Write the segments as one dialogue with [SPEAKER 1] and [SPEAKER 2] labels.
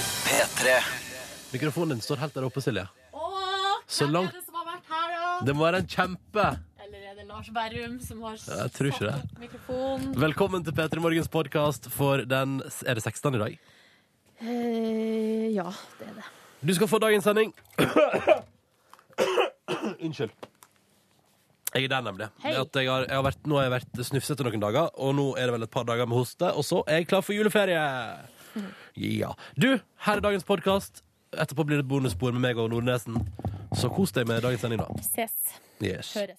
[SPEAKER 1] P3.
[SPEAKER 2] Mikrofonen din står helt der oppe, Silje.
[SPEAKER 3] Åh,
[SPEAKER 2] Så
[SPEAKER 3] hvem
[SPEAKER 2] langt-
[SPEAKER 3] er det som har vært her, da?
[SPEAKER 2] Det må være en kjempe.
[SPEAKER 3] Eller er det Lars Berrum som har
[SPEAKER 2] Jeg tror ikke det.
[SPEAKER 3] satt opp mikrofonen?
[SPEAKER 2] Velkommen til P3 Morgens podkast for den Er det 16. i dag?
[SPEAKER 4] Eh, ja, det er det.
[SPEAKER 2] Du skal få dagens sending. Unnskyld. Jeg er der, nemlig.
[SPEAKER 4] Hei.
[SPEAKER 2] Det at jeg har, jeg har vært, nå har jeg vært snufsete noen dager, og nå er det vel et par dager med hoste, og så er jeg klar for juleferie!
[SPEAKER 4] Mhm.
[SPEAKER 2] Ja. Du, her er dagens podkast. Etterpå blir det et bonusspor med meg og Nordnesen. Så kos deg med dagens sending, da.
[SPEAKER 4] Ses.
[SPEAKER 2] Yes.
[SPEAKER 4] Høres.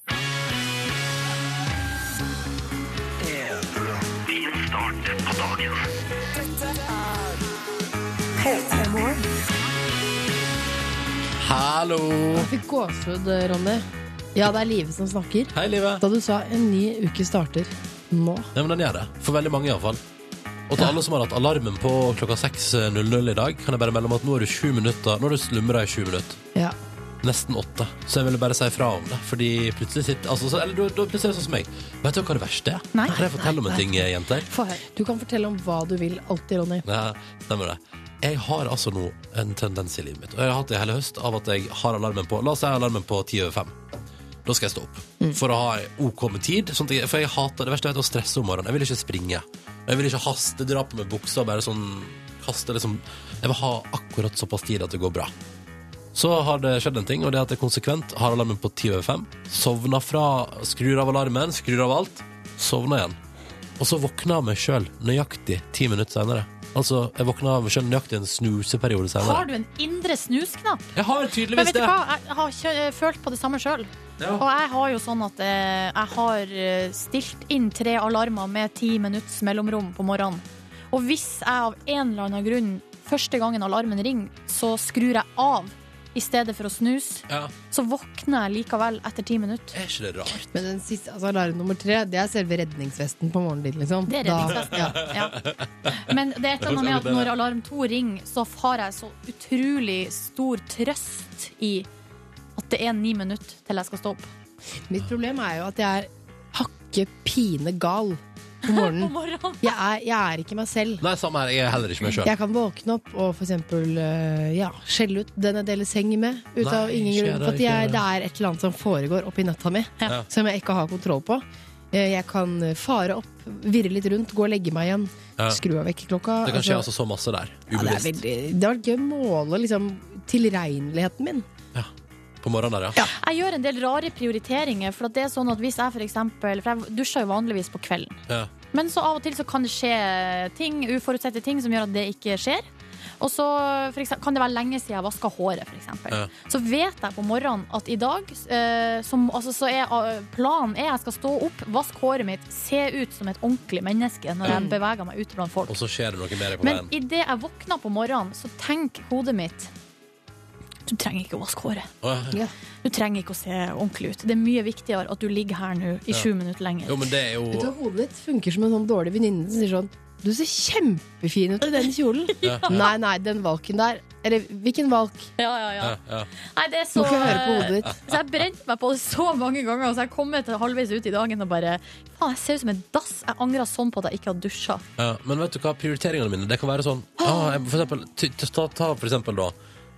[SPEAKER 2] Hallo!
[SPEAKER 5] Jeg fikk gåsehud, Ronny. Ja, det er Live som snakker.
[SPEAKER 2] Hei, livet.
[SPEAKER 5] Da du sa en ny uke starter nå.
[SPEAKER 2] Ja, men den gjør det. For veldig mange, iallfall. Og til alle som har hatt alarmen på klokka 6.00 i dag, kan jeg bare melde om at nå er du sju minutter Nå har du slumra i sju minutter.
[SPEAKER 5] Ja.
[SPEAKER 2] Nesten åtte. Så jeg ville bare si fra om det. Fordi plutselig sitter altså, så, Eller da- da plutselig er det sånn som meg. Vet du hva det verste er?
[SPEAKER 4] Nei.
[SPEAKER 2] Kan jeg fortelle om en
[SPEAKER 5] Nei,
[SPEAKER 2] ting, jenter?
[SPEAKER 4] Få høre.
[SPEAKER 5] Du kan fortelle om hva du vil, alltid, Ronny.
[SPEAKER 2] Ja, stemmer det. Jeg har altså nå en tendens i livet mitt, og jeg har hatt det i hele høst, av at jeg har alarmen på La oss si jeg har alarmen på ti over fem. Da skal jeg stå opp. For å ha OK med tid. Sånn at jeg, for jeg hater det verste jeg vet, å stresse om morgenen. Jeg vil ikke springe. Jeg vil ikke haste, dra på meg buksa og bare sånn kaste liksom Jeg vil ha akkurat såpass tid at det går bra. Så har det skjedd en ting, og det er at jeg konsekvent har alarmen på 10 over 5. Sovna fra, skrur av alarmen, skrur av alt. Sovna igjen. Og så våkna jeg meg sjøl nøyaktig ti minutter senere. Altså, jeg våkna av meg sjøl nøyaktig en snuseperiode
[SPEAKER 4] Har
[SPEAKER 2] senere.
[SPEAKER 4] du en indre snusknapp?
[SPEAKER 2] Jeg har
[SPEAKER 4] Men
[SPEAKER 2] tydeligvis
[SPEAKER 4] vet du
[SPEAKER 2] det.
[SPEAKER 4] hva, jeg har kjø eh, følt på det samme sjøl.
[SPEAKER 2] Ja.
[SPEAKER 4] Og jeg har jo sånn at eh, jeg har eh, stilt inn tre alarmer med ti minutts mellomrom på morgenen. Og hvis jeg av en eller annen grunn første gangen alarmen ringer, så skrur jeg av i stedet for å snuse.
[SPEAKER 2] Ja.
[SPEAKER 4] Så våkner jeg likevel etter ti minutter.
[SPEAKER 2] Er ikke det rart?
[SPEAKER 5] Men den siste, altså alarm nummer tre, det er selve redningsvesten på morgenen din, liksom.
[SPEAKER 4] Det er
[SPEAKER 5] Da-
[SPEAKER 4] redningsvesten. Ja. Men det er et eller annet med at når alarm to ringer, så har jeg så utrolig stor trøst i at det er ni minutter til jeg skal stå opp.
[SPEAKER 5] Mitt problem er jo at jeg er hakke pine gal på morgenen.
[SPEAKER 4] morgenen.
[SPEAKER 5] Jeg er, jeg er ikke meg selv.
[SPEAKER 2] Nei, samme her. Jeg er heller ikke meg sjøl.
[SPEAKER 5] Jeg kan våkne opp og for eksempel eh, ja, skjelle ut den jeg deler seng med. Ut
[SPEAKER 2] Nei,
[SPEAKER 5] av ingen
[SPEAKER 2] ikke
[SPEAKER 5] grunn.
[SPEAKER 2] det,
[SPEAKER 5] For at jeg,
[SPEAKER 2] ikke det.
[SPEAKER 5] det er et eller annet som foregår oppi natta mi,
[SPEAKER 2] Ja.
[SPEAKER 5] som jeg ikke har kontroll på. Eh, Jeg kan fare opp, virre litt rundt, gå og legge meg igjen.
[SPEAKER 2] Ja.
[SPEAKER 5] Skru av vekkerklokka.
[SPEAKER 2] Det kan skje
[SPEAKER 5] altså-
[SPEAKER 2] altså så masse der.
[SPEAKER 5] ja, det, er
[SPEAKER 2] Ubevisst.
[SPEAKER 5] veldig, det har vært gøy å måle liksom, tilregneligheten min.
[SPEAKER 2] På morgenen der, ja.
[SPEAKER 4] Jeg gjør en del rare prioriteringer. For at det er sånn at hvis jeg for eksempel For jeg dusjer jo vanligvis på kvelden.
[SPEAKER 2] ja.
[SPEAKER 4] Men så av og til så kan det skje ting, uforutsette ting som gjør at det ikke skjer. Og så for eksempel, kan det være lenge siden jeg vaska håret, f.eks. eksempel
[SPEAKER 2] Ja.
[SPEAKER 4] Så vet jeg på morgenen at i dag eh, som, altså, så er, eh, planen er jeg skal stå opp, vaske håret mitt, se ut som et ordentlig menneske når jeg beveger meg ute blant folk.
[SPEAKER 2] Mm. Og så skjer det noe mer på
[SPEAKER 4] Men
[SPEAKER 2] veien.
[SPEAKER 4] idet jeg våkner på morgenen, så tenker hodet mitt Du trenger ikke å vaske håret.
[SPEAKER 2] Åh, ja.
[SPEAKER 4] Du trenger ikke å se ordentlig ut. Det er mye viktigere at du ligger her nå i sju minutter lenger.
[SPEAKER 2] Jo, men det er
[SPEAKER 5] Vet du,
[SPEAKER 2] jo
[SPEAKER 5] Hodet ditt funker som en sånn dårlig venninne som sier sånn Du ser kjempefin ut i den kjolen.
[SPEAKER 2] Ja.
[SPEAKER 5] Nei, nei, den valken der. Eller hvilken valk?
[SPEAKER 4] Ja, ja, ja.
[SPEAKER 2] ja, ja.
[SPEAKER 4] Nei, det er
[SPEAKER 5] Du
[SPEAKER 4] så
[SPEAKER 5] må ikke høre på hodet ditt.
[SPEAKER 4] Så jeg brente meg på det så mange ganger, så jeg kom til halvveis ut i dagen og bare Faen, jeg ser ut som en dass. Jeg angrer sånn på at jeg ikke har dusja.
[SPEAKER 2] Ja, men vet du hva, prioriteringene mine Det kan være sånn ah, jeg- for eksempel, ty- ty- ta, ta for eksempel da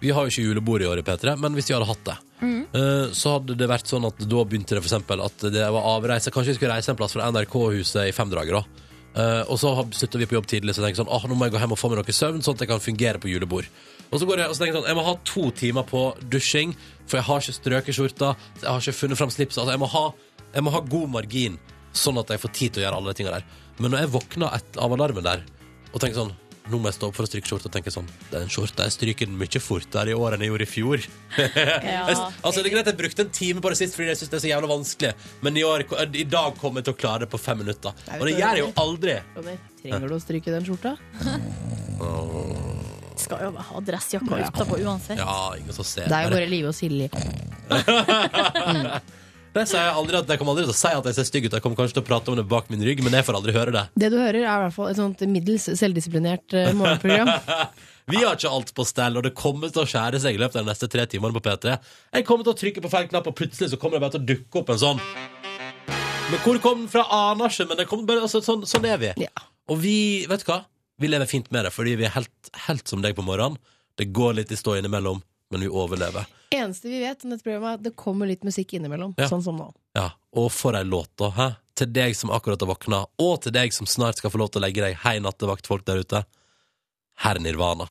[SPEAKER 2] Vi har jo ikke julebord i år i P3 Men hvis vi hadde hatt det eh, Så hadde det vært sånn at Da begynte det for eksempel At det var avreise Kanskje vi skulle reise en plass Fra NRK-huset i fem dager da Eh, og så har- slutter vi på jobb tidlig Så jeg tenker sånn ah, Nå må jeg gå hjem og få meg noe søvn Sånn at jeg kan fungere på julebord Og så går jeg og så tenker jeg sånn Jeg må ha to timer på dusjing For jeg har ikke strøket skjorta Jeg har ikke funnet frem slips Altså jeg må ha jeg må ha god margin, sånn at jeg får tid til å gjøre alle de tinga der. Men når jeg våkner et, av alarmen der og tenker sånn nå må jeg stå opp for å stryke skjorta og tenke sånn Den skjorta jeg stryker den mye fortere i år enn jeg gjorde i fjor. Jeg- altså det er greit Jeg brukte en time på det sist fordi jeg syns det er så jævla vanskelig, men i, år, i dag kommer jeg til å klare det på fem minutter. Og det gjør jeg jo aldri.
[SPEAKER 5] Ronny, trenger du å stryke den skjorta?
[SPEAKER 4] Skal jo ha dressjakka utapå uansett.
[SPEAKER 2] Ja, ingen som ser
[SPEAKER 5] Det er jo bare Live og Silje.
[SPEAKER 2] Det sier jeg aldri at jeg kommer aldri til å si at jeg ser stygg ut. Jeg kommer kanskje til å prate om det bak min rygg, men jeg får aldri høre det.
[SPEAKER 5] Det du hører, er i hvert fall et sånt middels selvdisiplinert eh, morgenprogram.
[SPEAKER 2] Vi har ikke alt på stell, og det kommer til å skjære seg i løpet av de neste tre timene på P3. Jeg kommer til å trykke på feil knapp, og plutselig så kommer det bare til å dukke opp en sånn. Men hvor kom den fra? Aner ikke, men det kom bare, altså, sånn, sånn er vi.
[SPEAKER 5] Ja.
[SPEAKER 2] Og vi, vet du hva? Vi lever fint med det, fordi vi er helt, helt som deg på morgenen. Det går litt i stå innimellom, men vi overlever.
[SPEAKER 5] Eneste vi vet om dette programmet, er at det kommer litt musikk innimellom.
[SPEAKER 2] Ja.
[SPEAKER 5] Sånn som nå.
[SPEAKER 2] Ja, Og for ei låt, da. Hæ? Til deg som akkurat har våkna, og til deg som snart skal få lov til å legge deg hei nattevaktfolk der ute. Herr Nirvana.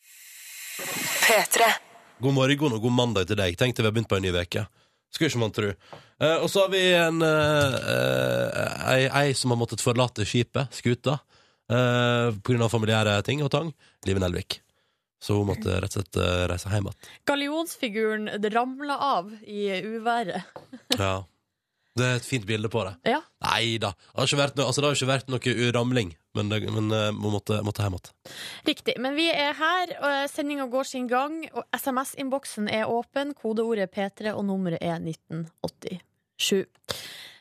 [SPEAKER 2] God morgen og god mandag til deg. Tenk til vi har begynt på en ny uke. Skulle ikke man tro. Eh, og så har vi en eh, eh, ei, ei som har måttet forlate skipet, skuta, eh, på grunn av familiære ting og tang. Live Nelvik. Så hun måtte rett og slett eh, reise hjem igjen.
[SPEAKER 4] Gallionsfiguren ramla av i uværet.
[SPEAKER 2] Ja. Det er et fint bilde på det.
[SPEAKER 4] Ja.
[SPEAKER 2] Nei da. Det har ikke vært noe, altså, det har ikke vært noe uramling, men, det, men eh, hun måtte, måtte hjem igjen.
[SPEAKER 4] Riktig. Men vi er her, og sendinga går sin gang. Og SMS-innboksen er åpen. Kodeordet er P3, og nummeret er 1987.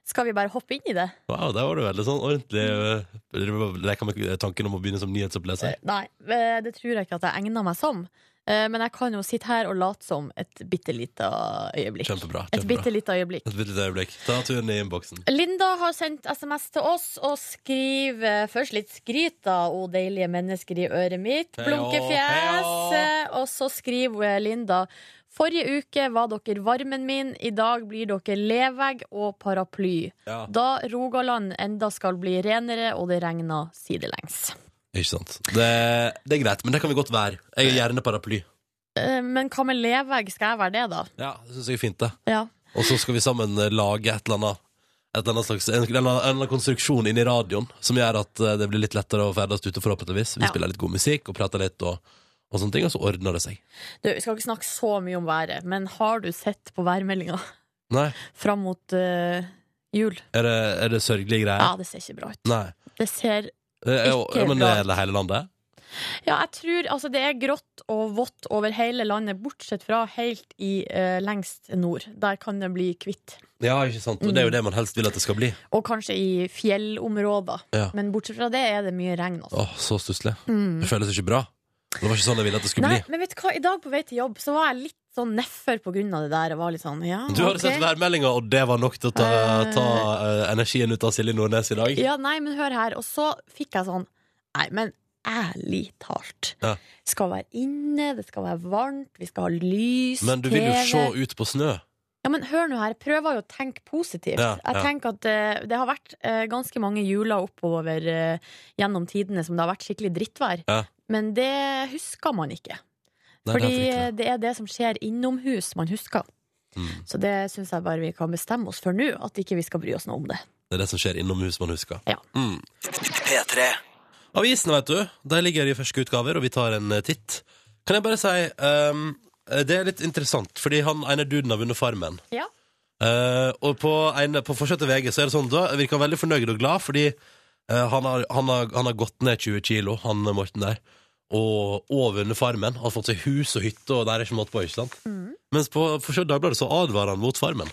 [SPEAKER 4] Skal vi bare hoppe inn i det?
[SPEAKER 2] Wow, der var du veldig sånn ordentlig eh, det var- Leka med tanken om å begynne som nyhetsoppleser.
[SPEAKER 4] Nei, eh, det tror jeg ikke at jeg egner meg som. Eh, Men jeg kan jo sitte her og late som et bitte lite øyeblikk.
[SPEAKER 2] Kjempebra.
[SPEAKER 4] Et
[SPEAKER 2] kjempebra.
[SPEAKER 4] bitte lite øyeblikk.
[SPEAKER 2] Et bitte øyeblikk. Ta turen i innboksen.
[SPEAKER 4] Linda har sendt SMS til oss og skriver først litt skryt, da. O deilige mennesker i øret mitt.
[SPEAKER 2] Heia,
[SPEAKER 4] Blunkefjes.
[SPEAKER 2] heia.
[SPEAKER 4] Og så skriver Linda Forrige uke var dere varmen min, i dag blir dere levegg og paraply.
[SPEAKER 2] Ja.
[SPEAKER 4] Da Rogaland enda skal bli renere og det regner sidelengs.
[SPEAKER 2] Ikke sant. Det, det er greit, men det kan vi godt være. Jeg er gjerne paraply.
[SPEAKER 4] Eh, Men hva med levegg, skal jeg være det, da?
[SPEAKER 2] Ja, det synes jeg er fint, det.
[SPEAKER 4] Ja.
[SPEAKER 2] Og så skal vi sammen eh, lage et eller annet. Et eller annet slags, en, en, eller annen- en eller annen konstruksjon inni radioen som gjør at eh, det blir litt lettere å ferdes ute, forhåpentligvis. Vi
[SPEAKER 4] Ja.
[SPEAKER 2] spiller litt god musikk og prater litt, og, og sånne ting, og så ordner det seg.
[SPEAKER 4] Du, vi skal ikke snakke så mye om været, men har du sett på værmeldinga
[SPEAKER 2] Nei,
[SPEAKER 4] fram mot eh, jul?
[SPEAKER 2] er det, er det sørgelige
[SPEAKER 4] Ja,
[SPEAKER 2] greier?
[SPEAKER 4] det ser ikke bra ut.
[SPEAKER 2] Nei.
[SPEAKER 4] Det ser
[SPEAKER 2] Eh, jo,
[SPEAKER 4] Ikke
[SPEAKER 2] men det
[SPEAKER 4] bra.
[SPEAKER 2] gjelder hele landet?
[SPEAKER 4] Ja, jeg tror altså det er grått og vått over hele landet, bortsett fra helt i eh, lengst nord. Der kan det bli hvitt.
[SPEAKER 2] Ja, ikke sant. Og det er jo det man helst vil at det skal bli.
[SPEAKER 4] Og kanskje i fjellområder.
[SPEAKER 2] Ja.
[SPEAKER 4] Men bortsett fra det er det mye regn. Altså.
[SPEAKER 2] Åh, så stusslig.
[SPEAKER 4] Mm.
[SPEAKER 2] Det føles ikke bra. Det var ikke sånn jeg ville at det skulle
[SPEAKER 4] Nei,
[SPEAKER 2] bli.
[SPEAKER 4] men vet du hva, i dag på vei til jobb så var jeg litt sånn nedfor på grunn av det der. Jeg var litt sånn, ja,
[SPEAKER 2] Du hadde
[SPEAKER 4] ok.
[SPEAKER 2] sett værmeldinga, og det var nok til å ta,
[SPEAKER 4] Eh.
[SPEAKER 2] ta eh, energien ut av Silje Nordnes i dag.
[SPEAKER 4] Ja, nei, men hør her. Og så fikk jeg sånn Nei, men ærlig talt.
[SPEAKER 2] Ja.
[SPEAKER 4] Skal være inne, det skal være varmt, vi skal ha lys,
[SPEAKER 2] Men du vil jo
[SPEAKER 4] TV.
[SPEAKER 2] se ut på snø.
[SPEAKER 4] Ja, men hør nå her, jeg prøver jo å tenke positivt.
[SPEAKER 2] Ja, ja.
[SPEAKER 4] Jeg tenker at eh, det har vært eh, ganske mange juler oppover eh, gjennom tidene som det har vært skikkelig drittvær.
[SPEAKER 2] Ja.
[SPEAKER 4] Men det husker man ikke.
[SPEAKER 2] Nei,
[SPEAKER 4] Fordi
[SPEAKER 2] det er
[SPEAKER 4] eh, det er det som skjer innomhus man husker.
[SPEAKER 2] fryktelig. Mm.
[SPEAKER 4] Så det syns jeg bare vi kan bestemme oss for nå, at ikke vi skal bry oss noe om det.
[SPEAKER 2] Det er det som skjer innom hus man husker.
[SPEAKER 4] Ja.
[SPEAKER 2] Mm. Avisene, vet du, de ligger i ferske utgaver, og vi tar en eh, titt. Kan jeg bare si ehm, Det er litt interessant, fordi han ene duden har vunnet Farmen.
[SPEAKER 4] Ja.
[SPEAKER 2] Eh, og på, en, på forsøket til VG så er det sånn da virker han veldig fornøyd og glad, fordi eh, han, har, han, har, han har gått ned 20 kilo, han eh, Morten der, og, og vunnet Farmen. Han har fått seg hus og hytte, og der er ikke måte på, ikke sant? Mens på forsøket til Dagbladet så advarer han mot Farmen.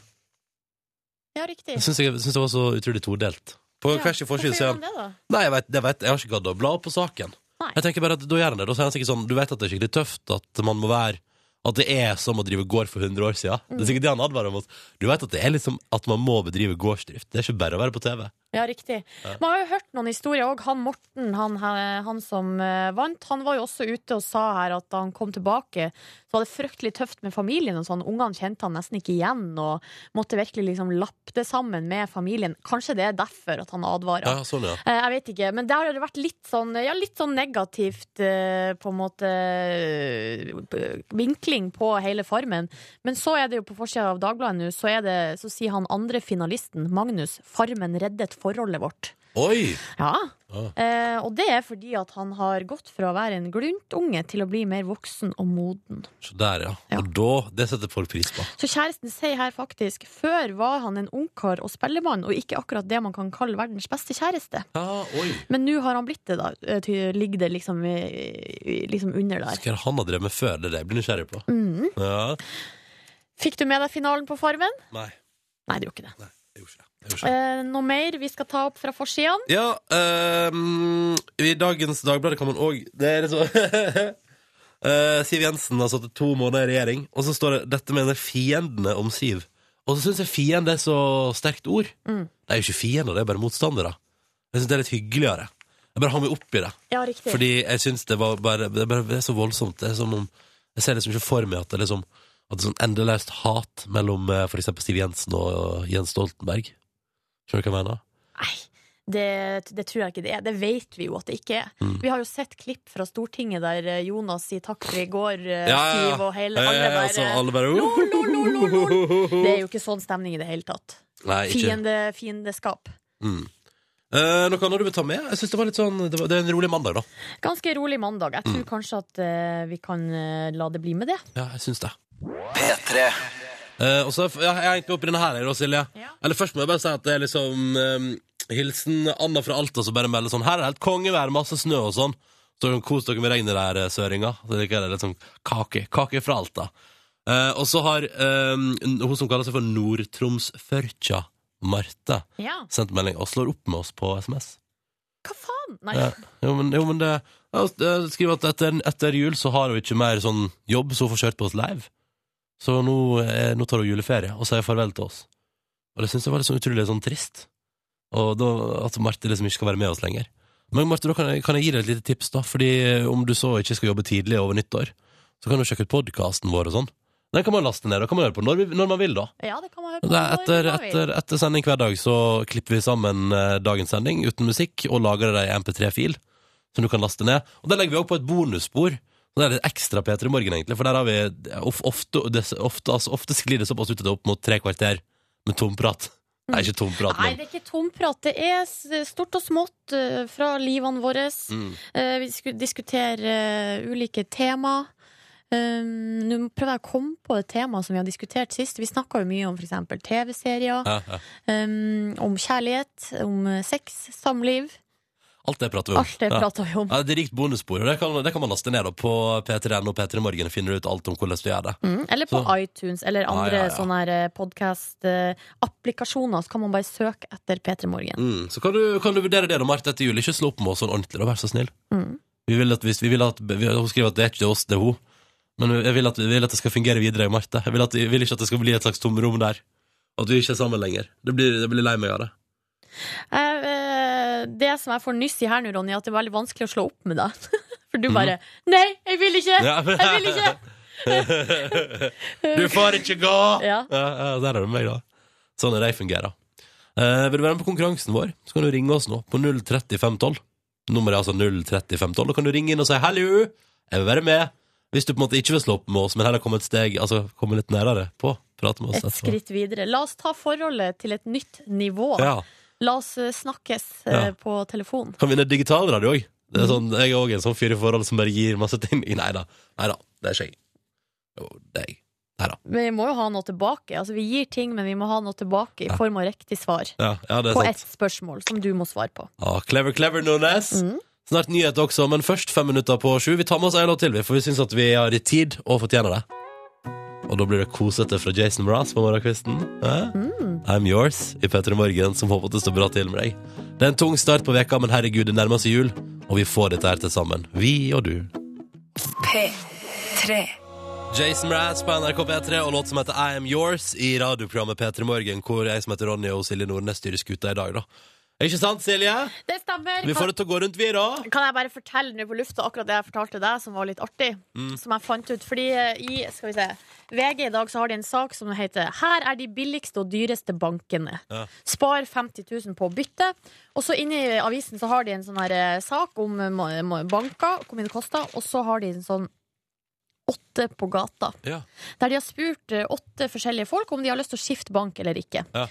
[SPEAKER 4] Ja, riktig.
[SPEAKER 2] Jeg syns jeg, synes det var så utrolig todelt. På
[SPEAKER 4] Ja,
[SPEAKER 2] hver sin forside sier
[SPEAKER 4] hvorfor gjør
[SPEAKER 2] han
[SPEAKER 4] han det, da?
[SPEAKER 2] Nei, jeg vet, det vet, jeg har ikke gadd å bla opp på saken.
[SPEAKER 4] Nei.
[SPEAKER 2] Jeg tenker bare at Da gjør han det. Da sier han sikkert sånn Du vet at det er skikkelig tøft at man må være At det er som å drive gård for 100 år siden. Det er sikkert det han advarer mot. Du vet at det er liksom at man må bedrive gårdsdrift. Det er ikke bare å være på TV.
[SPEAKER 4] Ja, riktig. Man har jo hørt noen historier òg. Han Morten, han, han som eh, vant, han var jo også ute og sa her at da han kom tilbake, så var det fryktelig tøft med familien og sånn. Ungene kjente han nesten ikke igjen og måtte virkelig liksom lappe det sammen med familien. Kanskje det er derfor at han advarer.
[SPEAKER 2] Ja, sånn, ja.
[SPEAKER 4] Eh, Jeg vet ikke, men der har det vært litt sånn, ja, litt sånn negativt eh, på en måte eh, b- vinkling på hele Farmen. Men så er det jo på forsida av Dagbladet nå, så, er det, så sier han andre finalisten, Magnus, Farmen reddet forholdet vårt.
[SPEAKER 2] Oi!
[SPEAKER 4] Ja,
[SPEAKER 2] Ah.
[SPEAKER 4] eh, og det er fordi at han har gått fra å være en gluntunge til å bli mer voksen og moden.
[SPEAKER 2] Så der, ja.
[SPEAKER 4] Ja.
[SPEAKER 2] Og da Det setter folk pris på.
[SPEAKER 4] Så kjæresten sier her faktisk, før var han en ungkar og spellemann, og ikke akkurat det man kan kalle verdens beste kjæreste.
[SPEAKER 2] Ja, oi.
[SPEAKER 4] Men nå har han blitt det, da. Eh, ty- Ligger det liksom, eh, liksom under der.
[SPEAKER 2] Hva er det han har drevet med før? Det er det jeg blir nysgjerrig på.
[SPEAKER 4] Mhm.
[SPEAKER 2] Ja.
[SPEAKER 4] Fikk du med deg finalen på Farmen?
[SPEAKER 2] Nei,
[SPEAKER 4] Nei, det gjorde ikke det.
[SPEAKER 2] jeg gjorde ikke det. Jeg gjorde ikke det.
[SPEAKER 4] Eh, noe mer vi skal ta opp fra forsidene?
[SPEAKER 2] Ja, ehm, i dagens Dagbladet kan man òg Det er så Eh, Siv Jensen har sittet to måneder i regjering, og så står det 'Dette mener fiendene om Siv'. Og så syns jeg fiende er så sterkt ord.
[SPEAKER 4] Mm.
[SPEAKER 2] Det er jo ikke fiender, det er bare motstandere. Jeg syns det er litt hyggeligere. Jeg bare har meg opp i det.
[SPEAKER 4] Ja, riktig.
[SPEAKER 2] Fordi jeg syns det var bare det, bare det er så voldsomt. Det er som om Jeg ser liksom ikke for meg at det liksom at det er sånn endeløst hat mellom eh, for eksempel Siv Jensen og Jens Stoltenberg. Skjønner du hva jeg mener?
[SPEAKER 4] Nei, det, det tror jeg ikke det er. Det vet vi jo at det ikke er.
[SPEAKER 2] Mm.
[SPEAKER 4] Vi har jo sett klipp fra Stortinget der eh, Jonas sier takk for i går, eh,
[SPEAKER 2] Ja, ja, ja.
[SPEAKER 4] Siv og hele
[SPEAKER 2] Eh,
[SPEAKER 4] alle
[SPEAKER 2] altså,
[SPEAKER 4] bare
[SPEAKER 2] alle bare
[SPEAKER 4] lol, lol, lol, lol, Det er jo ikke sånn stemning i det hele tatt.
[SPEAKER 2] Nei, ikke.
[SPEAKER 4] Fiende, fiendeskap.
[SPEAKER 2] Mm. Eh, noe annet du vil ta med? Jeg synes Det var litt sånn, det, var, det er en rolig mandag, da.
[SPEAKER 4] Ganske rolig mandag. Jeg tror
[SPEAKER 2] Mm.
[SPEAKER 4] kanskje at eh, vi kan eh, la det bli med det.
[SPEAKER 2] Ja, jeg synes det.
[SPEAKER 6] P3
[SPEAKER 2] Eh, og så er- ja, jeg er egentlig oppe i denne her, jeg da, Silje.
[SPEAKER 4] Ja.
[SPEAKER 2] Eller først må jeg bare si at det er liksom eh, Hilsen Anna fra Alta som bare melder sånn Her er det helt kongevær, masse snø og sånn. Så sånn, kos dere med regnet der, eh, søringa. Så det er litt sånn kake. Kake fra Alta. Eh, og så har eh, hun som kaller seg for Nord-Troms-Førtja, Marte,
[SPEAKER 4] Ja.
[SPEAKER 2] sendt melding og slår opp med oss på SMS.
[SPEAKER 4] Hva faen? Nei.
[SPEAKER 2] Ja. Jo, men, jo, men det ja, det Skriver at etter, etter jul så har hun ikke mer sånn jobb, så hun får kjørt på oss live. Så nå, eh, nå tar hun juleferie og sier farvel til oss. Og det syns jeg var litt sånn utrolig sånn trist. Og da, at Marte liksom ikke skal være med oss lenger. Men Marte, da kan jeg, kan jeg gi deg et lite tips, da. Fordi eh, om du så ikke skal jobbe tidlig over nyttår, så kan du sjekke ut podkasten vår og sånn. Den kan man laste ned og kan man høre på når, vi, når man vil, da.
[SPEAKER 4] Ja, det kan man høre på.
[SPEAKER 2] Det er
[SPEAKER 4] når
[SPEAKER 2] etter,
[SPEAKER 4] man vil.
[SPEAKER 2] etter, etter sending hver dag så klipper vi sammen eh, dagens sending uten musikk og lager det i MP3-fil, som du kan laste ned. Og der legger vi også på et bonusspor. Så Det er litt ekstra P3 Morgen, egentlig, for der har vi of, ofte, det, ofte, altså, ofte sklir det såpass ut at det er opp mot tre kvarter med tomprat. Nei, ikke tomprat,
[SPEAKER 4] Nei,
[SPEAKER 2] men
[SPEAKER 4] det er ikke tomprat. Det er s- stort og smått eh, fra livene våre.
[SPEAKER 2] mm.
[SPEAKER 4] Eh, Vi skulle diskutere eh, ulike tema. Um, Nå prøver jeg å komme på et tema som vi har diskutert sist. Vi snakka jo mye om f.eks. TV-serier,
[SPEAKER 2] ja, ja.
[SPEAKER 4] um, om kjærlighet, om eh, sex, samliv.
[SPEAKER 2] Alt det prater vi om.
[SPEAKER 4] Alt det
[SPEAKER 2] Ja.
[SPEAKER 4] prata vi om.
[SPEAKER 2] Ja, det er rikt bonusspor, og det kan, det kan man laste ned da, på P3N og P3 Morgen. Finner du ut alt om hvordan vi gjør det.
[SPEAKER 4] Mm, eller på
[SPEAKER 2] Så-
[SPEAKER 4] iTunes eller andre
[SPEAKER 2] Ja, ja, ja.
[SPEAKER 4] sånne eh, podkast-applikasjoner. eh, Så kan man bare søke etter P3 Morgen.
[SPEAKER 2] Mm, så kan du, kan du vurdere det da, Marte, etter jul. Ikke slå opp med oss sånn ordentlig, da, vær så snill.
[SPEAKER 4] Mm.
[SPEAKER 2] Vi vil at, hvis, vi vil at, vi, hun skriver at det er ikke oss, det er hun. Men jeg vil at, vi vil at det skal fungere videre, Marte. Jeg vil, at, jeg vil ikke at det skal bli et slags tomrom der. At vi ikke er sammen lenger. Det blir, det blir lei meg av det.
[SPEAKER 4] Jeg, eh, det som jeg får nyss i her nå, Ronny, er at det er veldig vanskelig å slå opp med deg. For du
[SPEAKER 2] Mhm.
[SPEAKER 4] bare 'Nei, jeg vil ikke! Jeg vil ikke!'
[SPEAKER 2] Du får ikke gå!
[SPEAKER 4] Ja.
[SPEAKER 2] ja, der er du meg, da. Sånn er det jeg fungerer. Eh, vil du være med på konkurransen vår, så kan du ringe oss nå på 03512. Nummeret er altså 03512. Da kan du ringe inn og si 'hallo, jeg vil være med'. Hvis du på en måte ikke vil slå opp med oss, men heller komme et steg Altså komme litt nærere på. Prate med oss
[SPEAKER 4] Et
[SPEAKER 2] etterpå.
[SPEAKER 4] skritt videre. La oss ta forholdet til et nytt nivå.
[SPEAKER 2] Ja.
[SPEAKER 4] La oss eh, snakkes eh,
[SPEAKER 2] Ja.
[SPEAKER 4] på telefon.
[SPEAKER 2] Kan vinne digitalradio òg. Det
[SPEAKER 4] Mm.
[SPEAKER 2] er sånn, jeg er òg en sånn fyr i forhold som bare gir masse ting. Nei da. Nei da. Det er ikke jeg. Jo, det er jeg.
[SPEAKER 4] Men vi må jo ha noe tilbake. Altså, vi gir ting, men vi må ha noe tilbake i
[SPEAKER 2] Ja.
[SPEAKER 4] form av riktig svar.
[SPEAKER 2] Ja, ja, det er
[SPEAKER 4] På
[SPEAKER 2] sant.
[SPEAKER 4] ett spørsmål som du må svare på.
[SPEAKER 2] Ah, clever, clever, Nordnes.
[SPEAKER 4] Mm.
[SPEAKER 2] Snart nyhet også, men først fem minutter på sju. Vi tar med oss en låt til, vi, for vi syns at vi har i tid og fortjener det. Og da blir det kosete fra Jason Mraz på morgenkvisten. Eh?
[SPEAKER 4] Mm.
[SPEAKER 2] I'm yours i P3 Morgen, som håper at det står bra til med deg. Det er en tung start på veka, men herregud, det nærmer seg jul, og vi får dette her til sammen. Vi og du. Jason Mraz på NRK P3 og låt som heter I Am Yours i radioprogrammet P3 Morgen, hvor jeg som heter Ronny og Silje Nordnes styrer skuta i dag, da. Ikke sant, Silje?
[SPEAKER 4] Det stemmer!
[SPEAKER 2] Vi får det til å gå rundt, vi, da.
[SPEAKER 4] Kan jeg bare fortelle nå på lufta akkurat det jeg fortalte deg, som var litt artig? Som jeg fant ut. Fordi eh, i skal vi se, VG i dag så har de en sak som heter 'Her er de billigste og dyreste bankene'.
[SPEAKER 2] Ja.
[SPEAKER 4] Spar 50 000 på å bytte. Og så inne i avisen så har de en sånn her eh, sak om eh, ma- ma- banker, hvor mye det koster, og så har de en sånn Åtte på gata.
[SPEAKER 2] Ja.
[SPEAKER 4] Der de har spurt eh, åtte forskjellige folk om de har lyst til å skifte bank eller ikke.
[SPEAKER 2] Ja.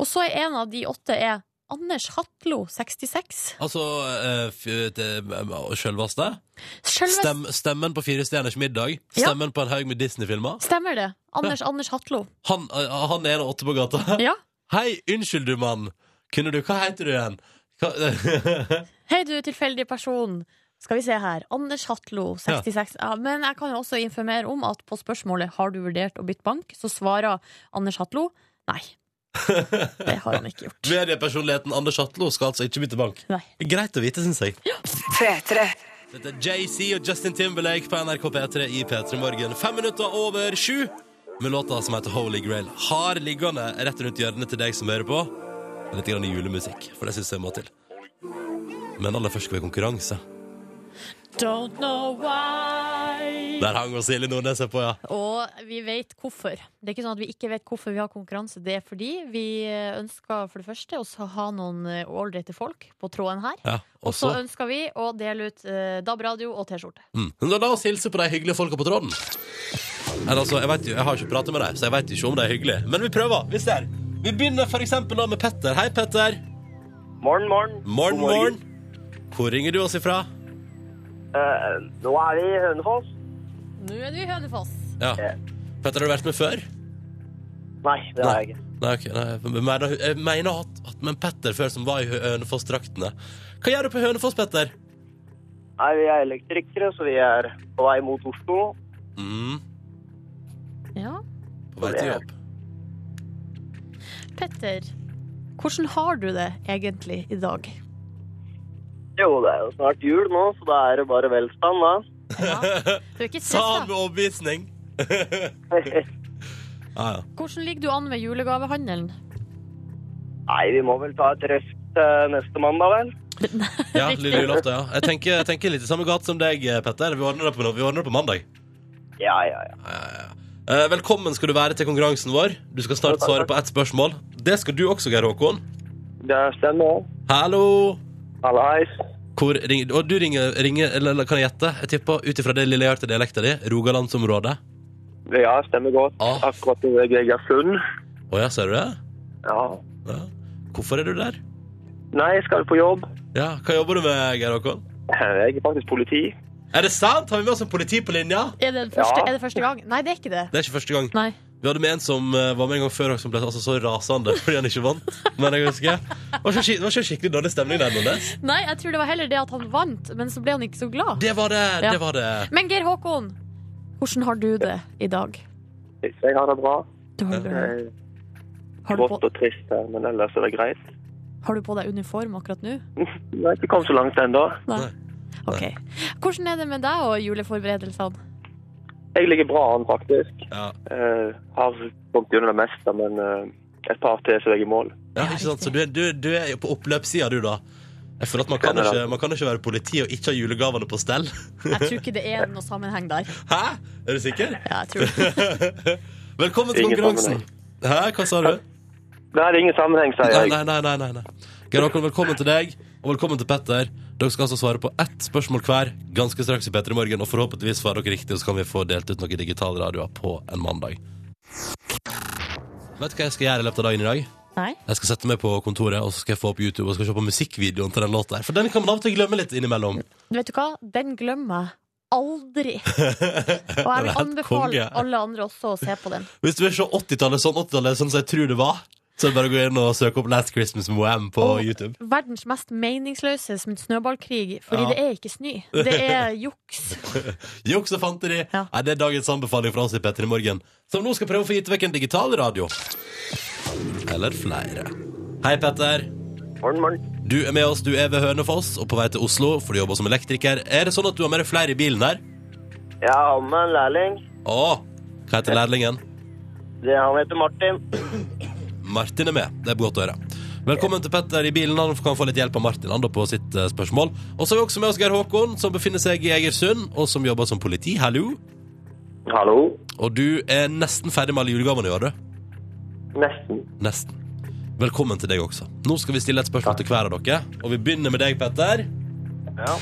[SPEAKER 4] Og så er en av de åtte er Anders Hatlo, 66.
[SPEAKER 2] Altså, eh, f- det- eh, sjølvaste?
[SPEAKER 4] Sjølve
[SPEAKER 2] Stem, stemmen på Fire stjerners middag?
[SPEAKER 4] Ja.
[SPEAKER 2] Stemmen på en haug med Disney-filmer?
[SPEAKER 4] Stemmer det. Anders, Anders Hatlo.
[SPEAKER 2] Han, eh, han er en av åtte på gata.
[SPEAKER 4] Ja.
[SPEAKER 2] Hei, unnskyld du, mann! Kunne du Hva heter du igjen? Hva,
[SPEAKER 4] Hei, du tilfeldige person. Skal vi se her. Anders Hatlo, 66. Ja. men jeg kan jo også informere om at på spørsmålet 'Har du vurdert å bytte bank?' så svarer Anders Hatlo nei. Det har han ikke gjort.
[SPEAKER 2] Mediepersonligheten Anders Hatlo skal altså ikke bytte bank.
[SPEAKER 4] Nei.
[SPEAKER 2] Greit å vite, syns jeg. Dette er JC og Justin Timberlake på NRK P3 i P3 Morgen. Fem minutter over sju med låta som heter Holy Grail. Har liggende rett rundt hjørnet til deg som hører på. Litt grann julemusikk, for det syns jeg må til. Men aller først skal vi ha konkurranse.
[SPEAKER 4] Don't know why
[SPEAKER 2] Der hang og Silje Nordnes seg på, ja.
[SPEAKER 4] Og vi vet hvorfor. Det er ikke sånn at vi ikke vet hvorfor vi har konkurranse. Det er fordi vi ønsker for det første å ha noen eh, ålreite folk på tråden her.
[SPEAKER 2] ja.
[SPEAKER 4] Og så
[SPEAKER 2] Også.
[SPEAKER 4] ønsker vi å dele ut eh, DAB-radio og T-skjorte.
[SPEAKER 2] Mm. Men da la oss hilse på de hyggelige folka på tråden. Eller, altså, jeg, vet, jo- jeg har ikke pratet med dem, så jeg vet ikke om de er hyggelige. Men vi prøver. Vi ser. Vi begynner for eksempel da med Petter. Hei, Petter.
[SPEAKER 6] Morgen, morgen.
[SPEAKER 2] Morgen,
[SPEAKER 6] God morgen.
[SPEAKER 2] morgen. Hvor ringer du oss ifra?
[SPEAKER 6] Eh, nå er vi i Hønefoss.
[SPEAKER 4] Nå er du i Hønefoss.
[SPEAKER 2] Ja. Petter, har du vært med før?
[SPEAKER 6] Nei, det har jeg ikke.
[SPEAKER 2] Nei, ok. Nei, jeg mener, jeg mener at, at men Petter før som var i Hø- Hønefoss-draktene. Hva gjør du på Hønefoss, Petter?
[SPEAKER 6] Nei, Vi er elektrikere, så vi er på vei mot Oslo.
[SPEAKER 2] Mm,
[SPEAKER 4] Ja.
[SPEAKER 2] på vei til jobb.
[SPEAKER 4] Petter, hvordan har du det egentlig i dag?
[SPEAKER 6] Jo, det er jo snart jul nå, så da er det bare velstand, da.
[SPEAKER 4] Du er ikke
[SPEAKER 2] Sa han
[SPEAKER 4] stressa.
[SPEAKER 2] med overbevisning. Ja, ja.
[SPEAKER 4] Hvordan ligger du an med julegavehandelen?
[SPEAKER 6] Nei, vi må vel ta et røft eh, neste mandag, vel?
[SPEAKER 2] Ja, lille julaften, ja. Jeg tenker, jeg tenker litt i samme gat som deg, eh, Petter. Vi ordner det på, vi ordner det på mandag.
[SPEAKER 6] Ja, ja, ja.
[SPEAKER 2] Ja, ja, ja. Eh, Velkommen skal du være til konkurransen vår. Du skal snart svare på ett spørsmål. Det skal du også, Geir Håkon.
[SPEAKER 6] Det stemmer.
[SPEAKER 2] Hallo!
[SPEAKER 6] Hallais.
[SPEAKER 2] Hvor ringer, og du ringer, ringer eller, eller kan jeg gjette? Jeg tipper ut ifra det lille jeg hørte dialekten din, Rogalandsområdet.
[SPEAKER 6] Ja, stemmer godt.
[SPEAKER 2] Ah.
[SPEAKER 6] Akkurat i Egersund.
[SPEAKER 2] Å ja, ser du det?
[SPEAKER 6] Ja.
[SPEAKER 2] Ja. Hvorfor er du der?
[SPEAKER 6] Nei, jeg skal på jobb. Eh,
[SPEAKER 2] Ja, Hva jobber du med, Geir Håkon?
[SPEAKER 6] Jeg er faktisk politi.
[SPEAKER 2] Er det sant? Har vi med oss en politi på linja?
[SPEAKER 4] Er det, den første,
[SPEAKER 6] Ja.
[SPEAKER 4] er det første gang? Nei, det er ikke det.
[SPEAKER 2] Det er ikke første gang.
[SPEAKER 4] Nei.
[SPEAKER 2] Vi hadde med en som eh, var med en gang før og som ble altså, så rasende fordi han ikke vant. Men jeg husker Det var ikke skik- det var ikke skikkelig dårlig stemning der. Nordnes.
[SPEAKER 4] Nei, jeg tror det var heller det at han vant, men så ble han ikke så glad.
[SPEAKER 2] Det var det.
[SPEAKER 4] Ja.
[SPEAKER 2] det var det.
[SPEAKER 4] Men Geir Håkon, hvordan har du det i dag?
[SPEAKER 6] Jeg har det bra.
[SPEAKER 4] Du har,
[SPEAKER 6] Det er
[SPEAKER 4] har, du på,
[SPEAKER 6] Vått og trist her, men ellers er det greit.
[SPEAKER 4] har du på deg uniform akkurat nå?
[SPEAKER 6] Vi har ikke kommet så langt ennå.
[SPEAKER 2] Nei.
[SPEAKER 4] Ok. Hvordan er det med deg og juleforberedelsene?
[SPEAKER 6] Jeg ligger bra an, faktisk.
[SPEAKER 2] Ja.
[SPEAKER 6] Eh, har kommet gjennom det meste, men eh, et par til så er jeg i mål.
[SPEAKER 2] Ja, ikke sant? Så du er, du, du er jo på oppløpssida, du, da. Jeg føler at man kan,
[SPEAKER 6] Skjønner
[SPEAKER 2] ikke,
[SPEAKER 6] det.
[SPEAKER 2] man kan ikke være politi og ikke ha julegavene på stell.
[SPEAKER 4] Jeg tror ikke det er noe sammenheng der.
[SPEAKER 2] Hæ? Er du sikker?
[SPEAKER 4] Ja, jeg tror det.
[SPEAKER 2] Velkommen til
[SPEAKER 6] Ingen
[SPEAKER 2] konkurransen. Hæ, hva sa du?
[SPEAKER 6] Det er ingen sammenheng, sier
[SPEAKER 2] Nei,
[SPEAKER 6] jeg.
[SPEAKER 2] nei, nei. nei, nei, nei. Geir Håkon, velkommen til deg, og velkommen til Petter. Dere skal altså svare på ett spørsmål hver ganske straks i Petter i morgen, og forhåpentligvis svarer dere riktig, og så kan vi få delt ut noen digitale radioer på en mandag. Vet du hva jeg skal gjøre i løpet av dagen i dag?
[SPEAKER 4] Nei.
[SPEAKER 2] Jeg skal sette meg på kontoret og så skal jeg få opp YouTube og skal se på musikkvideoen til den låta. her, For den kan man av og til glemme litt innimellom.
[SPEAKER 4] Vet du hva? Den glemmer jeg aldri. Og jeg
[SPEAKER 2] Den er
[SPEAKER 4] vil
[SPEAKER 2] helt
[SPEAKER 4] anbefale
[SPEAKER 2] konge.
[SPEAKER 4] alle andre også å se på den.
[SPEAKER 2] Hvis du vil se 80-tallet sånn 80-tallet sånn som jeg tror det var, så er det bare å gå inn og søke opp Last Christmas med Wham på
[SPEAKER 4] Og
[SPEAKER 2] YouTube.
[SPEAKER 4] Verdens mest meningsløse som en snøballkrig, fordi
[SPEAKER 2] Ja.
[SPEAKER 4] det er ikke snø. Det er juks.
[SPEAKER 2] Juks og fanteri.
[SPEAKER 4] Ja.
[SPEAKER 2] Nei, det er dagens anbefaling fra oss i Petter i morgen, som nå skal prøve å få gitt vekk en digital radio. Eller flere. Hei, Petter.
[SPEAKER 6] Morgen, morgen.
[SPEAKER 2] Du er med oss. Du er ved Hønefoss og på vei til Oslo, for du jobber som elektriker. Er det sånn at du har med deg flere i bilen her?
[SPEAKER 6] Jeg har med meg en lærling.
[SPEAKER 2] Å, hva heter lærlingen?
[SPEAKER 6] Det, han heter Martin.
[SPEAKER 2] Martin er med. Det er godt å høre. Velkommen til Petter i bilen. Han kan få litt hjelp av Martin han da på sitt eh, spørsmål. Og så har vi også med oss Geir Håkon, som befinner seg i Egersund, og som jobber som politi. Hallo.
[SPEAKER 6] Hallo.
[SPEAKER 2] Og du er nesten ferdig med alle julegavene i år, du.
[SPEAKER 6] Nesten.
[SPEAKER 2] Nesten. Velkommen til deg også. Nå skal vi stille et spørsmål til hver av dere, og vi begynner med deg, Petter.
[SPEAKER 6] Ja.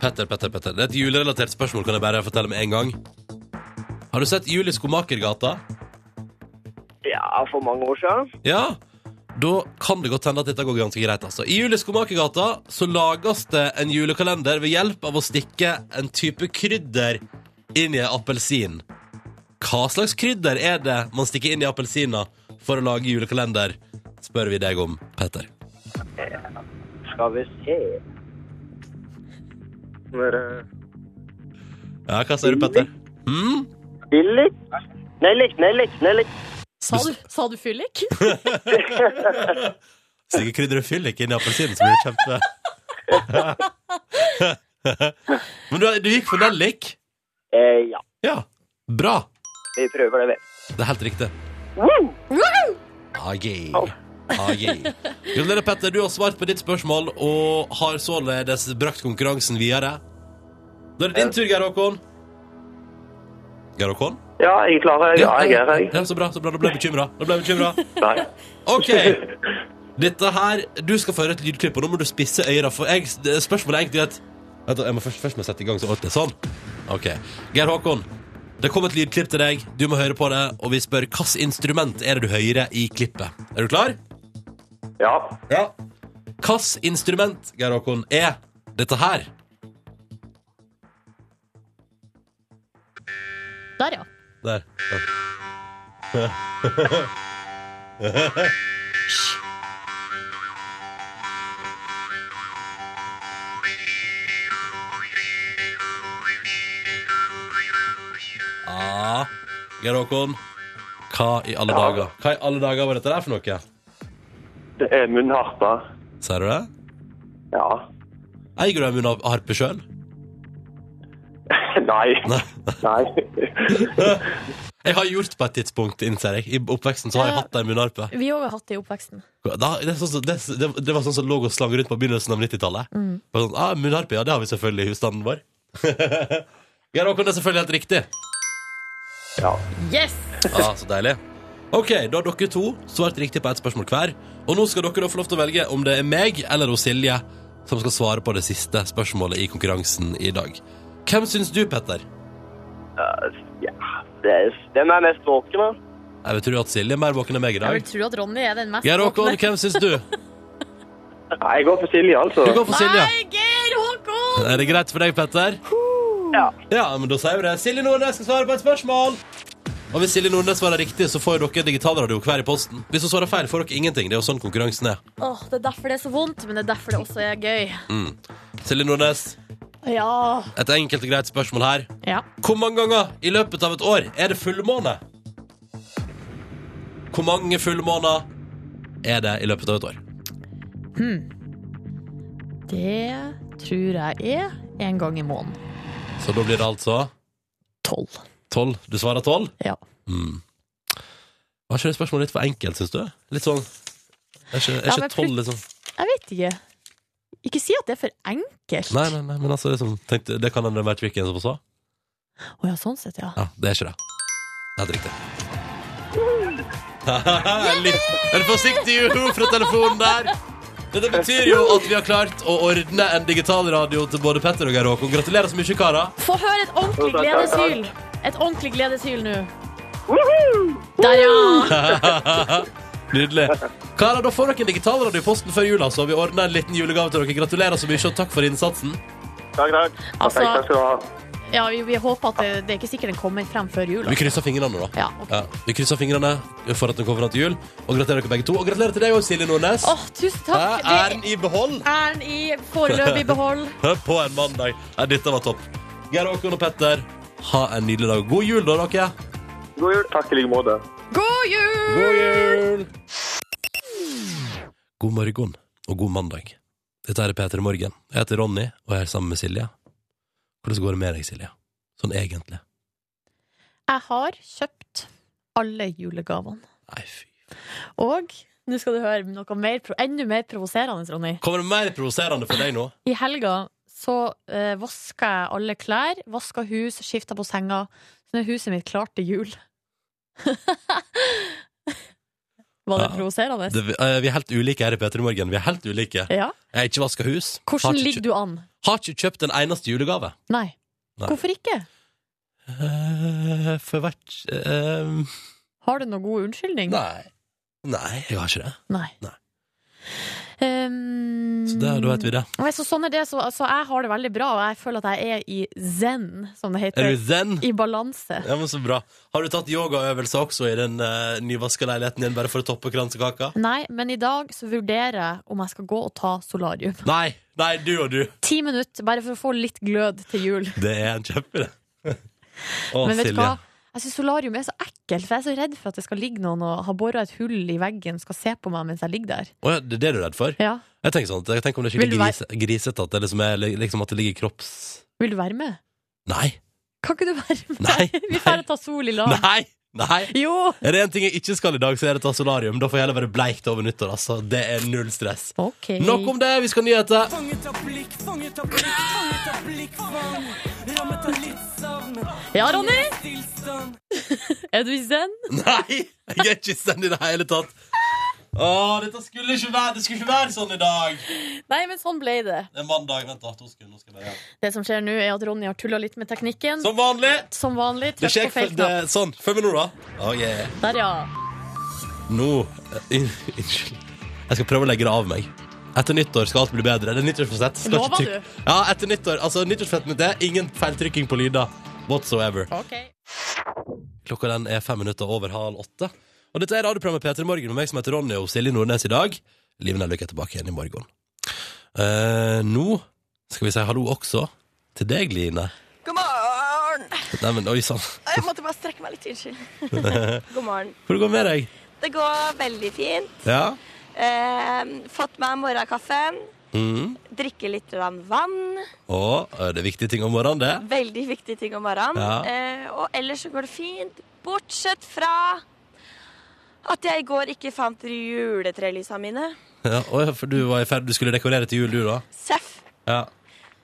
[SPEAKER 2] Petter, Petter, Petter. Det er et julerelatert spørsmål, kan jeg bare fortelle med en gang. Har du sett Jul i Skomakergata?
[SPEAKER 6] ja, for mange år siden.
[SPEAKER 2] Ja, da kan det godt hende at dette går ganske greit. Altså. I Juleskomakergata så lages det en julekalender ved hjelp av å stikke en type krydder inn i en appelsin. Hva slags krydder er det man stikker inn i appelsiner for å lage julekalender? Spør vi deg om, Petter.
[SPEAKER 6] Skal vi se. Mer, eh,
[SPEAKER 2] Ja, hva sier du, Petter? Mm?
[SPEAKER 6] Billig? Nellik, nellik, nellik.
[SPEAKER 4] Sa du, sa du fyllik?
[SPEAKER 2] Stikke krydder og fyllik inn i appelsinen, så blir det kjempe eh. Men du, du gikk for nellik?
[SPEAKER 6] Eh, ja,
[SPEAKER 2] Ja. Bra.
[SPEAKER 6] vi prøver det,
[SPEAKER 2] Det er helt riktig.
[SPEAKER 6] vi. Woo!
[SPEAKER 2] Ah, yeah.
[SPEAKER 6] Au.
[SPEAKER 2] Ah, yeah. Gratulerer, Petter. Du har svart på ditt spørsmål og har således brakt konkurransen videre. Da er det din tur, Geir Håkon. Geir Håkon?
[SPEAKER 6] Ja, jeg er klar. Ja, jeg er her, jeg.
[SPEAKER 2] Ja, så bra, så bra. Da ble jeg bekymra. Da ble jeg bekymra.
[SPEAKER 6] Nei.
[SPEAKER 2] OK. Dette her Du skal få høre et lydklipp, og nå må du spisse øyra, for jeg, det- spørsmålet er egentlig at Vent, da, jeg må først, først må jeg sette i gang så alt er sånn. OK. Geir Håkon, det kom et lydklipp til deg. Du må høre på det, og vi spør hvilket instrument er det du hører i klippet. Er du klar?
[SPEAKER 6] Ja.
[SPEAKER 2] Ja. Hvilket instrument, Geir Håkon, er dette her?
[SPEAKER 7] Der, ja.
[SPEAKER 2] Der. Ja, Geir Håkon. Hva i alle dager Hva i alle dager var dette der for noe?
[SPEAKER 6] Det er munnharpe.
[SPEAKER 2] Ser du det?
[SPEAKER 6] Ja.
[SPEAKER 2] Eier du en munn av harpe sjøl?
[SPEAKER 6] Nei.
[SPEAKER 2] Nei.
[SPEAKER 6] Nei.
[SPEAKER 2] Jeg har gjort på et tidspunkt, innser jeg. I oppveksten så har jeg hatt ei munnharpe.
[SPEAKER 4] Vi òg har hatt det i oppveksten.
[SPEAKER 2] Da, det, er sånn som- det, det, det var sånn som lå og slang rundt på begynnelsen av 90-tallet. Bare Sånn, ah, munnharpe, ja, det har vi selvfølgelig i husstanden vår. Geir Håkon, det er selvfølgelig helt riktig.
[SPEAKER 6] Ja.
[SPEAKER 4] Yes!
[SPEAKER 2] Ja, så deilig. Ok, da har dere to svart riktig på ett spørsmål hver. Og nå skal dere da få lov til å velge om det er meg eller hos Silje som skal svare på det siste spørsmålet i konkurransen i dag. Hvem syns du, Petter?
[SPEAKER 6] ja. Det er, den er mest våken, da.
[SPEAKER 2] Jeg vil tro at Silje er mer våken enn meg i
[SPEAKER 4] Jeg vil
[SPEAKER 2] dag.
[SPEAKER 4] tro at Ronny er den mest
[SPEAKER 2] Geir Håkon,
[SPEAKER 4] våkne.
[SPEAKER 2] hvem syns du?
[SPEAKER 6] Nei, jeg går for Silje, altså.
[SPEAKER 2] Du går for Silje.
[SPEAKER 4] Nei, Geir Håkon!
[SPEAKER 2] Er det greit for deg, Petter?
[SPEAKER 6] Ja.
[SPEAKER 2] Ja, men da sier vi det. Silje Nordnes skal svare på et spørsmål. Og hvis Silje Nordnes svarer riktig, så får dere digitalradio hver i posten. Hvis hun svarer feil, får dere ingenting. Det er jo sånn konkurransen er.
[SPEAKER 4] Åh, det er derfor det er så vondt, men det er derfor det også er gøy.
[SPEAKER 2] Silje Nordnes,
[SPEAKER 4] Ja.
[SPEAKER 2] et enkelt og greit spørsmål her.
[SPEAKER 4] ja.
[SPEAKER 2] Hvor mange ganger i løpet av et år er det fullmåne? Hvor mange fullmåner er det i løpet av et år?
[SPEAKER 4] Det tror jeg er en gang i måneden.
[SPEAKER 2] Så da blir det altså
[SPEAKER 4] Tolv.
[SPEAKER 2] tolv. Du svarer tolv?
[SPEAKER 4] Ja.
[SPEAKER 2] Mm. Var ikke det spørsmålet litt for enkelt, syns du? Litt sånn Er ikke, er
[SPEAKER 4] Ja,
[SPEAKER 2] ikke
[SPEAKER 4] men
[SPEAKER 2] tolv litt sånn
[SPEAKER 4] Jeg vet ikke. Ikke si at det er for enkelt.
[SPEAKER 2] Nei, nei, nei, men altså, liksom, tenkte, det kan hende det var Trikken som sa.
[SPEAKER 4] Å ja, sånn sett, ja.
[SPEAKER 2] Ja, det er ikke det. Det er helt riktig. Litt, en forsiktig juhu fra telefonen der. Dette betyr jo at vi har klart å ordne en digital radio til både Petter og Geir Håkon. Gratulerer så mye, karer.
[SPEAKER 4] Få høre et ordentlig
[SPEAKER 6] Takk, takk, takk.
[SPEAKER 4] gledesyl. Et ordentlig gledesyl nå. Der, ja!
[SPEAKER 2] Nydelig. Karer, da får dere en digital radio i posten før jula, så har vi ordna en liten julegave til dere. Gratulerer så mye, og takk for innsatsen.
[SPEAKER 6] Takk, takk.
[SPEAKER 4] Altså-
[SPEAKER 6] Takk skal du ha.
[SPEAKER 4] ja vi, vi håper at det, det er ikke sikkert den kommer frem før jul. da.
[SPEAKER 2] Vi krysser fingrene, da.
[SPEAKER 4] Ja, ok.
[SPEAKER 2] Ja, vi krysser fingrene for at den kommer fram til jul. Og gratulerer dere begge to. Og gratulerer til deg òg, Silje Nordnes.
[SPEAKER 4] Åh, tusen takk.
[SPEAKER 2] Hæ? Æren i behold.
[SPEAKER 4] Æren i foreløpig behold.
[SPEAKER 2] Hør på en mandag. Nei, dette var topp. Geir Håkon og Petter, ha en nydelig dag. God jul, da, dere.
[SPEAKER 6] God jul. Takk i like måte.
[SPEAKER 4] God jul!
[SPEAKER 2] God jul! God morgen og god mandag. Dette er Peter Morgen. Jeg heter Ronny og jeg er sammen med Silje. Hvordan går det med deg, Silje? Sånn egentlig.
[SPEAKER 4] Jeg har kjøpt alle julegavene.
[SPEAKER 2] Nei, fy.
[SPEAKER 4] Og nå skal du høre noe mer, pro- enda mer provoserende, Ronny.
[SPEAKER 2] Kommer det mer provoserende for deg nå?
[SPEAKER 4] I helga så uh, vaska jeg alle klær, vaska hus, skifta på senga. Så nå er huset mitt klart til jul. Var det
[SPEAKER 2] Ja.
[SPEAKER 4] provoserende?
[SPEAKER 2] Det, eh, vi er helt ulike her i Peter Morgen. Vi er helt ulike. Jeg
[SPEAKER 4] Ja.
[SPEAKER 2] har ikke vaska hus.
[SPEAKER 4] Hvordan
[SPEAKER 2] har, ikke,
[SPEAKER 4] ligger du an?
[SPEAKER 2] kjø- har ikke kjøpt en eneste julegave.
[SPEAKER 4] Nei.
[SPEAKER 2] Nei.
[SPEAKER 4] Hvorfor ikke?
[SPEAKER 2] Eh, for hvert eh,
[SPEAKER 4] Har du noen god unnskyldning?
[SPEAKER 2] Nei. Nei, jeg har ikke det.
[SPEAKER 4] Nei.
[SPEAKER 2] Nei.
[SPEAKER 4] Ehm,
[SPEAKER 2] Så det, da vet vi det.
[SPEAKER 4] Nei, så sånn er det, så, så jeg har det veldig bra, og jeg føler at jeg er i zen, som det
[SPEAKER 2] Er du
[SPEAKER 4] heter.
[SPEAKER 2] zen?
[SPEAKER 4] I balanse.
[SPEAKER 2] Ja, men så bra. Har du tatt yogaøvelser også i den uh, nyvaska leiligheten din, bare for å toppe kransekaka?
[SPEAKER 4] Nei, men i dag så vurderer jeg om jeg skal gå og ta solarium.
[SPEAKER 2] Nei, nei, du og du.
[SPEAKER 4] Ti minutter, bare for å få litt glød til jul.
[SPEAKER 2] Det er en kjempe, det. Å,
[SPEAKER 4] Men vet du
[SPEAKER 2] Silje.
[SPEAKER 4] hva? Jeg syns solarium er så ekkelt, for jeg er så redd for at det skal ligge noen og ha bora et hull i veggen, skal se på meg mens jeg ligger der.
[SPEAKER 2] Å, ja, det er det du er redd for?
[SPEAKER 4] Ja.
[SPEAKER 2] Jeg tenker sånn, jeg tenker om det er
[SPEAKER 4] Vil du
[SPEAKER 2] skikkelig
[SPEAKER 4] være-
[SPEAKER 2] grise, grisete, at det, liksom er, liksom at det ligger kropps...
[SPEAKER 4] Vil du være med?
[SPEAKER 2] Nei!
[SPEAKER 4] Kan ikke du være med?
[SPEAKER 2] Nei,
[SPEAKER 4] Vi drar og tar sol i lag.
[SPEAKER 2] Nei! Nei.
[SPEAKER 4] Jo!
[SPEAKER 2] Er det en ting jeg ikke skal i dag, så er det ta solarium. Da får jeg heller være bleikt over nyttår. altså. Det er null stress.
[SPEAKER 4] Ok.
[SPEAKER 2] Nok om det, vi skal ha nyheter.
[SPEAKER 4] Ja, Ronny! Er du i zen?
[SPEAKER 2] Nei, jeg er ikke send i det hele tatt. Å, dette skulle ikke være Det skulle ikke være sånn i dag.
[SPEAKER 4] Nei, men sånn ble det.
[SPEAKER 2] Det er mandag. Vent, da. To sekunder. Nå skal jeg bare
[SPEAKER 4] Det som skjer nå, er at Ronny har tulla litt med teknikken.
[SPEAKER 2] Som vanlig.
[SPEAKER 4] Som vanlig.
[SPEAKER 2] Det
[SPEAKER 4] Trykk
[SPEAKER 2] skjer
[SPEAKER 4] på feil
[SPEAKER 2] ikke det,
[SPEAKER 4] knapp.
[SPEAKER 2] Sånn. Følg med nå, da. Oh, yeah.
[SPEAKER 4] Der, ja.
[SPEAKER 2] Nå eh, in- Unnskyld. Jeg skal prøve å legge det av meg. Etter nyttår skal alt bli bedre. Det er nyttårsforsett. Skal ikke
[SPEAKER 4] Lover
[SPEAKER 2] trykke- Ja, etter nyttår. Altså, nyttårsforsettet mitt er ingen feiltrykking på lyder whatsoever.
[SPEAKER 4] Ok.
[SPEAKER 2] Klokka den er fem minutter over halv åtte. Og dette er radioprogrammet P3 Morgen med meg som heter Ronny og Silje Nordnes i dag. Liv Nelvik er tilbake igjen i morgen. Eh, nå skal vi si hallo også til deg, Line.
[SPEAKER 8] God morgen!
[SPEAKER 2] Nei, men oi sånn. sann.
[SPEAKER 8] Jeg måtte bare strekke meg litt. Unnskyld. God morgen.
[SPEAKER 2] Hvordan går det med deg?
[SPEAKER 8] Det går veldig fint.
[SPEAKER 2] Ja?
[SPEAKER 8] Eh, fått meg morgenkaffe.
[SPEAKER 2] Mm.
[SPEAKER 8] Drikke litt grann vann.
[SPEAKER 2] Å, eh, det er viktige ting om morgenen, det.
[SPEAKER 8] Veldig viktige ting om morgenen.
[SPEAKER 2] Ja.
[SPEAKER 8] Eh, og ellers så går det fint. Bortsett fra at jeg i går ikke fant juletrelysa mine.
[SPEAKER 2] Ja, å ja, for du var i ferd Du skulle dekorere til jul, du, da?
[SPEAKER 8] Seff.
[SPEAKER 2] Ja.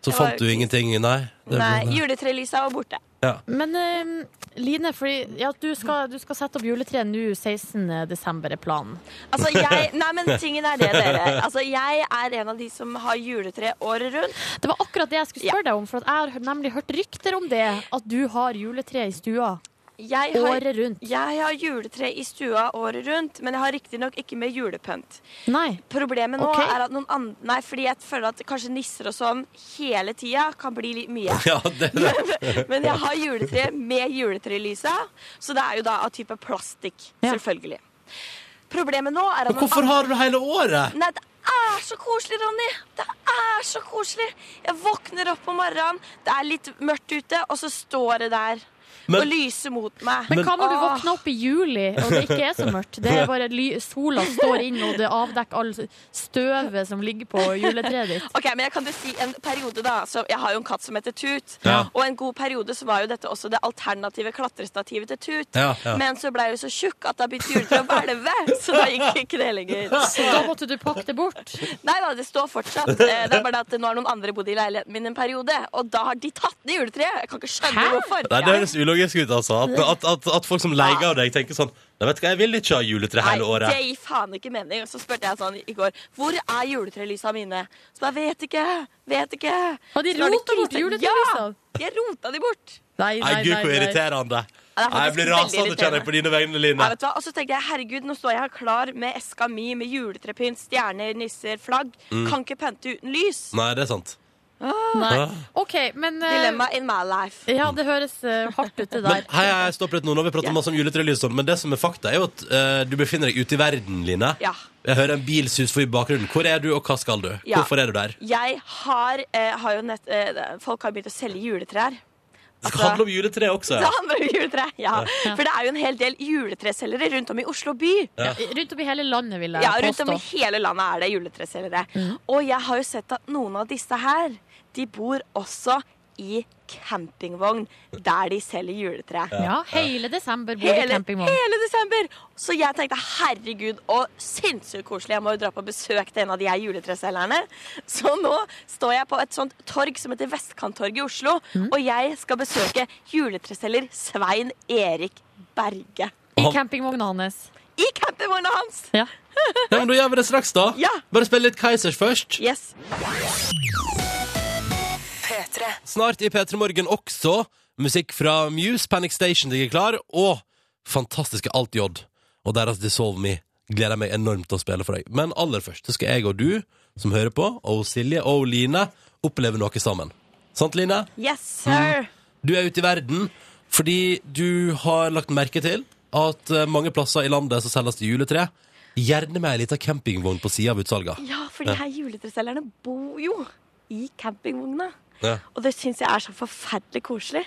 [SPEAKER 2] Så
[SPEAKER 8] Det
[SPEAKER 2] fant
[SPEAKER 8] var-
[SPEAKER 2] du ingenting? Nei. Det-
[SPEAKER 8] Nei, juletrelysa var borte.
[SPEAKER 2] Ja.
[SPEAKER 4] Men eh, Line, fordi, ja, du, skal, du skal sette opp juletreet nå 16. desember, er planen.
[SPEAKER 8] Altså, jeg Nei, men tingen er det, dere. Altså, jeg er en av de som har juletre året rundt.
[SPEAKER 4] Det var akkurat det jeg skulle spørre deg om, for at jeg har hø- nemlig hørt rykter om det. At du har juletre i stua
[SPEAKER 8] Jeg har
[SPEAKER 4] året rundt.
[SPEAKER 8] Jeg har juletre i stua året rundt, men jeg har riktignok ikke med julepynt.
[SPEAKER 4] Nei.
[SPEAKER 8] Problemet nå
[SPEAKER 4] Ok.
[SPEAKER 8] er at noen andre Nei, fordi jeg føler at kanskje nisser og sånn hele tida kan bli litt mye.
[SPEAKER 2] ja, det
[SPEAKER 8] Men jeg har juletre med juletrelysa, så det er jo da av type plastikk.
[SPEAKER 4] Ja.
[SPEAKER 8] Selvfølgelig. Problemet nå er at
[SPEAKER 2] Men hvorfor
[SPEAKER 8] noen
[SPEAKER 2] har du det hele året?
[SPEAKER 8] Nei, det er så koselig, Ronny! Det er så koselig! Jeg våkner opp om morgenen, det er litt mørkt ute, og så står det der
[SPEAKER 2] Men-
[SPEAKER 8] og lyser mot meg.
[SPEAKER 4] Men Ah. hva når du
[SPEAKER 8] Åh.
[SPEAKER 4] våkner opp i juli, og det ikke er så mørkt? Det er bare ly sola står inn, og det avdekker all støvet som ligger på juletreet ditt.
[SPEAKER 8] Ok, men jeg kan jo si en periode da så Jeg har jo en katt som heter Tut
[SPEAKER 2] Ja.
[SPEAKER 8] Og en god periode så var jo dette også det alternative klatrestativet til Tut
[SPEAKER 2] Ja, ja.
[SPEAKER 8] Men så ble jeg jo så tjukk at da begynte juletre å velve Så da gikk ikke det lenger
[SPEAKER 4] Så da måtte du pakke det bort.
[SPEAKER 8] Nei da, det står fortsatt Eh, Det er bare det at nå har noen andre bodd i leiligheten min en periode Og da har de tatt ned juletreet Jeg kan ikke skjønne
[SPEAKER 4] Hæ?
[SPEAKER 8] hvorfor
[SPEAKER 2] Nei, Det høres ulogisk ut, altså. At, at, at, at folk som leier av deg, tenker sånn Nei, vet du hva, jeg vil ikke ha juletre hele
[SPEAKER 8] Nei, det
[SPEAKER 2] året.
[SPEAKER 8] gir faen ikke mening. Så spurte jeg sånn i går Hvor er juletrelysa mine? Så bare vet ikke, vet ikke.
[SPEAKER 4] Har de
[SPEAKER 8] Så var det
[SPEAKER 4] rotet bort
[SPEAKER 8] krise.
[SPEAKER 4] juletrelysa?
[SPEAKER 8] Ja! De rota de bort.
[SPEAKER 4] Nei,
[SPEAKER 2] Nei, gud, hvor irriterende.
[SPEAKER 8] Ja, det er
[SPEAKER 2] Nei, jeg
[SPEAKER 8] faktisk
[SPEAKER 2] blir
[SPEAKER 8] veldig
[SPEAKER 2] rasende, kjenner jeg, på dine vegne,
[SPEAKER 8] Ja,
[SPEAKER 2] Line.
[SPEAKER 8] vet du hva? Og så tenkte jeg herregud, nå står jeg her klar med eska mi med juletrepynt, stjerner, nisser, flagg. Kan ikke pynte uten lys.
[SPEAKER 2] Mm. Nei, det er sant.
[SPEAKER 8] Ah,
[SPEAKER 4] Nei.
[SPEAKER 2] Ja.
[SPEAKER 4] OK, men eh,
[SPEAKER 8] Dilemma in my life.
[SPEAKER 4] Ja, det høres eh, hardt ut, det
[SPEAKER 2] Men
[SPEAKER 4] der.
[SPEAKER 2] hei, hei, stopp litt nå. Nå har vi pratet masse om juletrelys, og sånn, men det som er fakta, er jo at eh, du befinner deg ute i verden, Line.
[SPEAKER 8] Ja.
[SPEAKER 2] Jeg hører en bil sus forbi i bakgrunnen. Hvor er du, og hva skal du?
[SPEAKER 8] Ja.
[SPEAKER 2] Hvorfor er du der?
[SPEAKER 8] Jeg har, eh, har jo nett, eh, Folk har begynt å selge juletrær.
[SPEAKER 2] Det skal handle om juletre også.
[SPEAKER 8] Det
[SPEAKER 2] Altså- Ja.
[SPEAKER 8] handler om juletre, ja. For det er jo en hel del juletreselgere rundt om i Oslo by.
[SPEAKER 4] Eh, Rundt om i hele landet, vil jeg
[SPEAKER 8] Ja, rundt om
[SPEAKER 4] påstå.
[SPEAKER 8] i hele landet er det juletreselgere. Og jeg har jo sett at noen av disse her, de bor også i campingvogn der de selger juletre.
[SPEAKER 4] Ja, hele desember bor i
[SPEAKER 8] Hele,
[SPEAKER 4] campingvogn.
[SPEAKER 8] hele desember! Så jeg tenkte herregud, og sinnssykt koselig, jeg må jo dra på besøk til en av de her juletreselgerne. Så nå står jeg på et sånt torg som heter Vestkanttorget i Oslo, og jeg skal besøke juletreselger Svein Erik Berge.
[SPEAKER 4] I campingvogna hans.
[SPEAKER 8] I campingvogna hans!
[SPEAKER 4] Ja.
[SPEAKER 2] Ja, men da gjør vi det straks, da.
[SPEAKER 8] Ja.
[SPEAKER 2] Bare spille litt Keisers først.
[SPEAKER 8] Yes.
[SPEAKER 2] Snart i P3 Morgen også musikk fra Muse, Panic Station ligger klar, og fantastiske Alt J og deres Dissolve Me. Gleder jeg meg enormt til å spille for deg. Men aller først så skal jeg og du, som hører på, og Silje og Line, oppleve noe sammen. Sant, Line?
[SPEAKER 8] Yes, sir!
[SPEAKER 2] Du er ute i verden fordi du har lagt merke til at eh, mange plasser i landet så selges det juletre. Gjerne med ei lita campingvogn på sida av utsalga.
[SPEAKER 8] Ja, for de her juletreselgerne bor jo i campingvogna.
[SPEAKER 2] Ja.
[SPEAKER 8] Og det syns jeg er så forferdelig koselig.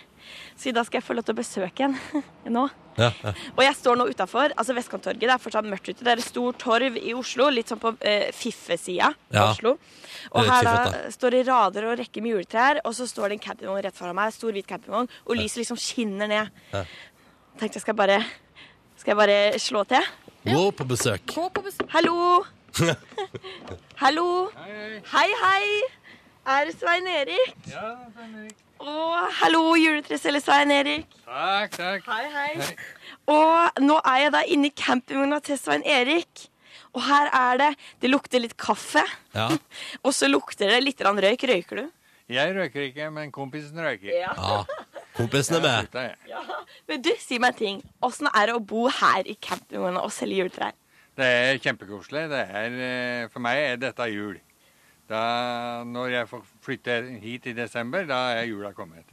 [SPEAKER 8] Så i dag skal jeg få lov til å besøke en nå.
[SPEAKER 2] Ja, ja.
[SPEAKER 8] Og jeg står nå utafor altså Vestkanttorget. Det er fortsatt mørkt ute. Det er et stort torv i Oslo, litt sånn på eh, fiffesida av
[SPEAKER 2] Ja.
[SPEAKER 8] Oslo.
[SPEAKER 2] Det
[SPEAKER 8] Og
[SPEAKER 2] er litt
[SPEAKER 8] her da,
[SPEAKER 2] fiffete.
[SPEAKER 8] står det rader og rekker med juletrær, og så står det en campingvogn rett foran meg, stor hvit campingvogn, og lyset liksom skinner ned.
[SPEAKER 2] Ja.
[SPEAKER 8] Tenkte jeg skal bare Skal jeg bare slå til?
[SPEAKER 2] Wow, på besøk.
[SPEAKER 4] Gå på besøk.
[SPEAKER 8] Hallo! Hallo! Hei, hei! Er det Svein Erik? Ja, det er Svein Erik. Og hallo, juletreselger Svein Erik.
[SPEAKER 9] Takk, takk.
[SPEAKER 8] Hei, hei. Og nå er jeg da inne i campingvogna til Svein Erik. Og her er det Det lukter litt kaffe,
[SPEAKER 2] Ja.
[SPEAKER 8] og så lukter det litt grann røyk. Røyker du?
[SPEAKER 9] Jeg røyker ikke, men kompisen røyker.
[SPEAKER 8] Ja.
[SPEAKER 2] ja. Kompisen er med.
[SPEAKER 9] Slutta jeg.
[SPEAKER 8] Men du, si meg en ting. Åssen er det å bo her i campingvogna og selge juletrær?
[SPEAKER 9] Det er kjempekoselig. Det er, eh, for meg er dette jul. Da, når jeg får flytte hit i desember, da er jula kommet.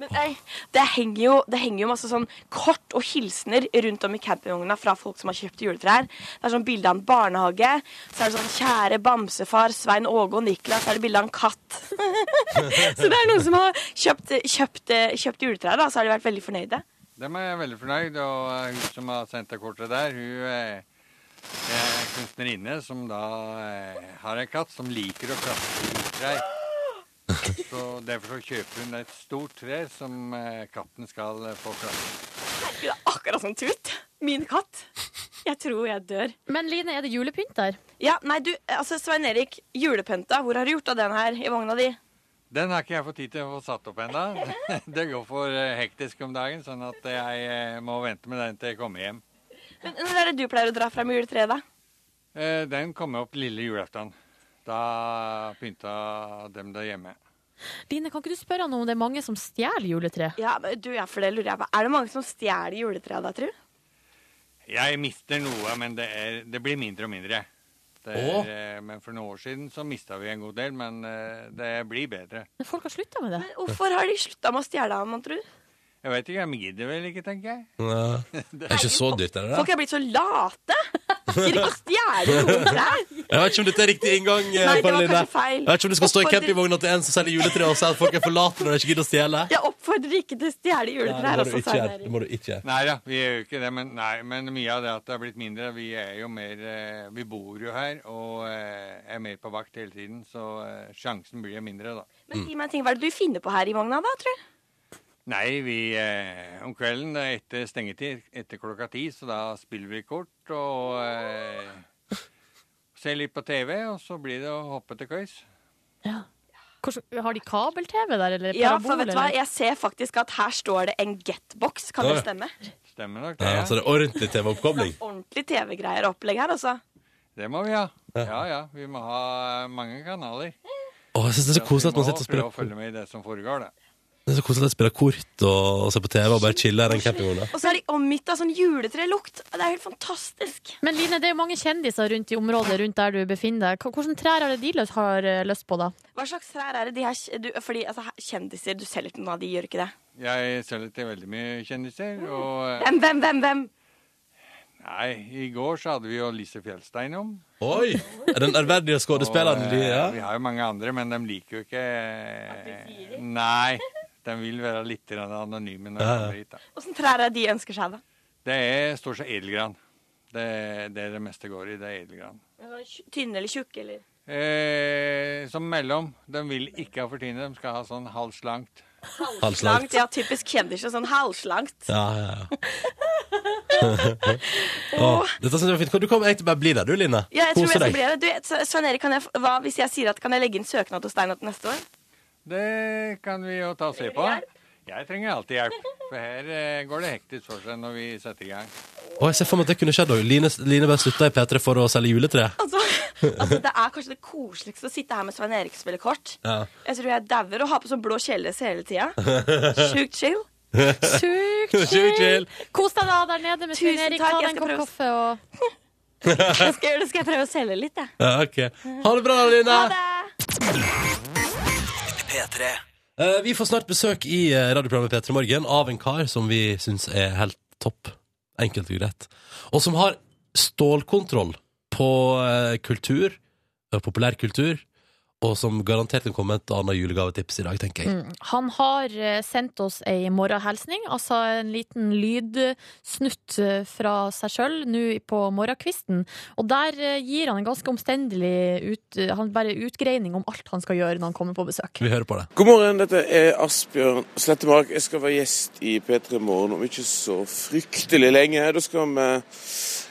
[SPEAKER 8] Men nei, det, henger jo, det henger jo masse sånn kort og hilsener rundt om i campingvogna fra folk som har kjøpt juletrær. Det er sånn bilde av en barnehage. Så er det sånn 'Kjære bamsefar Svein Åge og Niklas'. Så er det bilde av en katt. så det er noen som har kjøpt, kjøpt, kjøpt juletrær, da, så har de vært veldig fornøyde.
[SPEAKER 9] Dem er jeg veldig fornøyd, og eh, hun som har sendt det kortet der, hun eh, er kunstnerinne som da eh, har en katt som liker å kaste ut trær. Så derfor så kjøper hun et stort tre som eh, katten skal eh, få klasse.
[SPEAKER 8] Herregud, det er akkurat som Tut. Min katt. Jeg tror jeg dør.
[SPEAKER 4] Men Line, er det julepynt der?
[SPEAKER 8] Ja, nei, du, altså Svein Erik, julepynta, hvor har du gjort av den her i vogna di?
[SPEAKER 9] Den har ikke jeg fått tid til å få satt opp ennå. Det går for eh, hektisk om dagen, sånn at jeg eh, må vente med den til jeg kommer hjem.
[SPEAKER 8] Men Når er det du pleier å dra fram juletreet, da?
[SPEAKER 9] Eh, Den kommer opp lille julaften. Da pynta dem der hjemme.
[SPEAKER 4] Line, kan ikke du spørre han om det er mange som stjeler juletre?
[SPEAKER 8] Ja, men du, ja, for det lurer jeg på. Er det mange som stjeler juletreet da, tru?
[SPEAKER 9] Jeg mister noe, men det, er, det blir mindre og mindre. Det er,
[SPEAKER 2] Åh.
[SPEAKER 9] eh, Men For noen år siden så mista vi en god del, men eh, det blir bedre.
[SPEAKER 4] Men folk har slutta med det.
[SPEAKER 8] Men Hvorfor har de slutta med å stjele av man tru?
[SPEAKER 9] Jeg vet ikke, jeg gidder vel ikke, tenker jeg.
[SPEAKER 2] Ja. Det er ikke så dyrt, er det
[SPEAKER 8] Folk
[SPEAKER 2] det?
[SPEAKER 8] er blitt så late! Gidder ikke å stjele noen trær.
[SPEAKER 2] Jeg vet ikke om dette er riktig inngang. eh,
[SPEAKER 8] Nei, det var
[SPEAKER 2] Karoline.
[SPEAKER 8] kanskje feil.
[SPEAKER 2] Jeg vet ikke om du skal stå i
[SPEAKER 8] Oppfordrer-
[SPEAKER 2] campingvogna til en som selger juletre og si at folk er for late når de ikke gidder å stjele.
[SPEAKER 8] Jeg oppfordrer ikke til å stjele altså,
[SPEAKER 2] Nei,
[SPEAKER 8] juletrær
[SPEAKER 2] det må du
[SPEAKER 8] også,
[SPEAKER 2] ikke
[SPEAKER 8] Svein
[SPEAKER 2] gjøre. Det
[SPEAKER 8] Erik.
[SPEAKER 2] må du ikke gjøre.
[SPEAKER 9] Nei da, vi gjør jo ikke det, men, nei, men mye av det at det har blitt mindre Vi er jo mer eh, Vi bor jo her og eh, er mer på vakt hele tiden, så eh, sjansen blir mindre, da.
[SPEAKER 8] Men
[SPEAKER 2] Mm.
[SPEAKER 8] si meg en ting, hva er det du finner på her i vogna da, tru?
[SPEAKER 9] Nei, vi eh, om kvelden eh, etter stengetid, etter klokka ti, så da spiller vi kort og eh, ser litt på TV, og så blir det å hoppe til køys.
[SPEAKER 4] Hvordan- Har de kabel-TV der, eller
[SPEAKER 8] Ja,
[SPEAKER 4] parabol?
[SPEAKER 8] for vet du hva,
[SPEAKER 4] eller?
[SPEAKER 8] jeg ser faktisk at her står det en getbox, kan
[SPEAKER 2] Ja.
[SPEAKER 8] det stemme? Sånn
[SPEAKER 9] Stemmer nok det.
[SPEAKER 2] Ja,
[SPEAKER 9] Ja,
[SPEAKER 2] så det er ordentlig TV-oppkobling.
[SPEAKER 8] Ordentlig TV-greier og opplegg her, altså.
[SPEAKER 9] Det må vi ha. Ja ja, vi må ha mange kanaler.
[SPEAKER 2] Å, jeg synes det er så koselig at man
[SPEAKER 9] vi
[SPEAKER 2] sitter og
[SPEAKER 9] må prøve å
[SPEAKER 2] spiller,
[SPEAKER 9] følge med i det som foregår, da.
[SPEAKER 2] det er så koselig at jeg spiller kort og, og ser på TV og bare chiller i den campingvogna.
[SPEAKER 8] Og så er de omgitt av sånn juletrelukt. Det er helt fantastisk.
[SPEAKER 4] Men Line, det er jo mange kjendiser rundt i området rundt der du befinner deg. Hva- Hvilke trær er det de løs- har eh, lyst på, da?
[SPEAKER 8] Hva slags trær er det de her du, Fordi altså, her- kjendiser, du selger til noen av de, gjør ikke det?
[SPEAKER 9] Jeg selger til veldig mye kjendiser, og eh,
[SPEAKER 8] Hvem, hvem, hvem? hvem?
[SPEAKER 9] Nei, i går så hadde vi jo Lise Fjellstein om.
[SPEAKER 2] Oi! Er Den ærverdige skuespilleren.
[SPEAKER 9] Og,
[SPEAKER 2] de-
[SPEAKER 9] eh,
[SPEAKER 2] Ja.
[SPEAKER 9] Vi har jo mange andre, men de liker jo ikke Nei. De vil være litt grann anonyme når de
[SPEAKER 2] Ja, ja.
[SPEAKER 9] kommer hit. da.
[SPEAKER 8] Åssen trær er det de ønsker seg, da?
[SPEAKER 9] Det er stort sett edelgran. Det, det er det meste går i, det er edelgran.
[SPEAKER 8] Tj- Tynne eller tjukke, eller?
[SPEAKER 9] Eh, som mellom. De vil ikke ha for tynne, de skal ha sånn halvslankt.
[SPEAKER 2] Halvslangt.
[SPEAKER 8] Ja, typisk kjendiser. Sånn halvslangt.
[SPEAKER 2] Ja, ja, ja. Å, dette synes jeg var fint. Kan Du kan egentlig bare bli der, du, Line.
[SPEAKER 8] Ja, jeg tror
[SPEAKER 2] Kose
[SPEAKER 8] jeg skal
[SPEAKER 2] deg.
[SPEAKER 8] bli det. Du, S- Svein Erik, kan jeg, f- hva, hvis jeg sier at kan jeg legge inn søknad hos deg nå til neste år?
[SPEAKER 9] Det kan vi jo ta og se på. Jeg trenger alltid hjelp, for her eh, går det hektisk for seg når vi setter i gang.
[SPEAKER 2] Å, jeg ser for meg at det kunne skjedd òg. Line, Line bare slutta i P3 for å selge juletre.
[SPEAKER 8] Altså, altså, det er kanskje det koseligste å sitte her med Svein Erik og spille kort.
[SPEAKER 2] Ja.
[SPEAKER 8] Jeg tror jeg dauer å ha på sånn blå kjeledress hele tida. Sjukt chill.
[SPEAKER 4] Sjukt
[SPEAKER 2] Sjukt
[SPEAKER 4] chill!
[SPEAKER 2] chill.
[SPEAKER 4] Kos deg da der nede med
[SPEAKER 8] Tusen
[SPEAKER 4] Svein Erik,
[SPEAKER 8] takk,
[SPEAKER 4] ta deg
[SPEAKER 8] jeg
[SPEAKER 4] en
[SPEAKER 8] skal
[SPEAKER 4] kopp
[SPEAKER 8] prøve å-
[SPEAKER 4] kaffe og
[SPEAKER 8] Jeg skal, gjøre det, skal jeg prøve å selge litt, jeg.
[SPEAKER 2] Ja, ok. Ha det bra, Line.
[SPEAKER 8] Ha det!
[SPEAKER 2] Eh, vi får snart besøk i eh, radioprogrammet P3 Morgen av en kar som vi syns er helt topp. Enkelt og greit. Og som har stålkontroll på eh, kultur, eh, populær kultur, og som garantert kan komme med et annet julegavetips i dag, tenker jeg.
[SPEAKER 4] Mm. Han har eh, sendt oss ei morgenhilsning, altså en liten lydsnutt eh, fra seg sjøl nå på morgenkvisten. Og der eh, gir han en ganske omstendelig ut, eh, han bare utgreining om alt han skal gjøre når han kommer på besøk.
[SPEAKER 2] Vi hører på det.
[SPEAKER 10] God morgen, dette er Asbjørn Slettemark. Jeg skal være gjest i P3 Morgen om ikke så fryktelig lenge. Da skal vi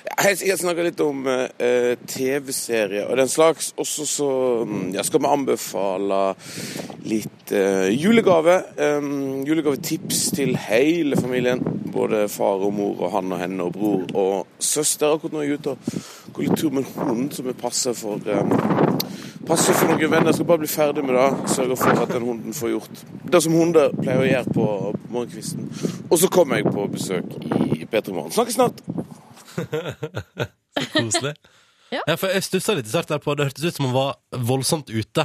[SPEAKER 10] ja, helt sikkert snakke litt om eh, TV-serier og den slags. Og så mm, ja, skal vi anbefale litt eh, julegave. em, julegavetips til hele familien. Både far og mor og han og henne og bror og søster. Akkurat nå er jeg ute og går litt tur med en hund som jeg passer for. em, Passe for noen venner, skal bare bli ferdig med det. Sørge for at den hunden får gjort det som hunder pleier å gjøre på morgenkvisten. Og så kommer jeg på besøk i P3 Morgen. Snakkes snart!
[SPEAKER 2] Koselig.
[SPEAKER 4] Ja.
[SPEAKER 2] ja, for jeg stussa litt i starten der på Det hørtes ut som han var voldsomt ute.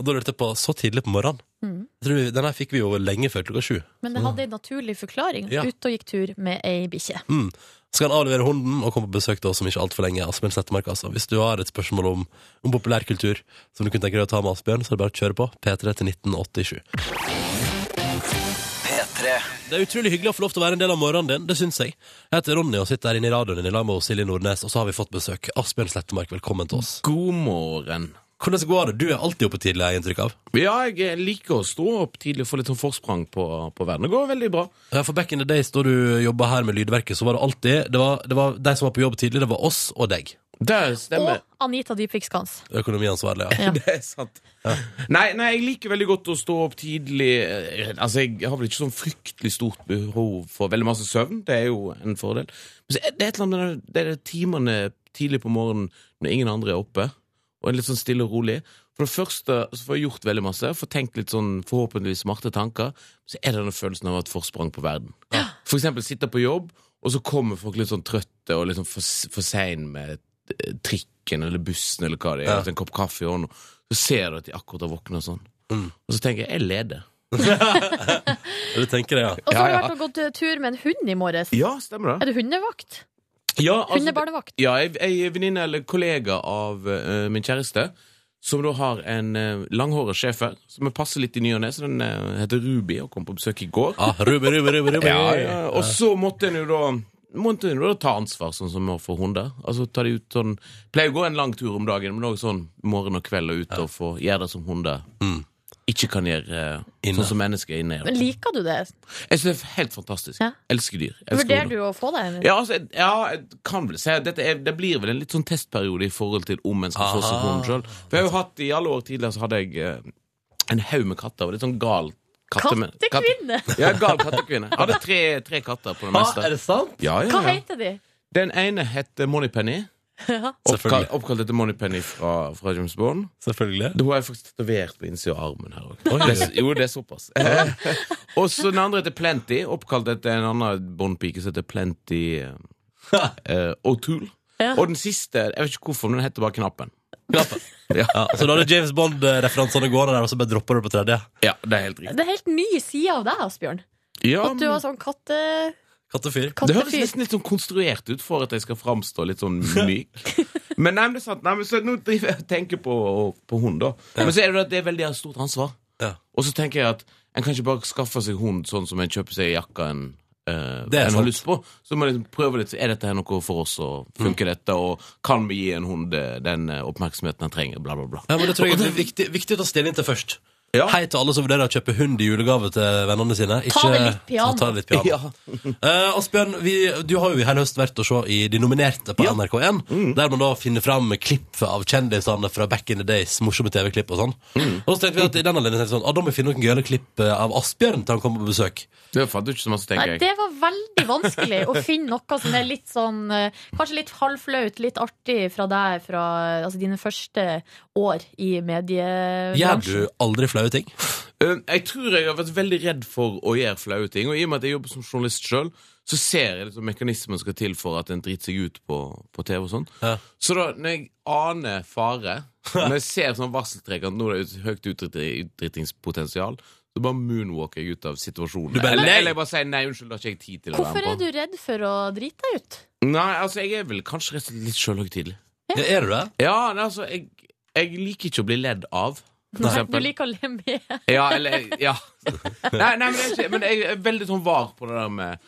[SPEAKER 2] Og da lurte jeg på så tidlig på morgenen.
[SPEAKER 4] Mm.
[SPEAKER 2] Jeg tror vi- Den her fikk vi jo lenge før klokka sju.
[SPEAKER 4] Men det hadde en naturlig forklaring.
[SPEAKER 2] Ja.
[SPEAKER 4] Ute og gikk tur med ei bikkje.
[SPEAKER 2] Mm. Skal han avlevere hunden og komme på besøk da, som ikke altfor lenge. Asbjørn Settemark, altså. Hvis du har et spørsmål om, om populærkultur som du kunne tenke deg å ta med Asbjørn, så er det bare å kjøre på. P3 til 1987. Det er utrolig hyggelig å få lov til å være en del av morgenen din. Det syns jeg. Jeg heter Ronny og sitter her inne i radioen din i lag med Silje Nordnes, og så har vi fått besøk. Asbjørn Slettemark, velkommen til oss.
[SPEAKER 11] God morgen.
[SPEAKER 2] Hvordan går det? Du er alltid oppe tidlig, har jeg inntrykk av.
[SPEAKER 11] Ja, jeg liker å stå opp tidlig og få litt sånn forsprang på, på verden. Det går veldig bra.
[SPEAKER 2] Ja, for back in the days da du jobba her med Lydverket, så var det alltid Det var, det var de som var på jobb tidlig, det var oss og deg.
[SPEAKER 11] Det
[SPEAKER 4] Og
[SPEAKER 11] stemmer.
[SPEAKER 4] Anita Dybvik Skans.
[SPEAKER 2] Økonomiansvarlig. Ja.
[SPEAKER 4] Ja.
[SPEAKER 11] Det er sant. Nei, nei, jeg liker veldig godt å stå opp tidlig. Eh, Altså, Jeg har vel ikke sånn fryktelig stort behov for veldig masse søvn. Det er jo en fordel. Men så er det er et eller annet med det- det er timene tidlig på morgenen når ingen andre er oppe, og er litt sånn stille og rolig. For det første så får jeg gjort veldig masse, får tenkt litt sånn forhåpentligvis smarte tanker. Så er det den følelsen av å ha et forsprang på verden. For eksempel sitte på jobb, og så kommer folk litt sånn trøtte og litt sånn for, for sein med eh, trikken eller bussen eller hva det er,
[SPEAKER 2] Ja.
[SPEAKER 11] og så en kopp kaffe i hånden. Så ser du at de akkurat har våkna sånn.
[SPEAKER 2] Mm.
[SPEAKER 11] Og så tenker jeg jeg leder.
[SPEAKER 2] Du tenker det, ja.
[SPEAKER 4] Og så har du
[SPEAKER 11] Ja, ja.
[SPEAKER 4] vært og gått eh, tur med en hund i morges.
[SPEAKER 11] Ja, stemmer
[SPEAKER 4] Er du hundevakt?
[SPEAKER 11] Ja, altså,
[SPEAKER 4] Hundebarnevakt?
[SPEAKER 11] ja jeg, jeg er venninne eller kollega av eh, min kjæreste, som da har en uh, langhåra schæfer som jeg passer litt i ny og ne, så den eh, heter Ruby og kom på besøk i går.
[SPEAKER 2] Ah, Ruben, Ruben, Ruben, Ruben.
[SPEAKER 11] Ja, ja. Eh, Og så måtte en jo da Måtte en jo da ta ansvar, sånn som for hunder. Altså ta de ut sånn Pleier å gå en lang tur om dagen, men også sånn morgen og kveld og ut og få gjøre det som hunder
[SPEAKER 2] Mm.
[SPEAKER 11] ikke kan gjøre eh,
[SPEAKER 2] Inne.
[SPEAKER 11] sånn som mennesker er inne.
[SPEAKER 4] Men
[SPEAKER 11] gjør.
[SPEAKER 4] liker du det?
[SPEAKER 11] Jeg synes det er helt fantastisk.
[SPEAKER 4] Ja.
[SPEAKER 11] Elsker dyr. Elsker hunder.
[SPEAKER 4] Vurderer du å få deg en?
[SPEAKER 11] Ja, altså, ja, jeg kan vel si at dette er, det blir vel en litt sånn testperiode i forhold til om en skal få seg
[SPEAKER 2] Aha.
[SPEAKER 11] hund sjøl. For jeg har jo hatt i alle år tidligere så hadde jeg eh, en haug med katter. Og litt sånn gal katte- men-
[SPEAKER 4] Kattekvinne!
[SPEAKER 11] katte- Ja, gal kattekvinne. Jeg hadde tre, tre katter på det
[SPEAKER 2] Ah,
[SPEAKER 11] meste.
[SPEAKER 2] er det sant?
[SPEAKER 11] Ja,
[SPEAKER 4] Hva
[SPEAKER 11] ja, ja.
[SPEAKER 4] heter de?
[SPEAKER 11] Den ene het Moneypenny. Oppkalt,
[SPEAKER 2] Selvfølgelig.
[SPEAKER 11] oppkalt etter Moneypenny fra, fra James Bond.
[SPEAKER 2] Selvfølgelig.
[SPEAKER 11] Det har jeg faktisk tatovert på innsida av armen her òg.
[SPEAKER 2] Oi.
[SPEAKER 11] Jo, det er såpass. og så den andre heter Plenty, oppkalt etter en annen Bond-pike som heter Plenty eh, O'Toole.
[SPEAKER 4] Ja.
[SPEAKER 11] Og den siste, jeg vet ikke hvorfor, men den heter bare Knappen.
[SPEAKER 2] Knappen.
[SPEAKER 11] Ja.
[SPEAKER 2] Ja, så da hadde James Bond-referansene gående der, og så bare droppa du på tredje?
[SPEAKER 11] ja, det er helt riktig.
[SPEAKER 4] Det er helt ny side av deg, Asbjørn.
[SPEAKER 11] Ja,
[SPEAKER 4] At du har sånn katte...
[SPEAKER 2] Kattefyr.
[SPEAKER 11] det høres
[SPEAKER 4] kattefyr.
[SPEAKER 11] nesten litt sånn konstruert ut for at jeg skal framstå litt sånn myk. Men nei, men det er sant. Nei, men så nå driver jeg og tenker på, på hund, da. Men så er det jo at det er veldig stort ansvar.
[SPEAKER 2] Ja.
[SPEAKER 11] Og så tenker jeg at en kan ikke bare skaffe seg hund sånn som en kjøper seg jakka en, eh,
[SPEAKER 2] Det er
[SPEAKER 11] en har
[SPEAKER 2] sant.
[SPEAKER 11] lyst på. Så må jeg liksom prøve litt. Er dette her noe for oss, og
[SPEAKER 2] Mm.
[SPEAKER 11] funker dette? Og kan vi gi en hund eh, den eh, oppmerksomheten den trenger? Bla, bla, bla.
[SPEAKER 2] Ja, men det tror jeg er viktig, viktig å ta stilling til først.
[SPEAKER 11] Ja.
[SPEAKER 2] Hei til alle som vurderer å kjøpe hund i julegave til vennene sine. Ikke,
[SPEAKER 4] det litt piano.
[SPEAKER 2] Ta det litt piano. Eh, Asbjørn, vi, du har jo i hele høst vært å se i de nominerte på NRK1, der man da finner fram klipp av kjendisene fra back in the days, morsomme TV-klipp og sånn. Og så tenkte vi at i den anledningen tenkte vi sånn, ah, da må vi finne noen gøyale klipp eh, av Asbjørn til han kommer på besøk.
[SPEAKER 11] Det fant du ikke så masse, tenker
[SPEAKER 4] Nei,
[SPEAKER 11] jeg.
[SPEAKER 4] det var veldig vanskelig å finne noe som er litt sånn eh, Kanskje litt halvflaut, litt artig fra deg fra eh, altså, dine første år i
[SPEAKER 2] Gjør du
[SPEAKER 4] mediebransjen.
[SPEAKER 2] aldri flaue ting?
[SPEAKER 11] Eh, Jeg tror jeg har vært veldig redd for å gjøre flaue ting. Og i og med at jeg jobber som journalist sjøl, så ser jeg liksom mekanismen som skal til for at en driter seg ut på, på TV og sånn.
[SPEAKER 2] Ja.
[SPEAKER 11] Så da, når jeg aner fare, når jeg ser sånn varseltrekk at nå er det ut- høyt utdritt- utdrittingspotensial, så bare moonwalker jeg ut av situasjonen.
[SPEAKER 2] Du bare,
[SPEAKER 11] eller,
[SPEAKER 2] nei!
[SPEAKER 11] eller jeg bare sier nei, unnskyld, det har ikke jeg tid til å
[SPEAKER 4] Hvorfor
[SPEAKER 11] være
[SPEAKER 4] er
[SPEAKER 11] med
[SPEAKER 4] du
[SPEAKER 11] på.
[SPEAKER 4] redd for å drite deg ut?
[SPEAKER 11] Nei, altså, jeg er vel kanskje rett og slett litt sjølhøytidelig.
[SPEAKER 2] Ja, er du det?
[SPEAKER 11] Ja, nei, altså, jeg, jeg liker ikke å bli ledd av. for
[SPEAKER 4] Du
[SPEAKER 11] eksempel.
[SPEAKER 4] liker å le med.
[SPEAKER 11] Ja, eller Ja. Nei, nei men, det er ikke, men jeg er veldig sånn var på det der med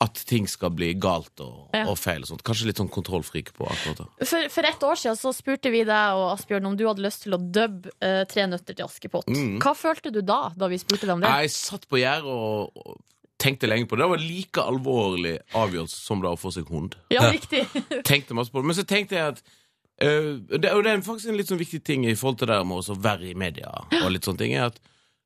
[SPEAKER 11] at ting skal bli galt og,
[SPEAKER 4] Ja.
[SPEAKER 11] og feil og sånt. Kanskje litt sånn kontrollfrik på akkurat det.
[SPEAKER 4] For, for ett år siden så spurte vi deg og Asbjørn om du hadde lyst til å dubbe eh, Tre nøtter til Askepott.
[SPEAKER 11] Mm.
[SPEAKER 4] Hva følte du da, da vi spurte deg om det?
[SPEAKER 11] Jeg satt på gjerdet og, og tenkte lenge på det. Det var like alvorlig avgjørelse som det å få seg hund.
[SPEAKER 4] Ja, riktig.
[SPEAKER 11] Tenkte masse på det. Men så tenkte jeg at øh, det, Og det er faktisk en litt sånn viktig ting i forhold til det med å være i media og litt sånne ting, er at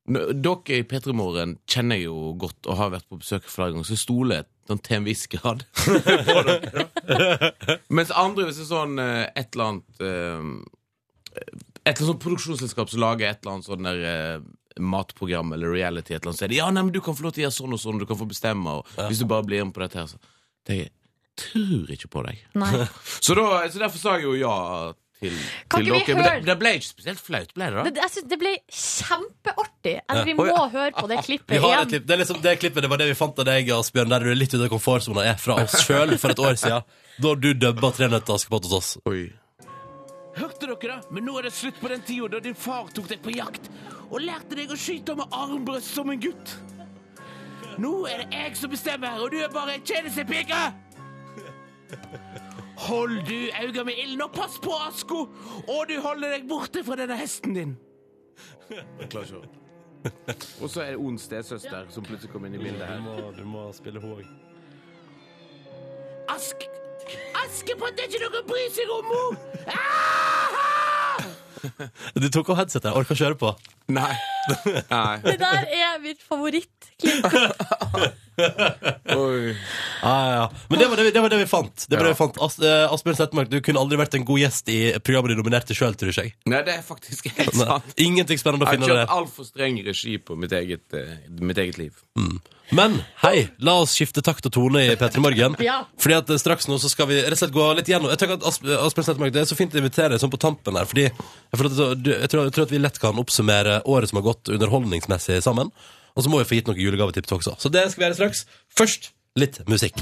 [SPEAKER 11] n- dere i P3 Morgen kjenner jeg jo godt og har vært på besøk flere ganger, så jeg stoler sånn til en viss grad på dere. Mens andre, hvis det er sånn øh, et eller annet øh, et eller annet sånt produksjonsselskap som lager et eller annet sånn der eh, matprogram eller reality, et eller annet, så er det ja, nei, men du kan få lov til å gjøre sånn og sånn, du kan få bestemme, og hvis du bare blir med på dette her, så tenker jeg tror ikke på deg.
[SPEAKER 4] Nei.
[SPEAKER 11] Så, da, så derfor sa jeg jo ja til,
[SPEAKER 4] Kan
[SPEAKER 11] til
[SPEAKER 4] ikke vi
[SPEAKER 11] dere. Men det,
[SPEAKER 4] høre-
[SPEAKER 11] det ble ikke spesielt flaut, ble det
[SPEAKER 4] Det,
[SPEAKER 11] da?
[SPEAKER 4] jeg synes det ble kjempeartig. Altså, vi
[SPEAKER 2] Oi,
[SPEAKER 4] må
[SPEAKER 2] ja.
[SPEAKER 4] høre på det klippet
[SPEAKER 2] Vi har et
[SPEAKER 4] igjen.
[SPEAKER 2] klipp. Det, er liksom, det klippet det var det vi fant av deg, Asbjørn, der du er litt ute av komfortsona er fra oss sjøl for et år siden. Da du dubba Tre nøtter til Askepott hos oss.
[SPEAKER 11] Oi. Hørte dere det? Men nå er det slutt på den tida da din far tok deg på jakt og lærte deg å skyte med armbrøst som en gutt. Nå er det jeg som bestemmer, og du er bare en tjenestepike! Hold du øynene med ilden, og pass på Asko! Og du holder deg borte fra denne hesten din. Og så er det ond stesøster som plutselig kommer inn i bildet her.
[SPEAKER 2] du må spille henne òg.
[SPEAKER 11] Ask... Askepott er ikke noe å bry seg om, mor!
[SPEAKER 2] Du tok av headsetet. Jeg orker ikke høre på.
[SPEAKER 11] Nei. Nei.
[SPEAKER 4] Det der er mitt favorittklipp.
[SPEAKER 11] Oi.
[SPEAKER 2] Ja, ja, ja. Men det var det, vi- det var det vi fant. Det var
[SPEAKER 11] Ja.
[SPEAKER 2] det vi fant. As, eh, Asbjørn Settemark, du kunne aldri vært en god gjest i programmet du nominerte sjøl, tror ikke jeg.
[SPEAKER 11] Nei, det er faktisk helt
[SPEAKER 2] Nei.
[SPEAKER 11] sant.
[SPEAKER 2] Ingenting spennende å
[SPEAKER 11] Jeg
[SPEAKER 2] finne
[SPEAKER 11] har
[SPEAKER 2] der.
[SPEAKER 11] kjørt altfor streng regi på mitt eget, eh, mitt eget liv.
[SPEAKER 2] Men hei, la oss skifte takt og tone i P3 Morgen.
[SPEAKER 4] Ja.
[SPEAKER 2] Fordi at eh, straks nå så skal vi rett og slett gå litt gjennom Jeg tenker at Asp- Asbjørn Settemark, det er så fint å invitere deg sånn på tampen her, fordi jeg, føler at, det- du- jeg, tror, jeg tror at vi lett kan oppsummere året som har gått underholdningsmessig sammen. Og så må vi få gitt noen julegavetips også. Så det skal vi gjøre straks. Først litt musikk.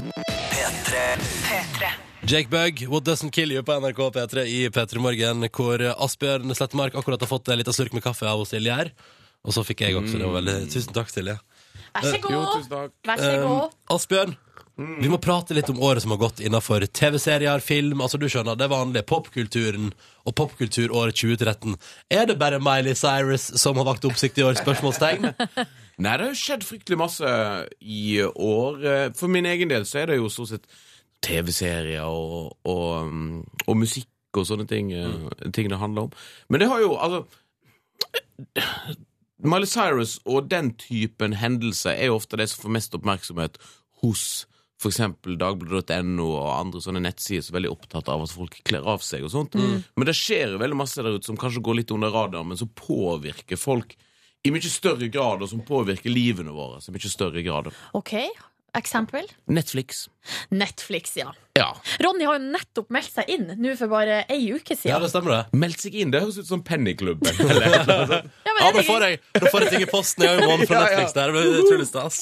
[SPEAKER 2] Jake Bug, What Doesn't Kill You på NRK P3 i P3 Morgen, hvor Asbjørn Slettemark akkurat har fått en liten slurk med kaffe av oss Silje her. Og så fikk jeg også det. var veldig Tusen takk, Silje.
[SPEAKER 4] Vær så
[SPEAKER 11] Jo,
[SPEAKER 4] god.
[SPEAKER 11] tusen takk.
[SPEAKER 4] Vær så
[SPEAKER 2] Um,
[SPEAKER 4] god.
[SPEAKER 2] Asbjørn,
[SPEAKER 11] Mm.
[SPEAKER 2] vi må prate litt om året som har gått innenfor TV-serier, film, altså du skjønner, det vanlige, popkulturen og popkulturåret 2013. Er det bare Miley Cyrus som har vakt oppsikt i år? Spørsmålstegn?
[SPEAKER 11] Nei, det har jo skjedd fryktelig masse i år. Eh, For min egen del så er det jo stort sett TV-serier og, og, um, og musikk og sånne ting, eh, ting det handler om. Men det har jo, altså Miley Cyrus og den typen hendelser er jo ofte det som får mest oppmerksomhet hos f.eks. Dagbladet.no og andre sånne nettsider som er veldig opptatt av at folk kler av seg og sånt. Men det skjer jo veldig masse der ute som kanskje går litt under radaren, men som påvirker folk i mye større grad, og som påvirker livene våre i mye større grad.
[SPEAKER 4] OK, eksempel.
[SPEAKER 11] Netflix.
[SPEAKER 4] Netflix, ja.
[SPEAKER 11] Ja.
[SPEAKER 4] Ronny har jo nettopp meldt seg inn nå for bare ei uke
[SPEAKER 2] Ja,
[SPEAKER 4] siden.
[SPEAKER 2] det stemmer det.
[SPEAKER 11] Meldt seg inn. Det høres ut som Pennyklubben. eller et eller annet sånt.
[SPEAKER 4] Ja, men
[SPEAKER 2] Ja,
[SPEAKER 4] jeg
[SPEAKER 2] da
[SPEAKER 4] tenker-
[SPEAKER 2] får jeg, da får jeg ting i posten i morgen fra
[SPEAKER 11] Ja, ja.
[SPEAKER 2] Netflix. Det her blir utrolig stas.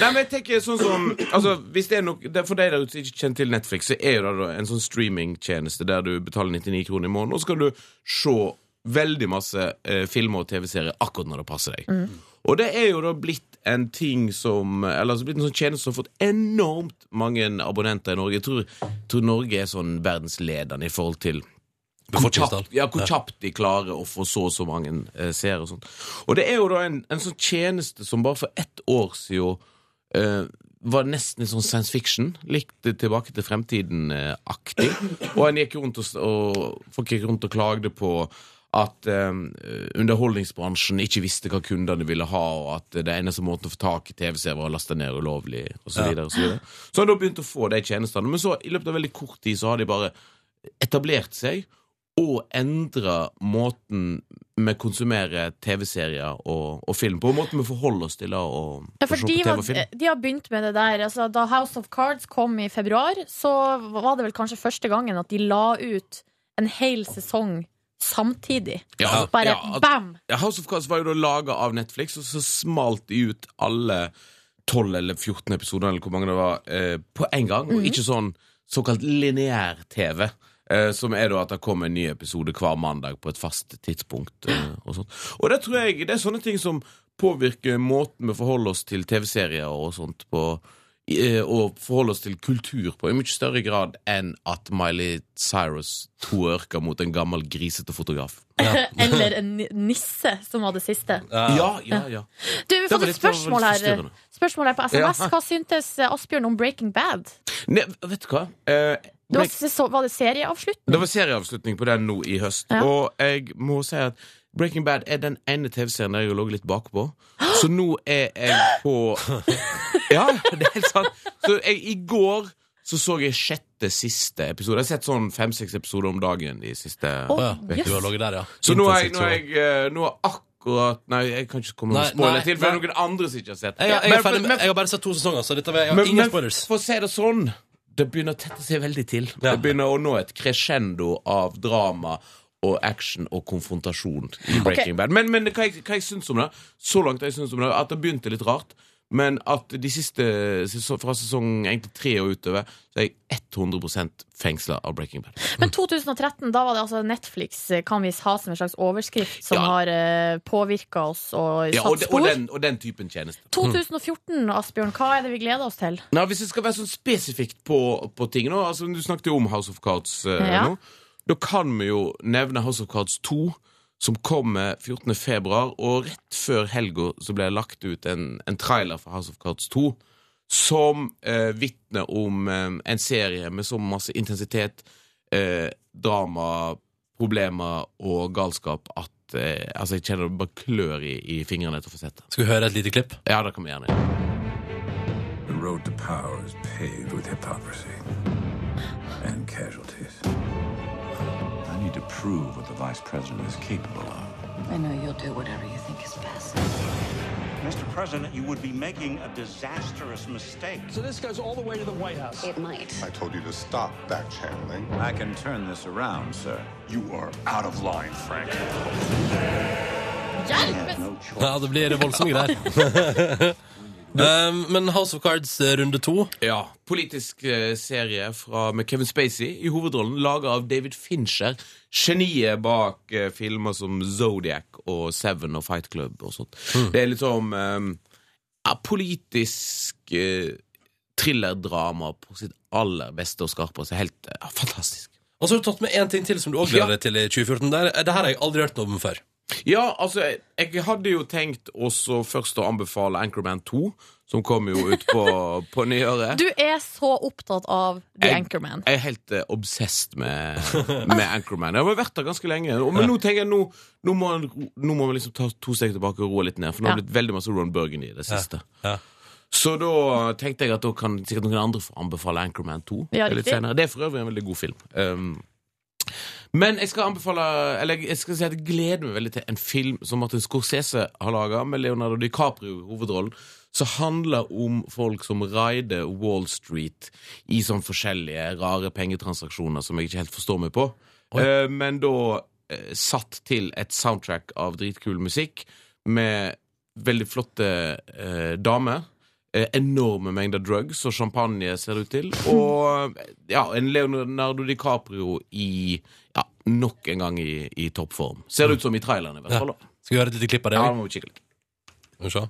[SPEAKER 11] Nei, men jeg tenker sånn som altså, hvis det er nok, det er For deg der ute som ikke kjenner til Netflix, så er jo det da en sånn streamingtjeneste der du betaler 99 kroner i måneden, og så kan du se veldig masse eh, filmer og TV-serier akkurat når det passer deg. Og det er jo da blitt en ting som Eller altså blitt en sånn tjeneste som har fått enormt mange abonnenter i Norge. Jeg tror, jeg tror Norge er sånn verdensledende i forhold til hvor
[SPEAKER 2] Befolkningstall.
[SPEAKER 11] kjapt, ja, hvor kjapt de klarer å få så og så mange eh, seere. Og sånt. Og det er jo da en, en sånn tjeneste som bare for ett år siden eh, var nesten litt sånn science fiction. Likt Tilbake til fremtiden-aktig. Og en gikk rundt og, s- og, folk gikk rundt og klagde på at eh, underholdningsbransjen ikke visste hva kundene ville ha, og at det eneste måten å få tak i TV-seere var å laste ned ulovlig, osv. Så, videre, og så, videre. så har de da begynt å få de tjenestene. Men så, i løpet av veldig kort tid, så har de bare etablert seg og endra måten vi konsumerer TV-serier og, og film på, og måten vi forholder oss til det og,
[SPEAKER 4] Ja,
[SPEAKER 11] og
[SPEAKER 4] for
[SPEAKER 11] se på
[SPEAKER 4] de,
[SPEAKER 11] TV
[SPEAKER 4] var, eh,
[SPEAKER 11] og film.
[SPEAKER 4] de har begynt med det der. Altså, da House of Cards kom i februar, så var det vel kanskje første gangen at de la ut en hel sesong samtidig. Altså,
[SPEAKER 11] Ja,
[SPEAKER 4] Bare
[SPEAKER 11] ja, at-
[SPEAKER 4] bam!
[SPEAKER 11] Ja, House of Cards var jo da laga av Netflix, og så smalt de ut alle 12 eller 14 episoder eller hvor mange det var, eh, på en gang, og ikke sånn såkalt lineær-TV. Eh, som er da at det kommer en ny episode hver mandag på et fast tidspunkt. Eh, og sånt. Og det tror jeg det er sånne ting som påvirker måten vi forholder oss til TV-serier og sånt på. eh, Og forholder oss til kultur på i mye større grad enn at Miley Cyrus twerker mot en gammel, grisete fotograf.
[SPEAKER 4] Eller en ni- nisse, som var det siste.
[SPEAKER 11] Ja, ja, ja.
[SPEAKER 4] Du, vi har
[SPEAKER 11] Det var
[SPEAKER 4] fått et
[SPEAKER 11] litt for-
[SPEAKER 4] spørsmål
[SPEAKER 11] litt
[SPEAKER 4] her.
[SPEAKER 11] forstyrrende.
[SPEAKER 4] Spørsmål her på SMS.
[SPEAKER 11] Ja.
[SPEAKER 4] Hva syntes Asbjørn om Breaking Bad?
[SPEAKER 11] Ne, vet du hva? Eh,
[SPEAKER 4] Det var,
[SPEAKER 11] Break-
[SPEAKER 4] så, var det serieavslutning?
[SPEAKER 11] Det var serieavslutning på den nå i høst.
[SPEAKER 4] Ja.
[SPEAKER 11] Og jeg må si at Breaking Bad er den ene TV-serien der jeg har ligget litt bakpå. Så nå er jeg på Ja, det er helt sant. Så jeg, i går så så jeg sjette siste episode. Jeg har sett sånn fem-seks episoder om dagen de siste
[SPEAKER 4] Å,
[SPEAKER 2] Å ja.
[SPEAKER 4] jøss.
[SPEAKER 2] Du har ligget der, ja.
[SPEAKER 11] Så nå er jeg,
[SPEAKER 2] Intensivt
[SPEAKER 11] nå er jeg eh, nå er akkurat Nei, jeg kan ikke komme
[SPEAKER 2] Nei,
[SPEAKER 11] med spoiler
[SPEAKER 2] nei,
[SPEAKER 11] til, for det
[SPEAKER 2] nei.
[SPEAKER 11] er noen andre som ikke har sett
[SPEAKER 2] Jeg, jeg, jeg,
[SPEAKER 11] Men-
[SPEAKER 2] er ferdig med,
[SPEAKER 11] men-
[SPEAKER 2] jeg har bare sett to sesonger, så dette vil jeg, jeg har
[SPEAKER 11] men,
[SPEAKER 2] ingen
[SPEAKER 11] men
[SPEAKER 2] spoilers.
[SPEAKER 11] for å si det sånn Det begynner å tette seg veldig til
[SPEAKER 2] Ja.
[SPEAKER 11] Det begynner å nå et crescendo av drama og action og konfrontasjon i Breaking Bad. Men, men hva, jeg, hva jeg syns om det, så langt jeg syns om det, at det begynte litt rart, men at de siste sesong, fra sesong egentlig tre og utover, så er jeg 100 fengsla av Breaking Bad.
[SPEAKER 4] Men 2013, da var det altså Netflix, eh, kan vi ha som en slags overskrift, som
[SPEAKER 11] Ja.
[SPEAKER 4] har eh, påvirka oss og satt
[SPEAKER 11] Ja, og, de-
[SPEAKER 4] spor.
[SPEAKER 11] og, den, Mm. og den typen tjeneste.
[SPEAKER 4] 2014, Asbjørn, hva er det vi gleder oss til?
[SPEAKER 11] Nei, Hvis det skal være sånn spesifikt på, på ting nå altså Du snakket jo om House of Cards eh,
[SPEAKER 4] Ja.
[SPEAKER 11] nå. Da kan vi jo nevne House of Cards 2, som kommer 14. februar. Og rett før helga så ble det lagt ut en, en trailer for House of Cards 2 som eh, vitner om eh, en serie med så masse intensitet, eh, drama, problemer og galskap at eh, altså jeg kjenner det bare klør i, i fingrene etter å få sett det.
[SPEAKER 2] Skal vi høre et lite klipp?
[SPEAKER 11] Ja, det kan vi gjerne gjøre.
[SPEAKER 12] The road to power is paved with hypocrisy and casualties. I need to prove what the vice president is capable of.
[SPEAKER 13] I know you'll do whatever you think is best.
[SPEAKER 12] Mr. President, you would be making a disastrous mistake.
[SPEAKER 13] It might.
[SPEAKER 12] told you to stop back channeling. I can turn this around, sir. You are out of line, Frank.
[SPEAKER 2] Ja, det blir voldsomme greier. um, men House of Cards eh, runde to
[SPEAKER 11] Ja, politisk eh, serie fra, med Kevin Spacey i hovedrollen, laget av David Fincher, geniet bak eh, filmer som Zodiac og Seven og Fight Club og sånt. Det er litt sånn eh, ja, politisk eh, thrillerdrama på sitt aller beste og skarpeste. Helt eh, fantastisk.
[SPEAKER 2] Og så har du tatt med én ting til som du også gleder deg til i 2014. Det, er, det her har jeg aldri hørt noe om før.
[SPEAKER 11] Ja, altså, jeg, jeg hadde jo tenkt også først å anbefale Anchorman 2, som kom jo ut på, på nyåret.
[SPEAKER 4] Du er så opptatt av The
[SPEAKER 11] Jeg-
[SPEAKER 4] Anchorman.
[SPEAKER 11] Jeg er helt eh, obsessed med, med Anchorman. Jeg har vært der ganske lenge. Og, men nå tenker jeg nå, nå, må, han ro- nå må vi liksom ta to steg tilbake og roe litt ned. For nå har det blitt veldig masse Ron Burgundy i det siste.
[SPEAKER 2] Ja.
[SPEAKER 11] Så da tenkte jeg at da kan sikkert noen andre få anbefale Anchorman 2.
[SPEAKER 4] Ja,
[SPEAKER 11] litt
[SPEAKER 4] riktig.
[SPEAKER 11] senere. Det er for øvrig en veldig god film. Um, men jeg skal anbefale Eller jeg skal si at jeg gleder meg veldig til en film som Martin Scorsese har laga, med Leonardo DiCaprio i hovedrollen, som handler om folk som raider Wall Street i sånn forskjellige rare pengetransaksjoner som jeg ikke helt forstår meg på. Eh, men da eh, satt til et soundtrack av dritkul musikk med veldig flotte eh, damer. Eh, enorme mengder drugs og champagne, ser det ut til. Og ja, en Leonardo DiCaprio i ja, nok en gang i, i toppform. Ser det ut som i traileren, i hvert fall. da.
[SPEAKER 2] Skal vi høre et lite klipp av det
[SPEAKER 11] Ja,
[SPEAKER 2] òg?
[SPEAKER 11] det må vi kikke litt.
[SPEAKER 2] Skal vi se.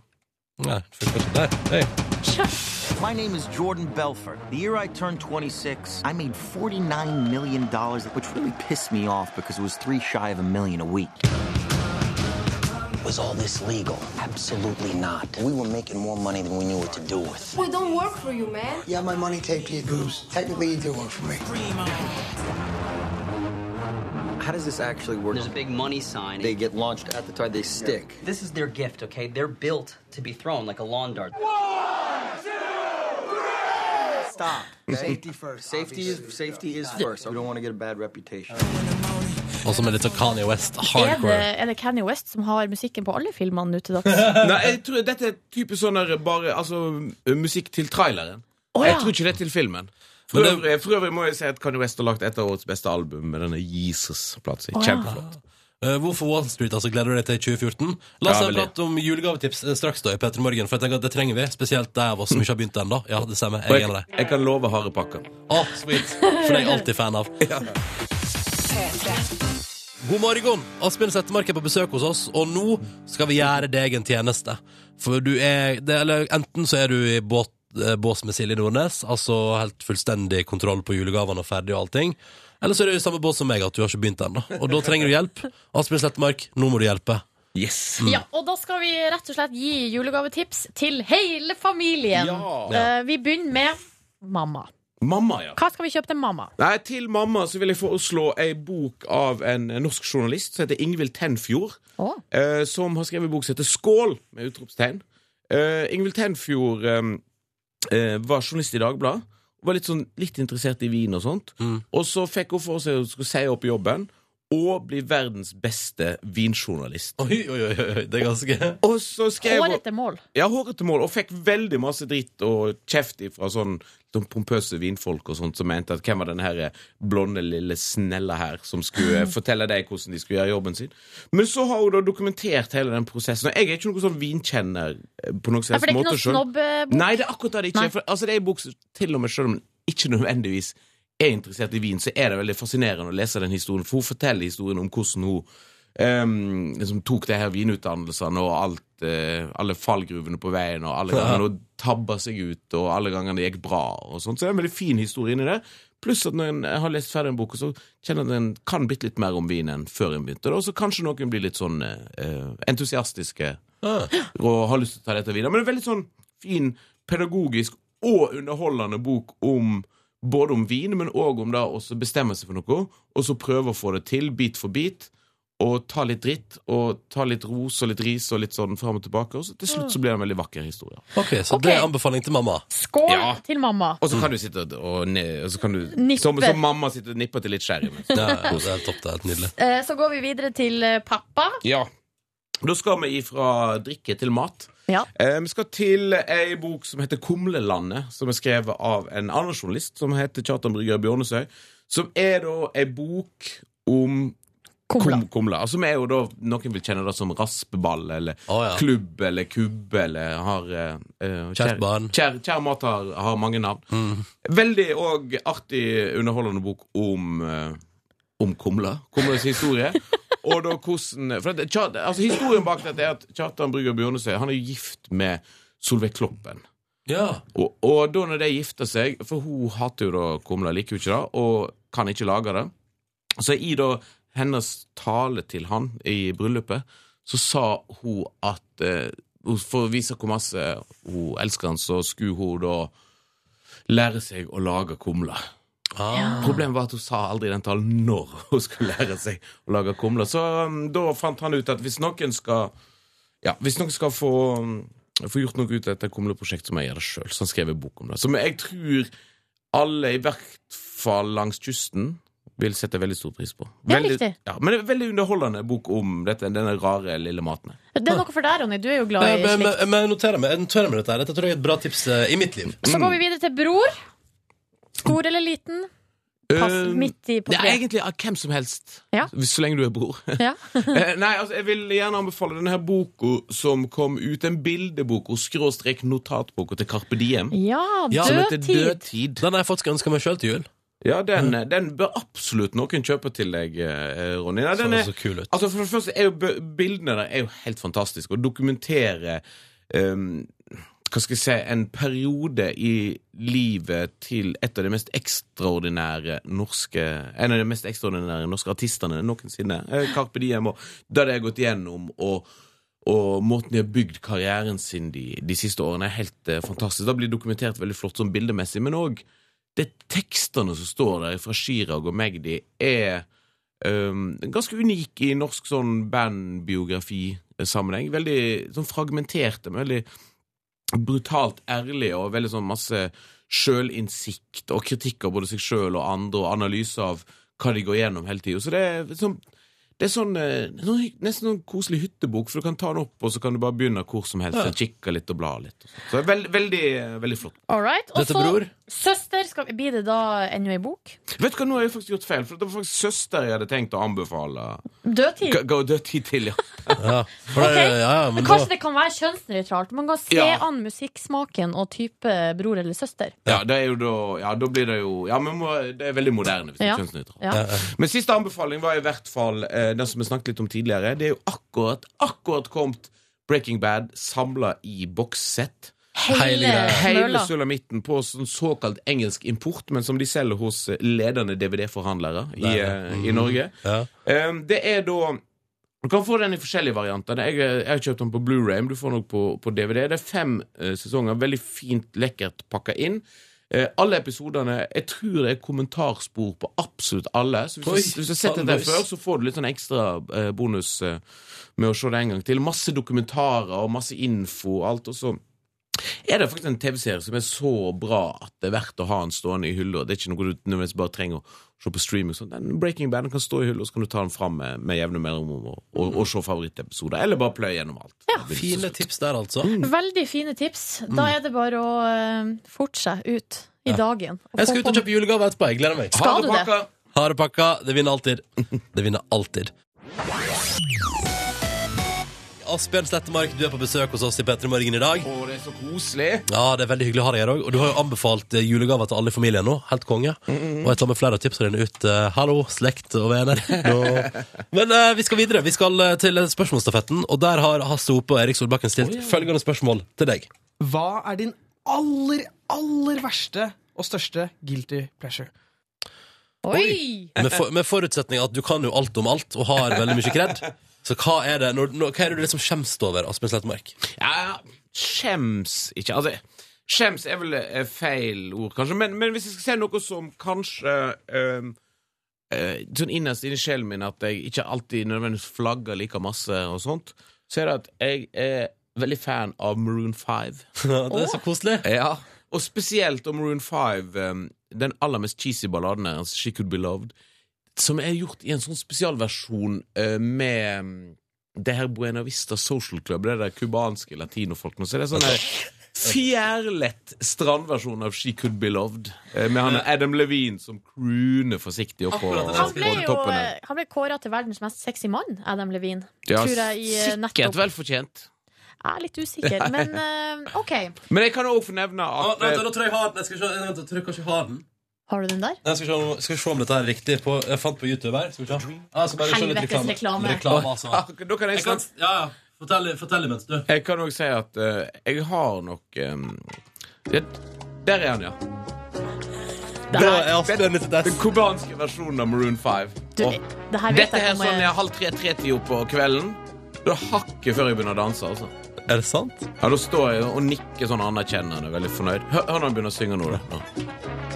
[SPEAKER 2] Nei, først, først. Der. Hei.
[SPEAKER 12] My name is Jordan Belfort. The year I turned 26, I made $49 million, which really pissed me off because it was three shy of a million a week.
[SPEAKER 13] Was all this legal? Absolutely not. We were making more money than we knew what to do with.
[SPEAKER 12] We don't work for you, man.
[SPEAKER 13] You have my money taped to your boobs. Technically, you do work for me.
[SPEAKER 12] How does this actually work? There's a big money sign. They get launched at the time they stick.
[SPEAKER 13] This is their gift, okay? They're built to be thrown like a lawn dart.
[SPEAKER 12] Stop. Safety first. Safety is safety is first. We don't want to get a bad reputation.
[SPEAKER 2] Og så med litt sånn Kanye West
[SPEAKER 4] Er det,
[SPEAKER 2] hardcore.
[SPEAKER 4] er det Kanye West som har musikken på alle filmene nå til dags?
[SPEAKER 11] Nei, jeg tror dette er typisk sånn der bare Altså musikk til traileren.
[SPEAKER 4] Å, ja.
[SPEAKER 11] Jeg tror ikke det er til filmen. For
[SPEAKER 2] Men det-
[SPEAKER 11] øvrig, for øvrig må jeg si at Kanye West har lagt et av årets beste album med denne Jesus-plata si.
[SPEAKER 4] Å, ja.
[SPEAKER 11] Kjempeflott.
[SPEAKER 2] Eh, Hvorfor Wall Street? altså Gleder du deg til 2014? La oss
[SPEAKER 11] Ja,
[SPEAKER 2] ha en
[SPEAKER 11] veldig.
[SPEAKER 2] prate om julegavetips eh, straks, da, i Petter Morgen. For jeg tenker at det trenger vi. Spesielt de av oss som ikke har begynt ennå. Ja, det stemmer.
[SPEAKER 11] Og
[SPEAKER 2] Jeg er en av
[SPEAKER 11] jeg,
[SPEAKER 2] dem.
[SPEAKER 11] jeg kan love harde pakker.
[SPEAKER 2] Å, sweet. For det er jeg alltid fan av. God morgen! Asbjørn Settemark er på besøk hos oss, og nå skal vi gjøre deg en tjeneste. For du er det, Eller enten så er du i båt, eh, bås med Silje Nordnes, altså helt fullstendig kontroll på julegavene og ferdig og allting. Eller så er du i samme bås som meg, at du har ikke begynt ennå. Og da trenger du hjelp. Asbjørn Settemark, nå må du hjelpe.
[SPEAKER 11] Yes.
[SPEAKER 4] Ja, og da skal vi rett og slett gi julegavetips til hele familien.
[SPEAKER 11] Ja.
[SPEAKER 4] Eh, vi begynner med mamma.
[SPEAKER 11] Mamma, ja.
[SPEAKER 4] Hva skal vi kjøpe til mamma?
[SPEAKER 11] Nei, til mamma så vil jeg foreslå ei bok av en norsk journalist som heter Ingvild Tenfjord. eh, som har skrevet en bok som heter Skål! med utropstegn. Eh, Ingvild Tenfjord eh, eh, var journalist i Dagbladet. og Var litt, sånn, litt interessert i vin og sånt. Og så fikk hun for seg å skulle si opp jobben og bli verdens beste vinjournalist.
[SPEAKER 2] Oi, oi, oi, oi, det er ganske
[SPEAKER 11] Og så skrev hun
[SPEAKER 4] Hårete mål.
[SPEAKER 11] ja, hårete mål, og fikk veldig masse dritt og kjeft fra sånn de pompøse vinfolk og sånt som mente at hvem var den her blonde, lille snella her som skulle fortelle deg hvordan de skulle gjøre jobben sin. Men så har hun da dokumentert hele den prosessen. Og jeg er ikke noen sånn vinkjenner eh, på noen
[SPEAKER 4] Ja, for det er ikke
[SPEAKER 11] måte
[SPEAKER 4] noen
[SPEAKER 11] selv.
[SPEAKER 4] snobbebok?
[SPEAKER 11] Nei, det er akkurat det det ikke
[SPEAKER 4] eh, Nei.
[SPEAKER 11] er. For, altså, det er en bok som til og med selv om den ikke nødvendigvis er interessert i vin, så er det veldig fascinerende å lese den historien, for hun forteller historien om hvordan hun ehm, liksom tok det her vinutdannelsene og alt, eh, alle fallgruvene på veien, og alle gangene hun tabba seg ut, og alle gangene det gikk bra, og sånt. Så det er en veldig fin historie inni der. Pluss at når en har lest ferdig en bok, så kjenner en at en kan bitte litt mer om vin enn før en begynte. Og så kanskje noen blir litt sånn eh, eh, entusiastiske
[SPEAKER 2] Ah.
[SPEAKER 11] og har lyst til å ta dette videre. Men det er veldig sånn fin, pedagogisk og underholdende bok om både om vin, men òg om det å også bestemme seg for noe, og så prøve å få det til bit for bit. Og ta litt dritt, og ta litt ros og litt ris og litt sånn fram og tilbake. Og så til slutt så blir det en veldig vakker historie.
[SPEAKER 2] Ok, så det er anbefaling til mamma.
[SPEAKER 4] Skål
[SPEAKER 11] Ja.
[SPEAKER 4] til mamma.
[SPEAKER 11] Og så kan du sitte og, og, ne- og så kan du,
[SPEAKER 4] Nippe.
[SPEAKER 11] som, som mamma sitter og nipper til litt sherry. mens-
[SPEAKER 2] Ja, ja, det er topp, det er helt nydelig.
[SPEAKER 4] Eh, Så går vi videre til eh, pappa.
[SPEAKER 11] Ja. Da skal vi ifra drikke til mat.
[SPEAKER 4] Ja.
[SPEAKER 11] Eh, Vi skal til ei bok som heter Kumlelandet, som er skrevet av en annen journalist som heter Kjartan Brygger Bjørnesøy. Som er da ei bok om
[SPEAKER 4] Kumla.
[SPEAKER 11] Kum, kumla. Altså, vi er jo da, noen vil kjenne det som raspeball, eller
[SPEAKER 2] Å, ja.
[SPEAKER 11] klubb, eller kubbe, eller har eh, eh,
[SPEAKER 2] Kjært barn. Mm.
[SPEAKER 11] Kjær, kjær mat har, har mange navn. Veldig og artig underholdende bok om eh, om kumla. Kumlas historie. Og da hvordan for det, Kjar- altså Historien bak dette er at Kjartan Brygger Bjørnesøy Han er jo gift med Solveig Kloppen.
[SPEAKER 2] Ja.
[SPEAKER 11] Og, og da når de gifter seg For hun hater jo da kumla, liker jo ikke det, og kan ikke lage det. Så i da hennes tale til han i bryllupet, så sa hun at eh, hun- For å vise hvor masse hun elsker han, så skulle hun da lære seg å lage kumler.
[SPEAKER 2] Ah.
[SPEAKER 11] Problemet var at hun sa aldri i den talen når hun skulle lære seg å lage kumler. Så um, da fant han ut at hvis noen skal ja, hvis noen skal få, um, få gjort noe ut av dette kumleprosjektet, så må jeg gjøre det sjøl. Så han skrev en bok om det. Som jeg tror alle, i hvert fall langs kysten, vil sette veldig stor pris på.
[SPEAKER 4] Det er
[SPEAKER 11] Veldig-
[SPEAKER 4] riktig.
[SPEAKER 11] Ja, men det er en veldig underholdende bok om dette, denne rare lille maten.
[SPEAKER 4] Det er noe for deg, Ronny. Du er jo glad
[SPEAKER 2] Nei,
[SPEAKER 4] i
[SPEAKER 2] men,
[SPEAKER 4] slikt.
[SPEAKER 2] men, men jeg noterer meg, jeg noterer meg dette her. Dette tror jeg er et bra tips eh, i mitt liv.
[SPEAKER 4] Så går vi videre til bror. Stor eller liten? Pass
[SPEAKER 11] Eh,
[SPEAKER 4] midt i på
[SPEAKER 11] Det er
[SPEAKER 4] tre.
[SPEAKER 11] egentlig av hvem som helst,
[SPEAKER 4] Ja.
[SPEAKER 11] så lenge du er bror.
[SPEAKER 4] Ja.
[SPEAKER 11] Eh, Nei, altså, jeg vil gjerne anbefale denne her boka som kom ut, en bildebok og skråstrek notatboka til Carpe Diem.
[SPEAKER 4] ja,
[SPEAKER 2] Ja,
[SPEAKER 11] Som
[SPEAKER 4] død
[SPEAKER 11] heter
[SPEAKER 4] tid.
[SPEAKER 11] Dødtid.
[SPEAKER 2] Den har jeg faktisk ønska meg sjøl til jul.
[SPEAKER 11] Ja, den, eh, den bør absolutt noen kjøpe til deg, eh, Ronny. Nei,
[SPEAKER 2] Så
[SPEAKER 11] den
[SPEAKER 2] det
[SPEAKER 11] er,
[SPEAKER 2] så kul ut.
[SPEAKER 11] altså, for det første er jo b- bildene der er jo helt fantastiske, og dokumenterer ehm, hva skal jeg si, en periode i livet til et av de mest ekstraordinære norske En av de mest ekstraordinære norske artistene noensinne. Eh, Carpe Diem, og det de har gått gjennom, og, og måten de har bygd karrieren sin de, de siste årene, er helt eh, fantastisk. Det blir dokumentert veldig flott sånn bildemessig, men òg det tekstene som står der fra Chirag og Magdi, er um, ganske unik i norsk sånn bandbiografisammenheng. Veldig sånn fragmenterte, men veldig brutalt ærlige og veldig sånn masse sjølinnsikt og kritikk av både seg sjøl og andre, og analyse av hva de går gjennom hele tida. Så det er sånn Det er sånn, eh, noe hy- nesten sånn koselig hyttebok, for du kan ta den opp, og så kan du bare begynne hvor som helst.
[SPEAKER 2] Ja.
[SPEAKER 11] og Kikke litt og bla litt. Og sånt. så det er veld, veldig, eh, veldig flott.
[SPEAKER 7] All right. Og
[SPEAKER 11] Dette
[SPEAKER 7] så-
[SPEAKER 11] bror.
[SPEAKER 7] Søster, skal, blir det da ennå ei bok?
[SPEAKER 11] Vet du hva, nå har jeg faktisk gjort feil, for det var faktisk søster jeg hadde tenkt å anbefale.
[SPEAKER 7] Dødtid?
[SPEAKER 11] Ga ga dødtid til, ja.
[SPEAKER 2] Ok,
[SPEAKER 4] Men Kanskje det kan være kjønnsnøytralt. Man kan se
[SPEAKER 11] Ja.
[SPEAKER 4] an musikksmaken og type bror eller søster.
[SPEAKER 11] Ja, det er jo da, ja, da blir det jo Ja, men må, det er veldig moderne. Hvis det
[SPEAKER 4] Ja.
[SPEAKER 11] er kjønnsnøytralt.
[SPEAKER 4] Ja.
[SPEAKER 11] Men siste anbefaling var i hvert fall eh, den som vi snakket litt om tidligere. Det er jo akkurat akkurat kommet Breaking Bad samla i bokssett.
[SPEAKER 2] Hele greia.
[SPEAKER 11] Hele
[SPEAKER 2] mølla.
[SPEAKER 11] sulamitten på sånn såkalt engelsk import, men som de selger hos eh, ledende DVD-forhandlere i, eh,
[SPEAKER 2] Mm.
[SPEAKER 11] i Norge. Um, det er da Du kan få den i forskjellige varianter. Jeg, jeg har kjøpt den på Blu-ray, men du får den også på, på DVD. Det er fem eh, sesonger, veldig fint, lekkert pakka inn. Eh, alle episodene Jeg tror det er kommentarspor på absolutt alle. Så
[SPEAKER 2] Oi,
[SPEAKER 11] hvis, du- hvis du har sett dette
[SPEAKER 2] sannløs.
[SPEAKER 11] før, så får du litt sånn ekstra eh, bonus eh, med å se det en gang til. Masse dokumentarer og masse info og alt. Og så er det faktisk en TV-serie som er så bra at det er verdt å ha den stående i hylla. Det er ikke noe du nødvendigvis bare trenger å se på streaming. og sånt. Den Breaking Band kan stå i hylla, så kan du ta den fram med, med jevne mellomrom og, og, og se favorittepisoder. Eller bare pløye gjennom alt.
[SPEAKER 2] Fine tips der, altså.
[SPEAKER 11] Mm.
[SPEAKER 4] Veldig fine tips. Da er det bare å eh, forte seg ut i
[SPEAKER 2] Ja.
[SPEAKER 4] dagen. og
[SPEAKER 2] Jeg
[SPEAKER 4] få
[SPEAKER 2] skal ut
[SPEAKER 4] på-
[SPEAKER 2] og kjøpe julegave etterpå. Jeg gleder meg.
[SPEAKER 4] Skal Ha det du det? pakka.
[SPEAKER 2] Ha det pakka. Det vinner alltid. Det vinner alltid. Asbjørn Slettemark, du er på besøk hos oss i P3 Morgen i dag.
[SPEAKER 11] Å, det er så koselig.
[SPEAKER 2] Ja, det er veldig hyggelig å ha deg her òg. Og du har jo anbefalt eh, julegaver til alle i familien nå. Helt konge. Og jeg tar med flere av tipsene dine ut. eh, Hallo, slekt og venner. Nå- Men eh, vi skal videre. Vi skal eh, til spørsmålsstafetten, og der har Hasse Hope og Erik Solbakken stilt følgende spørsmål til deg.
[SPEAKER 14] Hva er din aller, aller verste og største guilty pleasure?
[SPEAKER 2] Med, for, med forutsetning at du kan jo alt om alt og har veldig mye kred. Så hva er det når, når, Hva er det du liksom skjemmes over, Asbjørn Slettemark?
[SPEAKER 11] Ja, skjems ikke Altså, skjems er vel eh, feil ord, kanskje, men, men hvis jeg skal si noe som kanskje ehm, eh, Sånn innerst inni sjelen min at jeg ikke alltid nødvendigvis flagger like masse og sånt, så er det at jeg er veldig fan av Maroon 5.
[SPEAKER 2] det er så koselig.
[SPEAKER 11] Ja, og spesielt om Maroon 5, ehm, den aller mest cheesy balladen deres, She Could Be Loved, som er gjort i en sånn spesialversjon eh, med ehm, det her Buena Vista Social Club, det der cubanske latinofolkene. Så det er sånn her fjærlett strandversjon av She Could Be Loved, eh, med han Adam Levine som crooner forsiktig oppå
[SPEAKER 2] Akkurat det
[SPEAKER 4] Han ble
[SPEAKER 11] oppå
[SPEAKER 4] jo
[SPEAKER 11] toppen her.
[SPEAKER 4] eh, han ble kåra til verdens mest sexy mann, Adam Levine.
[SPEAKER 11] Ja,
[SPEAKER 4] tror jeg, i, eh, nettopp.
[SPEAKER 11] sikkert vel fortjent.
[SPEAKER 4] Jeg er litt usikker, men eh, OK.
[SPEAKER 11] Men jeg kan òg få nevne at eh,
[SPEAKER 2] Vent, da, da tror jeg jeg har den. Jeg skal se, vent, da tror jeg kanskje jeg har den.
[SPEAKER 4] Har du den der?
[SPEAKER 2] Jeg skal, se, om- skal se om dette her er riktig. På, jeg fant på YouTube her. Skal vi se. Ja, jeg skal bare se litt
[SPEAKER 4] Helvetes reklame.
[SPEAKER 2] reklame altså.
[SPEAKER 11] Da kan jeg snakke-
[SPEAKER 2] Ja, ja. Fortell, fortell imens, du.
[SPEAKER 11] Jeg kan òg si at eh, jeg har nok eh, det, Der er han, ja.
[SPEAKER 4] Der er
[SPEAKER 11] den, den kubanske versjonen av Maroon 5.
[SPEAKER 4] Du,
[SPEAKER 11] Og
[SPEAKER 4] det her vet
[SPEAKER 11] dette
[SPEAKER 4] jeg ikke
[SPEAKER 11] er
[SPEAKER 4] om
[SPEAKER 11] sånn
[SPEAKER 4] jeg-
[SPEAKER 11] jeg er halv tre-tre-tida på kvelden. Da hakket før jeg begynner å danse. altså
[SPEAKER 2] Er det sant?
[SPEAKER 11] Ja, Da står jeg og nikker sånn anerkjennende, veldig fornøyd. Hør, hør når han begynner å synge nå. da. Nå.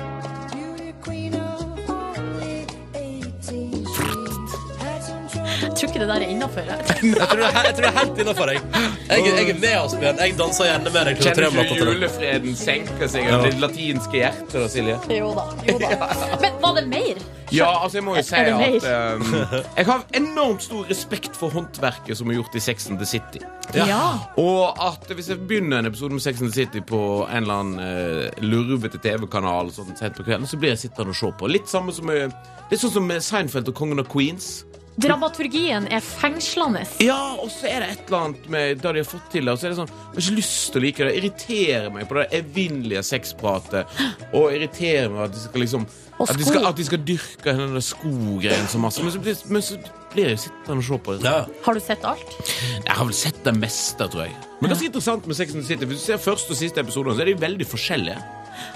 [SPEAKER 4] Jeg tror ikke det der er innafor.
[SPEAKER 2] Jeg tror det er, jeg tror det er helt innafor, jeg. jeg. Jeg er med, Asbjørn. Jeg danser gjerne med deg. til tre
[SPEAKER 11] Kjenner
[SPEAKER 2] om natta
[SPEAKER 11] ikke
[SPEAKER 2] til
[SPEAKER 11] du
[SPEAKER 2] det.
[SPEAKER 11] julefreden senker seg
[SPEAKER 2] Ja.
[SPEAKER 11] av det latinske hjertet, da, Silje?
[SPEAKER 4] Jo da. Jo da. Men var det mer?
[SPEAKER 11] Ja, altså jeg må jo si
[SPEAKER 4] Er det mer?
[SPEAKER 11] at eh, Jeg har enormt stor respekt for håndverket som er gjort i Sex and the City.
[SPEAKER 4] Ja. Ja.
[SPEAKER 11] Og at hvis jeg begynner en episode med Sex and the City på en eller annen eh, lurvete TV-kanal, sånn sent på kvelden, så blir jeg sittende og se på. Litt samme som eh, Litt sånn som med Seinfeld og Kongen av Queens.
[SPEAKER 4] Dramaturgien er fengslende.
[SPEAKER 11] Ja, og så er det et eller annet med det de har fått til det, og så er det sånn Jeg har ikke lyst til å like det. Det irriterer meg på det evinnelige sexpratet. Og irriterer meg at de skal liksom
[SPEAKER 2] Og
[SPEAKER 11] at de skal,
[SPEAKER 2] sko.
[SPEAKER 11] at de skal dyrke den der skogreien så masse. Men så blir, men så blir jeg jo sittende og se på det.
[SPEAKER 4] Har du sett alt?
[SPEAKER 11] Jeg har vel sett det meste, tror jeg. Men ganske interessant med Sex and the City. Hvis du ser første og siste episode, så er de veldig forskjellige.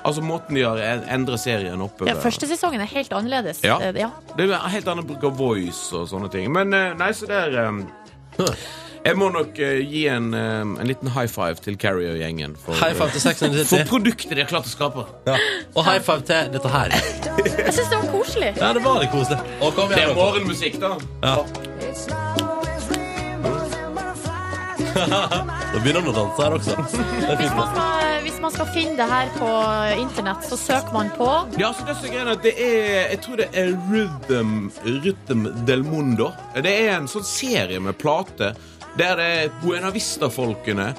[SPEAKER 11] Altså måten de har en- endret serien oppover
[SPEAKER 4] Ja, første sesongen er helt annerledes.
[SPEAKER 11] Ja.
[SPEAKER 4] Eh, ja.
[SPEAKER 11] det er en helt annen bruk av voice og sånne ting. Men eh, nei, så der eh, Jeg må nok eh, gi en, eh, en liten high five til Carrier-gjengen. For,
[SPEAKER 2] High five til Sex and the City.
[SPEAKER 11] for produktet de har klart å skape.
[SPEAKER 2] Og high five til dette her.
[SPEAKER 4] Jeg syns det var koselig.
[SPEAKER 2] Ja, det var litt koselig. Og kom
[SPEAKER 11] Det
[SPEAKER 2] igjen,
[SPEAKER 11] er
[SPEAKER 2] dere.
[SPEAKER 11] morgenmusikk, da.
[SPEAKER 2] Ja. Da begynner han å danse her også. Det er
[SPEAKER 4] Hvis
[SPEAKER 2] fint. da.
[SPEAKER 4] man skal, hvis man skal finne det her på internett, så søker man på
[SPEAKER 11] Ja, så det som er greia er at det er Jeg tror det er Rhythm, Rhythm del Mundo. Det er en sånn serie med plater der det er Buena Vista-folkene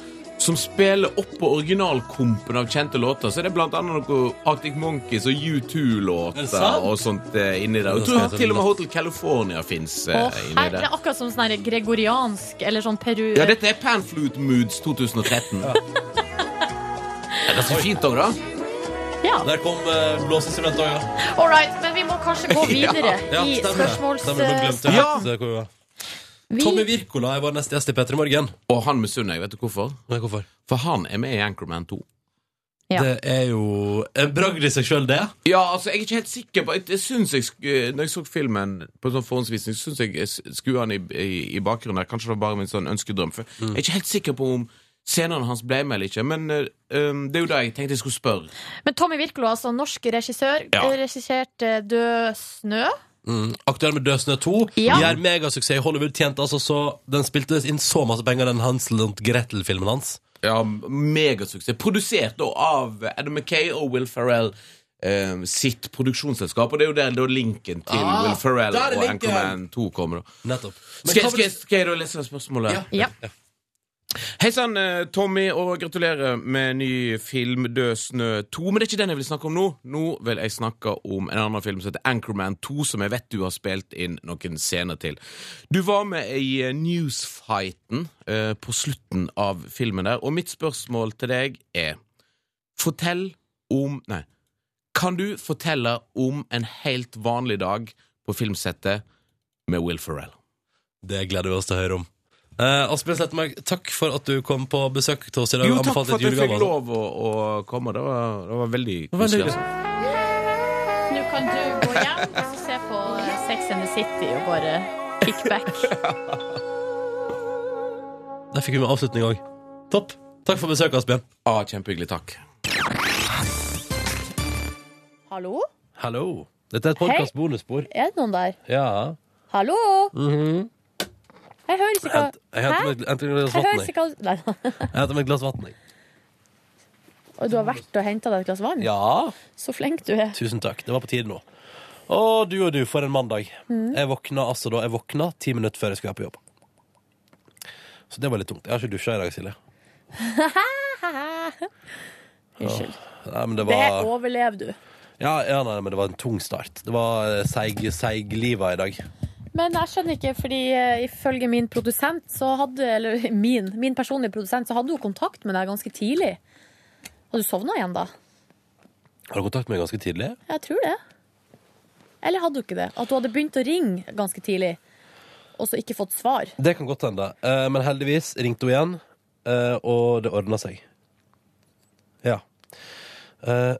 [SPEAKER 11] som spiller oppå originalkompen av kjente låter. Så det er blant annet noe Arctic Monkeys og
[SPEAKER 2] Er det
[SPEAKER 11] U2-låter
[SPEAKER 2] sant?
[SPEAKER 11] og sånt eh, inni der. Jeg tror til
[SPEAKER 2] sånn
[SPEAKER 11] og med Hotel California fins
[SPEAKER 4] Å,
[SPEAKER 11] inni
[SPEAKER 4] her, det
[SPEAKER 11] der.
[SPEAKER 4] er akkurat som sånn her gregoriansk eller sånn peru...
[SPEAKER 11] Ja, dette er Panflute Moods 2013. Det er ganske fint òg, da.
[SPEAKER 4] Ja.
[SPEAKER 2] Der kom eh, blåseinstrumentet òg, ja.
[SPEAKER 4] All right, men vi må kanskje gå videre
[SPEAKER 2] Ja,
[SPEAKER 4] i
[SPEAKER 2] stemmer det.
[SPEAKER 4] spørsmåls...
[SPEAKER 2] Stemmer det, nå glemte jeg helt, eh, hvor vi var.
[SPEAKER 4] Vi-
[SPEAKER 2] Tommy Wirkola er vår neste gjest i P3 Morgen.
[SPEAKER 11] Og han misunner jeg, vet du hvorfor? For han er med i Anchorman 2.
[SPEAKER 4] Ja.
[SPEAKER 2] Det er jo en bragd i seg sjøl, det.
[SPEAKER 11] Ja, altså, jeg er ikke helt sikker på jeg, jeg synes jeg, sk- eh, Når jeg så filmen på en sånn forhåndsvisning, så syns jeg jeg s- skrur han i, i, i bakgrunnen der. Kanskje det var bare min sånn ønskedrøm. For
[SPEAKER 2] Mm.
[SPEAKER 11] Jeg er ikke helt sikker på om scenene hans ble med eller ikke, men eh, um, det er jo det jeg tenkte jeg skulle spørre.
[SPEAKER 4] Men Tommy Virklo, altså norsk regissør,
[SPEAKER 11] Ja.
[SPEAKER 4] eh, regisserte Død snø.
[SPEAKER 2] Mm. Aktuell med Død snø 2.
[SPEAKER 4] Ja.
[SPEAKER 2] Gjør megasuksess i Hollywood. Tjente altså så Den spilte inn så masse penger, den Hansel og Gretel-filmen hans.
[SPEAKER 11] Ja, megasuksess. Produsert da av Adam McKay og Will Ferrell. eh, sitt produksjonsselskap, og det er jo der da linken til
[SPEAKER 2] Ah,
[SPEAKER 11] Will Ferrell
[SPEAKER 2] der er
[SPEAKER 11] og
[SPEAKER 2] linken.
[SPEAKER 11] Anchorman 2 kommer. da
[SPEAKER 2] Nettopp. Men hva
[SPEAKER 11] Skal, jeg-
[SPEAKER 2] var
[SPEAKER 11] skal,
[SPEAKER 2] det-
[SPEAKER 11] jeg- skal jeg da lese spørsmålet?
[SPEAKER 4] Ja.
[SPEAKER 11] Hei sann, eh, Tommy, og gratulerer med ny film Død snø 2. Men det er ikke den jeg vil snakke om nå. Nå vil jeg snakke om en annen film som heter Anchorman 2, som jeg vet du har spilt inn noen scener til. Du var med i eh, Newsfighten eh, på slutten av filmen der, og mitt spørsmål til deg er Fortell om Nei. Kan du fortelle om en helt vanlig dag på filmsettet med Will Ferrell?
[SPEAKER 2] Det gleder vi oss til å høre om. Eh, Asbjørn Slettemark, takk for at du kom på besøk til oss i dag.
[SPEAKER 11] Jo,
[SPEAKER 2] og
[SPEAKER 11] takk
[SPEAKER 2] anbefalte
[SPEAKER 11] for at
[SPEAKER 2] et
[SPEAKER 11] jeg
[SPEAKER 2] julegave,
[SPEAKER 11] fikk
[SPEAKER 2] altså.
[SPEAKER 11] lov å, å komme. Det var, det var veldig koselig. altså.
[SPEAKER 4] Nå kan du gå hjem og se på eh, Sex and the City og bare kickback.
[SPEAKER 2] Der fikk vi med avslutning òg. Topp. Takk for besøket, Asbjørn.
[SPEAKER 11] Ah, Kjempehyggelig. Takk.
[SPEAKER 4] Hallo?
[SPEAKER 2] Hallo. Dette er et podkast bonusspor.
[SPEAKER 4] Er det noen der?
[SPEAKER 2] Ja.
[SPEAKER 4] Hallo?
[SPEAKER 2] Mhm.
[SPEAKER 4] Jeg hører ikke hva
[SPEAKER 2] Jeg henter meg- henter meg et glass
[SPEAKER 4] Jeg hører
[SPEAKER 2] vann.
[SPEAKER 4] ikke hva Nei.
[SPEAKER 2] Jeg henter meg et glass vann. jeg.
[SPEAKER 4] Og du har vært og henta deg et glass vann?
[SPEAKER 2] Ja.
[SPEAKER 4] Så flink du er.
[SPEAKER 2] Tusen takk. Det var på tide nå. Å, du og du, for en mandag.
[SPEAKER 4] Mhm.
[SPEAKER 2] Jeg våkna altså da jeg våkna ti minutter før jeg skulle være på jobb. Så det var litt tungt. Jeg har ikke dusja i dag, Silje. Unnskyld. Nei, men det
[SPEAKER 4] Det
[SPEAKER 2] var
[SPEAKER 4] overlever du.
[SPEAKER 2] ja, ja, nei, men det var en tung start. Det var eh, seig, seig liva i dag.
[SPEAKER 4] Men jeg skjønner ikke, fordi eh, ifølge min produsent, så hadde, eller min, min personlige produsent, så hadde hun kontakt med deg ganske tidlig. Hadde du sovna igjen da?
[SPEAKER 2] Har du kontakt med meg ganske tidlig?
[SPEAKER 4] Jeg tror det. Eller hadde du ikke det? At du hadde begynt å ringe ganske tidlig, og så ikke fått svar.
[SPEAKER 2] Det kan godt hende. Eh, Men heldigvis ringte hun igjen, eh, og det ordna seg. Ja. Eh,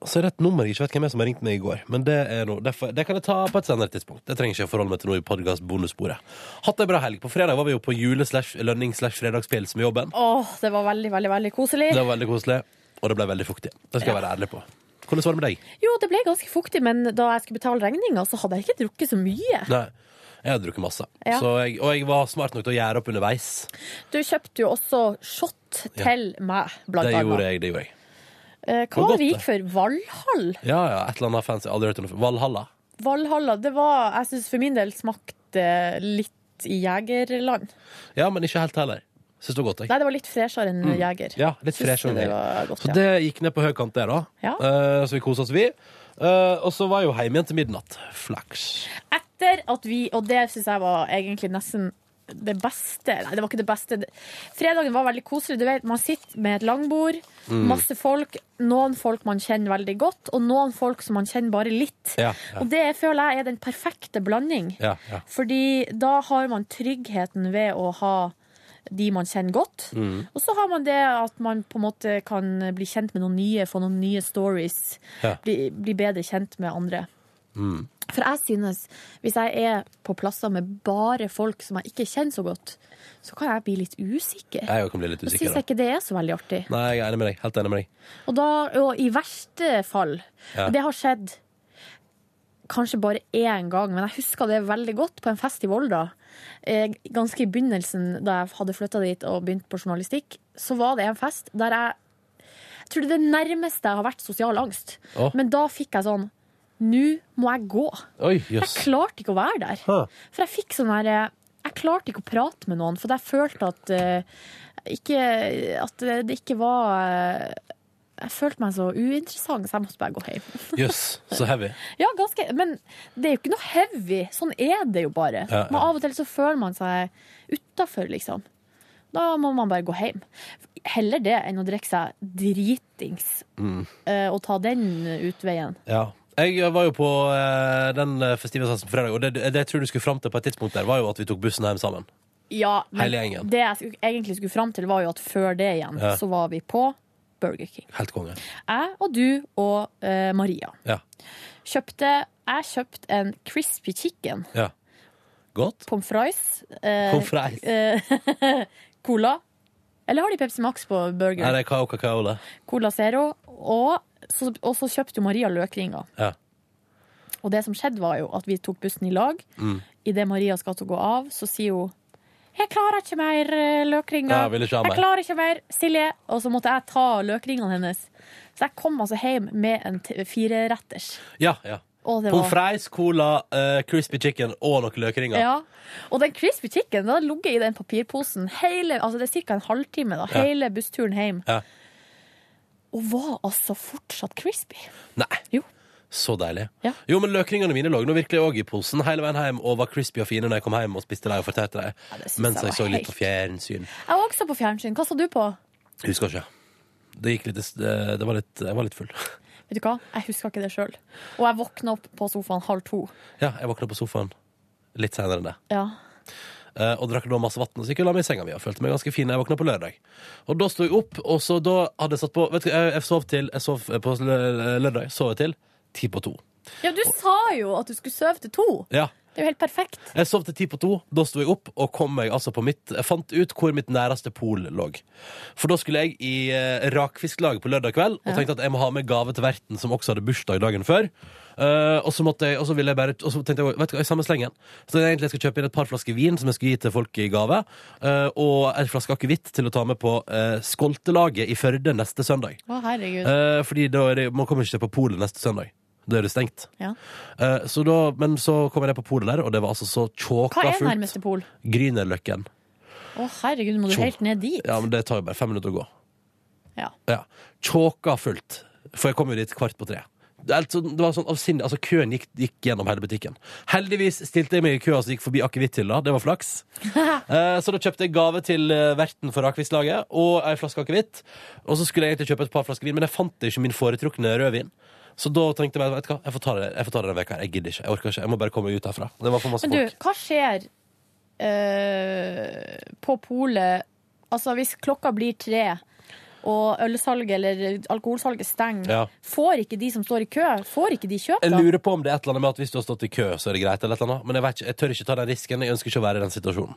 [SPEAKER 2] Og så er det et nummer jeg ikke vet hvem er som har ringt meg i går. Men det, er noe, derfor, det kan jeg ta på et senere tidspunkt. Det trenger ikke jeg forholde meg til noe i podkast-bonussporet. Hatt ei bra helg. På fredag var vi jo på jule-lønning-fredagspils med jobben.
[SPEAKER 4] Åh, det var veldig, veldig, veldig koselig.
[SPEAKER 2] Det var veldig koselig, og det ble veldig fuktig. Det skal jeg være ærlig på. Hvordan var det med deg?
[SPEAKER 4] Jo, det ble ganske fuktig, men da jeg skulle betale regninga, så hadde jeg ikke drukket så mye.
[SPEAKER 2] Nei. Jeg har drukket masse,
[SPEAKER 4] Ja.
[SPEAKER 2] så jeg, og jeg var smart nok til å gjære opp underveis.
[SPEAKER 4] Du kjøpte jo også shot
[SPEAKER 2] Ja.
[SPEAKER 4] til meg, blant
[SPEAKER 2] Det gjorde
[SPEAKER 4] annet.
[SPEAKER 2] jeg. det gjorde jeg
[SPEAKER 4] Eh,
[SPEAKER 2] var
[SPEAKER 4] Hva var det vi
[SPEAKER 2] godt,
[SPEAKER 4] gikk for? Valhall?
[SPEAKER 2] Ja, ja, et eller annet fancy. Aldri hørt om det før. Valhalla.
[SPEAKER 4] Valhalla, det var Jeg syns for min del smakte litt i jegerland.
[SPEAKER 2] Ja, men ikke helt heller. Syns det var godt, jeg.
[SPEAKER 4] Nei, det var litt freshere enn
[SPEAKER 2] Mm.
[SPEAKER 4] jeger.
[SPEAKER 2] Ja, litt
[SPEAKER 4] Synes
[SPEAKER 2] fresh og
[SPEAKER 4] det
[SPEAKER 2] nydelig.
[SPEAKER 4] var godt,
[SPEAKER 2] Så
[SPEAKER 4] ja.
[SPEAKER 2] det gikk ned på høykant der, da.
[SPEAKER 4] Ja.
[SPEAKER 2] Eh, så vi kosa oss, vi. Eh, og så var jeg jo hjemme igjen til midnatt. Flaks.
[SPEAKER 4] Etter at vi Og det syns jeg var egentlig nesten det beste Nei, det var ikke det beste. Det- Fredagen var veldig koselig. Du vet, Man sitter med et langbord,
[SPEAKER 15] Mm.
[SPEAKER 4] masse folk. Noen folk man kjenner veldig godt, og noen folk som man kjenner bare litt.
[SPEAKER 15] Ja,
[SPEAKER 4] Og det føler jeg er den perfekte blanding.
[SPEAKER 15] ja, ja.
[SPEAKER 4] Fordi da har man tryggheten ved å ha de man kjenner godt.
[SPEAKER 15] Mm.
[SPEAKER 4] Og så har man det at man på en måte kan bli kjent med noen nye, få noen nye stories.
[SPEAKER 15] Ja.
[SPEAKER 4] Bli, bli bedre kjent med andre.
[SPEAKER 15] Mm.
[SPEAKER 4] For jeg synes, hvis jeg er på plasser med bare folk som jeg ikke kjenner så godt, så kan jeg bli litt usikker.
[SPEAKER 2] Jeg òg kan bli litt
[SPEAKER 4] Da
[SPEAKER 2] usikker.
[SPEAKER 4] syns
[SPEAKER 2] Da.
[SPEAKER 4] jeg ikke det er så veldig artig.
[SPEAKER 2] Nei, jeg er enig med deg. Helt enig med deg.
[SPEAKER 4] Og, da, og i verste fall,
[SPEAKER 2] Ja.
[SPEAKER 4] og det har skjedd kanskje bare én gang, men jeg husker det veldig godt på en fest i Volda. eh, ganske i begynnelsen, da jeg hadde flytta dit og begynt på journalistikk, så var det en fest der jeg Jeg tror det er det nærmeste jeg har vært sosial angst.
[SPEAKER 2] Å.
[SPEAKER 4] Men da fikk jeg sånn Nå må jeg gå.
[SPEAKER 2] Oi,
[SPEAKER 4] Jeg
[SPEAKER 2] jøss.
[SPEAKER 4] klarte ikke å være der.
[SPEAKER 2] Hæ.
[SPEAKER 4] For jeg fikk sånn her eh, Jeg klarte ikke å prate med noen, for jeg følte at eh, ikke, At det ikke var eh, Jeg følte meg så uinteressant, så jeg måtte bare gå hjem.
[SPEAKER 2] Jøss, så heavy.
[SPEAKER 4] Ja, ganske, men det er jo ikke noe heavy. Sånn er det jo bare.
[SPEAKER 2] Ja, ja.
[SPEAKER 4] Men av og til så føler man seg utafor, liksom. Da må man bare gå hjem. Heller det enn å drikke seg dritings
[SPEAKER 2] Mm.
[SPEAKER 4] eh, og ta den utveien.
[SPEAKER 2] Ja. Jeg var jo på eh, den festivalsatsen på fredag, og det, det jeg tror du skulle fram til på et tidspunkt der, var jo at vi tok bussen hjem sammen.
[SPEAKER 4] Ja, men
[SPEAKER 2] Hele gjengen.
[SPEAKER 4] det jeg skulle- egentlig skulle fram til, var jo at før det igjen,
[SPEAKER 2] Ja.
[SPEAKER 4] så var vi på Burger King.
[SPEAKER 2] Helt konge.
[SPEAKER 4] Jeg og du og eh, Maria
[SPEAKER 2] Ja.
[SPEAKER 4] kjøpte Jeg kjøpte en crispy chicken.
[SPEAKER 2] ja. Godt.
[SPEAKER 4] Pommes fries. eh,
[SPEAKER 2] Pommes fries.
[SPEAKER 4] eh, cola. Eller har de Pepsi Max på burger?
[SPEAKER 2] Nei, det er kakao, kakao, det.
[SPEAKER 4] Cola Zero. Og så, og så kjøpte jo Maria løkringer.
[SPEAKER 2] Ja.
[SPEAKER 4] Og det som skjedde, var jo at vi tok bussen i lag.
[SPEAKER 2] Mm.
[SPEAKER 4] Idet Maria skal til å gå av, så sier hun jeg klarer ikke mer eh, løkringer.
[SPEAKER 2] Ja, jeg vil ikke ha mer.
[SPEAKER 4] jeg klarer ikke mer, Silje. Og så måtte jeg ta løkringene hennes. Så jeg kom altså hjem med en t- fireretters.
[SPEAKER 2] Ja, ja.
[SPEAKER 4] Å, det var-
[SPEAKER 2] Pommes frites, cola, eh, crispy chicken og noen løkringer.
[SPEAKER 4] Ja. Og den crispy chicken den har ligget i den papirposen hele, altså det er ca. en halvtime da,
[SPEAKER 2] Ja.
[SPEAKER 4] hele bussturen hjem.
[SPEAKER 2] Ja.
[SPEAKER 4] Og var altså fortsatt crispy.
[SPEAKER 2] Nei. Så deilig.
[SPEAKER 4] Ja.
[SPEAKER 2] Jo, men løkringene mine lå nå virkelig òg i posen hele veien hjem og var crispy og fine når jeg kom hjem og spiste dem og fortærte dem.
[SPEAKER 4] synes
[SPEAKER 2] Mens
[SPEAKER 4] jeg
[SPEAKER 2] jeg
[SPEAKER 4] var
[SPEAKER 2] så litt på
[SPEAKER 4] helt-
[SPEAKER 2] fjernsyn.
[SPEAKER 4] Jeg var også på fjernsyn. Hva så du på?
[SPEAKER 2] Husker ikke. Det gikk litt eh, Det var litt Jeg var litt full.
[SPEAKER 4] Vet du hva? Jeg husker ikke det sjøl. Og jeg våkna opp på sofaen halv to.
[SPEAKER 2] Ja, jeg våkna på sofaen litt seinere enn det.
[SPEAKER 4] Ja.
[SPEAKER 2] Eh, og drakk da masse vann og så gikk jeg og la meg i senga mi og følte meg ganske fin. Jeg våkna på lørdag. Og da sto jeg opp, og så da hadde jeg satt på Vet du, hva, jeg, jeg sov til Jeg sov på lø- lørdag sov jeg til ti på to.
[SPEAKER 4] ja, du sa jo at du skulle sove til to.
[SPEAKER 2] Ja.
[SPEAKER 4] Det er jo helt perfekt.
[SPEAKER 2] Jeg sov til ti på to. Da sto jeg opp og kom meg altså på mitt Jeg fant ut hvor mitt næreste pol lå. For da skulle jeg i eh, rakfisklaget på lørdag kveld og
[SPEAKER 15] Ja.
[SPEAKER 2] tenkte at jeg må ha med gave til verten, som også hadde bursdag dagen før. Eh, og så måtte jeg, og så ville jeg bare Og så tenkte jeg vet du hva, i samme slengen Så tenkte jeg egentlig jeg skulle kjøpe inn et par flasker vin som jeg skulle gi til folk i gave. eh, og en flaske akevitt til å ta med på eh, Skoltelaget i Førde neste søndag.
[SPEAKER 4] Å, herregud.
[SPEAKER 2] Eh, fordi da er det, man kommer ikke til på polet neste søndag. Da er det stengt.
[SPEAKER 4] Ja.
[SPEAKER 2] Eh, så da, men så kom jeg ned på polet der, og det var altså så
[SPEAKER 4] Hva
[SPEAKER 2] tjåka
[SPEAKER 4] er
[SPEAKER 2] fullt.
[SPEAKER 4] nærmeste pol?
[SPEAKER 2] Grünerløkken.
[SPEAKER 4] Å, herregud, må du
[SPEAKER 2] Tjo.
[SPEAKER 4] helt ned dit?
[SPEAKER 2] Ja, men det tar jo bare fem minutter å gå.
[SPEAKER 4] Ja.
[SPEAKER 2] Ja. Tjåka fullt. For jeg kom jo dit kvart på tre. Det, er helt sånn- det var sånn avsindig. Altså, køen gikk, gikk gjennom hele butikken. Heldigvis stilte jeg meg i køa som gikk forbi akevitthylla. Det var flaks. Eh, så da kjøpte jeg gave til eh, verten for Rakvistlaget og ei flaske akevitt. Og så skulle jeg egentlig kjøpe et par flasker vin, men jeg fant ikke min foretrukne rødvin. Så da tenkte jeg vet du hva, jeg får ta det, jeg får ta det denne veka her. Jeg gidder ikke. Jeg orker ikke. Jeg må bare komme meg ut herfra. Det var for masse
[SPEAKER 4] Men du,
[SPEAKER 2] folk.
[SPEAKER 4] hva skjer eh, på polet Altså, hvis klokka blir tre, og ølsalget eller alkoholsalget stenger,
[SPEAKER 2] Ja.
[SPEAKER 4] får ikke de som står i kø, får ikke de kjøpe?
[SPEAKER 2] Jeg
[SPEAKER 4] da?
[SPEAKER 2] lurer på om det er et eller annet med at hvis du har stått i kø, så er det greit. eller et eller annet. Men jeg, vet ikke, jeg tør ikke ta den risken. Jeg ønsker ikke å være i den situasjonen.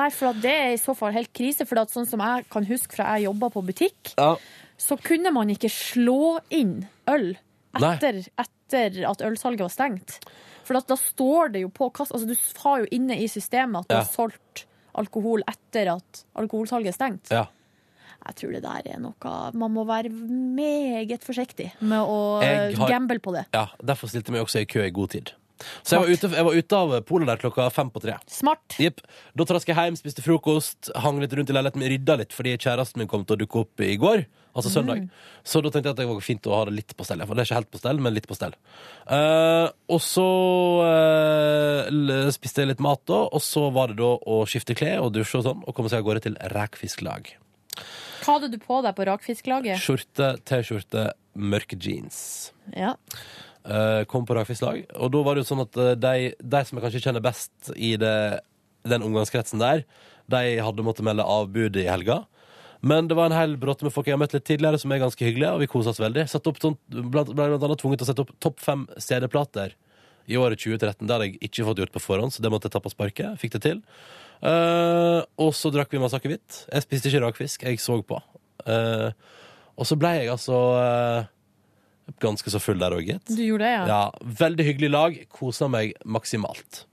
[SPEAKER 4] Nei, for at det er i så fall helt krise. For at sånn som jeg kan huske fra jeg jobba på butikk,
[SPEAKER 2] Ja.
[SPEAKER 4] så kunne man ikke slå inn øl etter, etter at ølsalget var stengt. For at da står det jo på kassa altså Du har jo inne i systemet at du
[SPEAKER 2] Ja.
[SPEAKER 4] har solgt alkohol etter at alkoholsalget er stengt.
[SPEAKER 2] Ja.
[SPEAKER 4] Jeg tror det der er noe Man må være meget forsiktig med å
[SPEAKER 2] Jeg har-
[SPEAKER 4] gamble på det.
[SPEAKER 2] Ja, Derfor stilte jeg meg også i kø i god tid. Så jeg var, ute, jeg var ute av polet der klokka fem på tre.
[SPEAKER 4] Smart.
[SPEAKER 2] Jepp. Da traska jeg hjem, spiste frokost, hang litt rundt i leiligheten min, rydda litt fordi kjæresten min kom til å dukke opp i går. Altså søndag.
[SPEAKER 15] Mm.
[SPEAKER 2] Så da tenkte jeg at det var fint å ha det litt på stell. For det er ikke helt på stell, men litt på stell. Eh, og så eh, l- spiste jeg litt mat, da. Og så var det da å skifte klær og dusje og sånn, og komme seg av gårde til Rækfisklag.
[SPEAKER 4] Hva hadde du på deg på rakfisklaget?
[SPEAKER 2] Skjorte, T-skjorte, mørke jeans.
[SPEAKER 4] Ja.
[SPEAKER 2] Eh, kom på Rakfisk-lag. Og da var det jo sånn at eh, de, de som jeg kanskje kjenner best i det, den omgangskretsen der, de hadde måttet melde avbud i helga. Men det var en hel bråte med folk jeg har møtt litt tidligere, som er ganske hyggelige, og vi kosa oss veldig. Satt opp, sånn- blant, ble blant annet tvunget til å sette opp topp fem CD-plater i året 2013. Det hadde jeg ikke fått gjort på forhånd, så det måtte jeg ta på sparket. Fikk det til. Eh, og så drakk vi masse akevitt. Jeg spiste ikke rakfisk, jeg så på. Eh, og så ble jeg altså eh, ganske så full der òg, gitt.
[SPEAKER 4] Du gjorde det, ja?
[SPEAKER 2] Ja, veldig hyggelig lag. Kosa meg maksimalt.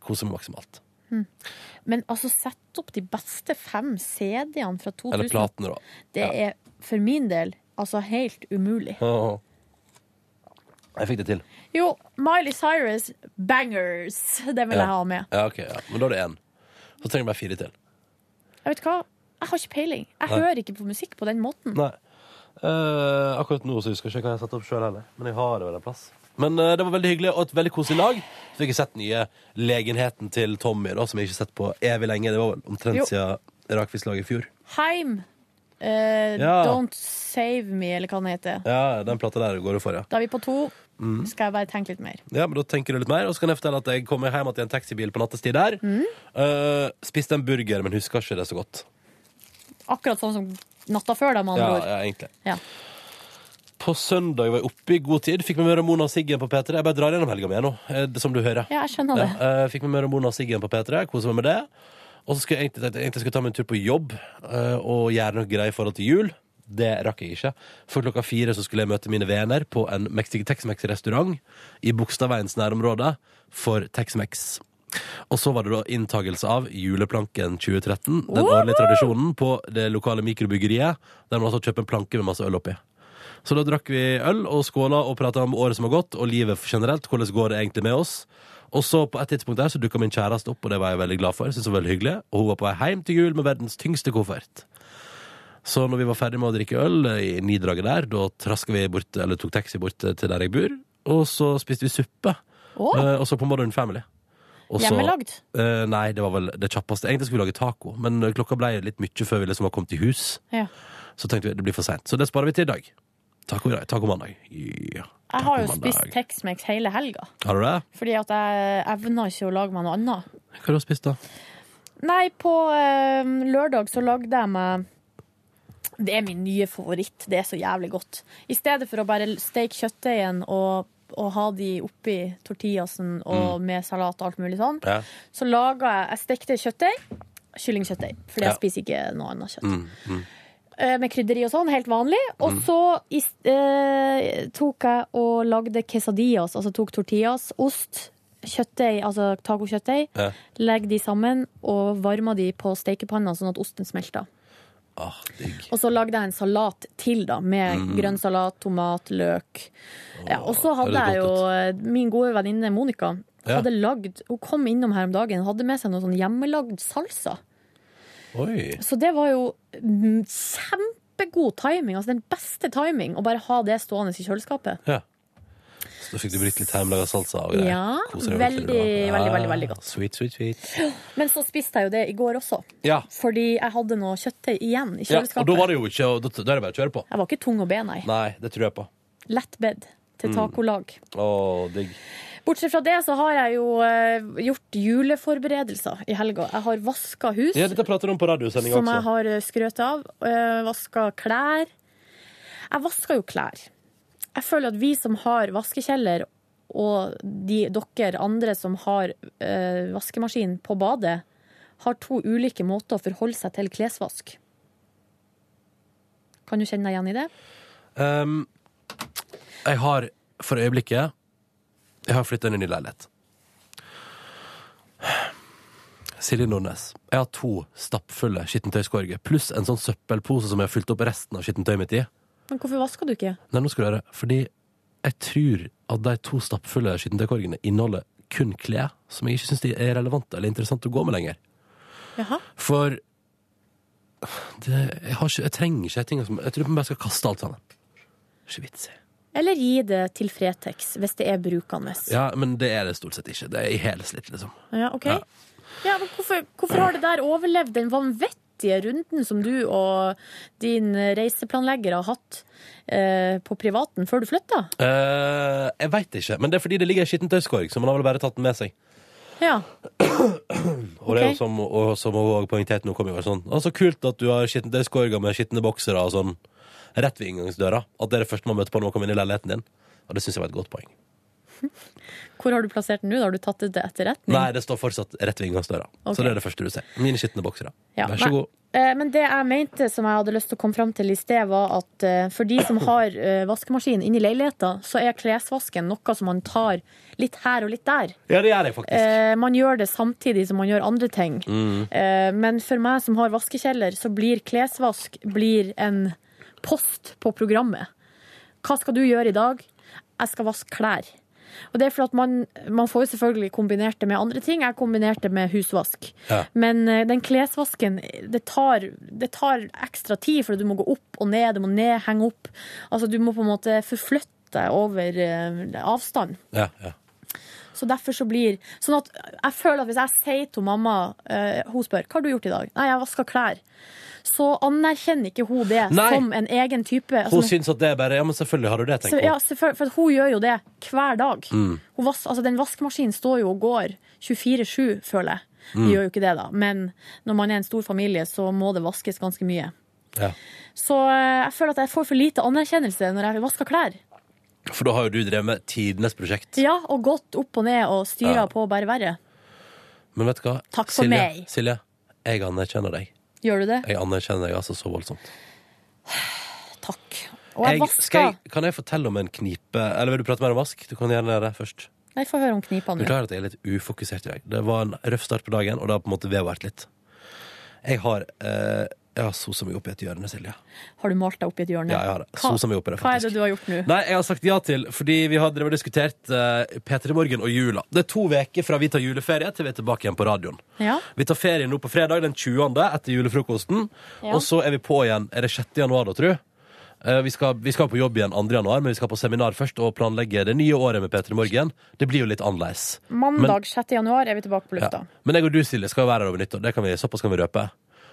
[SPEAKER 2] Kosa meg maksimalt.
[SPEAKER 4] Mm. Men altså, sett opp de beste fem CD-ene fra 2000.
[SPEAKER 2] Eller platene, da.
[SPEAKER 4] Det er for min del altså helt umulig.
[SPEAKER 2] Jeg fikk det til.
[SPEAKER 4] Jo, Miley Cyrus, Bangers. Det vil
[SPEAKER 2] Ja.
[SPEAKER 4] jeg ha med.
[SPEAKER 2] Ja, ok, ja. Men da er det én. Så trenger jeg bare fire til.
[SPEAKER 4] Jeg vet hva, jeg har ikke peiling. Jeg
[SPEAKER 2] Nei.
[SPEAKER 4] hører ikke på musikk på den måten.
[SPEAKER 2] Nei. Eh, akkurat nå så husker jeg ikke hva jeg har satt opp sjøl heller, men jeg har det vel en plass. Men eh, det var veldig hyggelig og et veldig koselig lag. Så fikk jeg sett nye legenheten til Tommy, da, som jeg ikke har sett på evig lenge. Det var vel
[SPEAKER 4] Jo.
[SPEAKER 2] omtrent siden Rakfisk-laget i fjor.
[SPEAKER 4] Heim. eh,
[SPEAKER 2] Ja.
[SPEAKER 4] Don't Save Me, eller hva den heter.
[SPEAKER 2] Ja, den plata der går du for, ja.
[SPEAKER 4] Da er vi på to.
[SPEAKER 2] Mm.
[SPEAKER 4] Skal jeg bare tenke litt mer.
[SPEAKER 2] Ja, men Da tenker du litt mer, og så kan jeg fortelle at jeg kommer hjem igjen i en taxibil på nattestid der. Eh, spiste en burger, men husker ikke det så godt.
[SPEAKER 4] Akkurat sånn som natta før, da, med
[SPEAKER 2] Ja,
[SPEAKER 4] andre ord.
[SPEAKER 2] ja, egentlig.
[SPEAKER 4] Ja.
[SPEAKER 2] På søndag var jeg oppe i god tid. Fikk med meg Ramona og Siggen på P3. Jeg bare drar gjennom helga mi, jeg nå, eh, det som du hører.
[SPEAKER 4] Ja, jeg skjønner det.
[SPEAKER 2] Ja, eh, fikk med meg Ramona og Siggen på P3. Kosa meg med det. Og så skulle jeg egentlig, tenkte jeg egentlig skulle ta meg en tur på jobb eh, og gjøre noe greier i forhold til jul. Det rakk jeg ikke. For klokka fire så skulle jeg møte mine venner på en Mexic- Tex-Mex-restaurant i Bogstadveiens nærområde for Tex-Mex. Og så var det da inntagelse av Juleplanken 2013, den årlige tradisjonen på det lokale mikrobryggeriet, der man altså kjøper en planke med masse øl oppi. Så da drakk vi øl og skåla og prata om året som har gått, og livet generelt. Hvordan går det egentlig med oss? Og så på et tidspunkt der så dukka min kjæreste opp, og det var jeg veldig glad for. Synes det var veldig hyggelig Og hun var på vei hjem til jul med verdens tyngste koffert. Så når vi var ferdig med å drikke øl eh, i nidraget der, da traska vi bort, eller tok taxi bort eh, til der jeg bor, og så spiste vi suppe.
[SPEAKER 4] Å.
[SPEAKER 2] Eh, Og så på Modern Family. Og så-
[SPEAKER 4] Hjemmelagd?
[SPEAKER 2] Eh, nei, det var vel det kjappeste. Egentlig skulle vi lage taco, men eh, klokka ble litt mye før vi liksom var kommet i hus.
[SPEAKER 4] Ja.
[SPEAKER 2] Så tenkte vi det blir for seint. Så det sparer vi til i dag. Taco i dag. Taco mandag. Ja.
[SPEAKER 4] Jeg har jo
[SPEAKER 2] Taco mandag.
[SPEAKER 4] spist Tex-Mex hele helga.
[SPEAKER 2] Har du det?
[SPEAKER 4] Fordi at jeg evner ikke å lage meg noe annet.
[SPEAKER 2] Hva har du spist, da?
[SPEAKER 4] Nei, på eh, lørdag så lagde jeg meg Det er min nye favoritt. Det er så jævlig godt. I stedet for å bare steke kjøttdeigen og, og ha de oppi tortillasen og
[SPEAKER 7] Mm.
[SPEAKER 4] med salat og alt mulig sånn,
[SPEAKER 2] Ja.
[SPEAKER 4] så laga jeg Jeg stekte kjøttdeig. Kyllingkjøttdeig. Fordi
[SPEAKER 7] Ja.
[SPEAKER 4] jeg spiser ikke noe annet kjøtt.
[SPEAKER 2] Mm, mm.
[SPEAKER 4] Eh, Med krydderi og sånn, helt vanlig. Og
[SPEAKER 7] Mm.
[SPEAKER 4] så i s- eh, tok jeg og lagde quesadillas, altså tok tortillas, ost, kjøttdeig, altså tacokjøttdeig.
[SPEAKER 2] Ja.
[SPEAKER 4] Legg de sammen og varma de på stekepanna sånn at osten smelta.
[SPEAKER 2] Ah,
[SPEAKER 4] Og så lagde jeg en salat til, da, med
[SPEAKER 2] Mm.
[SPEAKER 4] grønn salat, tomat, løk. Ja, og så hadde
[SPEAKER 7] høres
[SPEAKER 4] jeg jo eh, min gode venninne Monica.
[SPEAKER 7] Ja.
[SPEAKER 4] Hadde lagd, hun kom innom her om dagen og hadde med seg noe sånn hjemmelagd salsa.
[SPEAKER 2] Oi.
[SPEAKER 4] Så det var jo mm, kjempegod timing. Altså den beste timing, å bare ha det stående i kjøleskapet.
[SPEAKER 2] Ja. Så da fikk du brukt litt hjemmelaga salsa og greier.
[SPEAKER 4] Ja,
[SPEAKER 2] Koser deg
[SPEAKER 4] veldig,
[SPEAKER 2] ordentlig, du, da.
[SPEAKER 4] veldig, veldig, veldig godt.
[SPEAKER 2] Sweet, sweet, sweet.
[SPEAKER 4] Men så spiste jeg jo det i går også,
[SPEAKER 2] Ja.
[SPEAKER 4] fordi jeg hadde noe kjøttdeig igjen i
[SPEAKER 2] ja.
[SPEAKER 4] kjøleskapet.
[SPEAKER 2] Og da var det jo ikke og da, da er det bare å kjøre på.
[SPEAKER 4] Jeg var ikke tung og ben, nei.
[SPEAKER 2] Nei, det tror jeg på.
[SPEAKER 4] Lett bed til
[SPEAKER 2] Mm.
[SPEAKER 4] tacolag.
[SPEAKER 2] Å, digg.
[SPEAKER 4] Bortsett fra det så har jeg jo eh, gjort juleforberedelser i helga. Jeg har vaska hus,
[SPEAKER 2] Ja, dette prater du om på radiosendinga
[SPEAKER 4] som jeg
[SPEAKER 2] også.
[SPEAKER 4] har eh, skrøt av. Uh, vaska klær. Jeg vasker jo klær. Jeg føler at vi som har vaskekjeller, og de, dere andre som har eh, vaskemaskin på badet, har to ulike måter å forholde seg til klesvask. Kan du kjenne deg igjen i det?
[SPEAKER 2] Um, jeg har for øyeblikket Jeg har flytta inn i ny leilighet. Silje Nordnes. Jeg har to stappfulle skittentøyskorger pluss en sånn søppelpose som jeg har fylt opp resten av skittentøyet mitt i.
[SPEAKER 4] Men hvorfor vasker du ikke?
[SPEAKER 2] Nei, nå skal du høre. Fordi jeg tror at de to stappfulle skittentøykorgene inneholder kun klær som jeg ikke syns er relevante eller interessante å gå med lenger.
[SPEAKER 4] Jaha.
[SPEAKER 2] For det, jeg, har ikke, jeg trenger ikke de tingene som Jeg tror jeg bare skal kaste alt sammen. Ikke vits i.
[SPEAKER 4] Eller gi det til Fretex, hvis det er brukende.
[SPEAKER 2] Ja, men det er det stort sett ikke. Det er jeg helt slitt, liksom.
[SPEAKER 4] Ja, ok. Ja. men hvorfor, hvorfor har det der overlevd den vanvittige runden som du og din reiseplanlegger har hatt eh, på privaten før du flytta?
[SPEAKER 2] Eh, jeg veit ikke, men det er fordi det ligger ei skitten tøyskorg, så man har vel bare tatt den med seg.
[SPEAKER 4] Ja.
[SPEAKER 2] Og det er jo som, og, som hun også poengterte nå, kom jo bare sånn Å, så kult at du har skitten tøyskorger med skitne boksere og sånn rett ved inngangsdøra. At det er det første man møter på når man kommer inn i leiligheten din. Og det syns jeg var et godt poeng.
[SPEAKER 4] Hvor har du plassert den nå? da? Har du tatt det til etterretning?
[SPEAKER 2] Nei, det står fortsatt rett ved inngangsdøra.
[SPEAKER 4] Mm. Ok.
[SPEAKER 2] Så det er det første du ser. Mine skitne boksere.
[SPEAKER 4] Ja,
[SPEAKER 2] Vær så
[SPEAKER 4] nei.
[SPEAKER 2] god.
[SPEAKER 4] Eh, Men det jeg mente som jeg hadde lyst til å komme fram til i sted, var at eh, for de som har eh, vaskemaskin inni leiligheten, så er klesvasken noe som man tar litt her og litt der.
[SPEAKER 2] Ja, det gjør jeg faktisk.
[SPEAKER 4] Eh, Man gjør det samtidig som man gjør andre ting.
[SPEAKER 2] Mm.
[SPEAKER 4] Eh, Men for meg som har vaskekjeller, så blir klesvask blir en post på programmet. Hva skal du gjøre i dag? Jeg skal vaske klær. Og det er for at man, man får jo selvfølgelig kombinert det med andre ting. Jeg kombinerte det med husvask.
[SPEAKER 2] Ja.
[SPEAKER 4] Men eh, den klesvasken, det tar, det tar ekstra tid, for du må gå opp og ned, du må ned, henge opp. Altså, du må på en måte forflytte deg over eh, avstand.
[SPEAKER 2] Ja, ja.
[SPEAKER 4] Så derfor så blir Sånn at jeg føler at hvis jeg sier til mamma eh, Hun spør hva har du gjort i dag. Nei, jeg vaska klær. Så anerkjenner ikke hun det
[SPEAKER 2] Nei.
[SPEAKER 4] som en egen type.
[SPEAKER 2] Hun
[SPEAKER 4] Altså,
[SPEAKER 2] syns at det er bare Ja, men selvfølgelig har du det,
[SPEAKER 4] så,
[SPEAKER 2] tenker
[SPEAKER 4] ja,
[SPEAKER 2] hun.
[SPEAKER 4] selvfølgelig, for at hun gjør jo det hver dag.
[SPEAKER 2] Mm.
[SPEAKER 4] Hun vas, altså, den vaskemaskinen står jo og går 24-7, føler jeg. Vi
[SPEAKER 2] Mm.
[SPEAKER 4] gjør jo ikke det, da. Men når man er en stor familie, så må det vaskes ganske mye.
[SPEAKER 2] Ja.
[SPEAKER 4] Så eh, jeg føler at jeg får for lite anerkjennelse når jeg vasker klær.
[SPEAKER 2] For da har jo du drevet med tidenes prosjekt.
[SPEAKER 4] Ja, og gått opp og ned og styrer
[SPEAKER 2] Ja.
[SPEAKER 4] på bare verre.
[SPEAKER 2] Men vet du hva?
[SPEAKER 4] Takk for
[SPEAKER 2] Silje,
[SPEAKER 4] meg.
[SPEAKER 2] Silje, jeg anerkjenner deg.
[SPEAKER 4] Gjør du det?
[SPEAKER 2] Jeg anerkjenner deg altså så voldsomt.
[SPEAKER 4] Og jeg,
[SPEAKER 2] Jeg-
[SPEAKER 4] vasker
[SPEAKER 2] skal jeg, kan jeg fortelle om en knipe Eller vil du prate mer om vask? Du kan gjerne gjøre det først.
[SPEAKER 4] Nei, få høre om knipa nå.
[SPEAKER 2] Beklager at jeg er litt ufokusert i dag. Det var en røff start på dagen, og det har på en måte vedvart litt. Jeg har, eh, jeg har sosa meg opp i et hjørne, Silje.
[SPEAKER 4] Har du malt deg opp i et hjørne?
[SPEAKER 2] Ja, jeg har det.
[SPEAKER 4] Hva-
[SPEAKER 2] Sosa meg opp i det,
[SPEAKER 4] Hva er det du har gjort nå?
[SPEAKER 2] Nei, jeg har sagt ja til, fordi vi har drevet og diskutert eh, P3 Morgen og jula. Det er to uker fra vi tar juleferie til vi er tilbake igjen på radioen.
[SPEAKER 4] Ja.
[SPEAKER 2] Vi tar ferie nå på fredag den 20. etter julefrokosten,
[SPEAKER 4] Ja.
[SPEAKER 2] og så er vi på igjen. Er det 6. januar da, tror jeg? Eh, Vi skal, vi skal på jobb igjen 2. januar, men vi skal på seminar først og planlegge det nye året med P3 Morgen. Det blir jo litt annerledes.
[SPEAKER 4] Mandag 6. januar er vi tilbake på lufta.
[SPEAKER 2] Ja. Men jeg og du, Silje, skal jo være her over nyttår. Det kan vi, såpass kan vi røpe.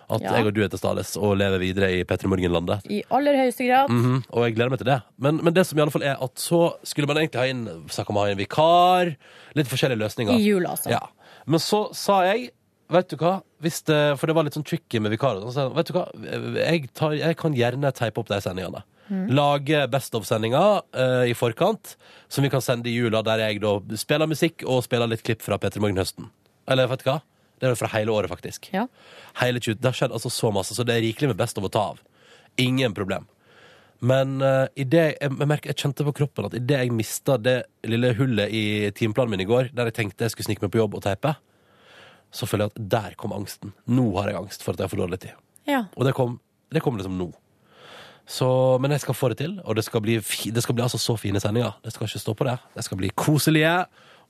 [SPEAKER 2] At
[SPEAKER 4] Ja.
[SPEAKER 2] jeg og du er til stades og lever videre i P3 Morgen-landet.
[SPEAKER 4] I aller høyeste grad.
[SPEAKER 2] Mhm, og jeg gleder meg til det. Men, men det som i alle fall er at så skulle man egentlig ha inn, snakket om å ha inn vikar. Litt forskjellige løsninger.
[SPEAKER 4] I jula, altså.
[SPEAKER 2] Ja. Men så sa jeg Vet du hva, Hvis det, for det var litt sånn tricky med vikarer. og sånn, Så sa jeg, vet du hva, jeg, tar, jeg kan gjerne teipe opp de sendingene.
[SPEAKER 4] Mm.
[SPEAKER 15] Mhm.
[SPEAKER 2] Lage Best of-sendinger eh, i forkant, som vi kan sende i jula, der jeg da spiller musikk og spiller litt klipp fra P3 Morgen høsten. Eller vet du hva? Det er vel fra hele året, faktisk.
[SPEAKER 4] Ja.
[SPEAKER 2] Hele 20, det har skjedd altså så masse, så det er rikelig med Best of å ta av. Ingen problem. Men eh, i det, jeg, jeg, merker, jeg kjente på kroppen at idet jeg mista det lille hullet i timeplanen min i går, der jeg tenkte jeg skulle snike meg på jobb og teipe, så føler jeg at der kom angsten. Nå har jeg angst for at jeg har for dårlig tid.
[SPEAKER 4] Ja.
[SPEAKER 2] Og det kom, det kom liksom nå. Så, men jeg skal få det til, og det skal bli, fi- det skal bli altså så fine sendinger. Det skal ikke stå på det. Det skal bli koselige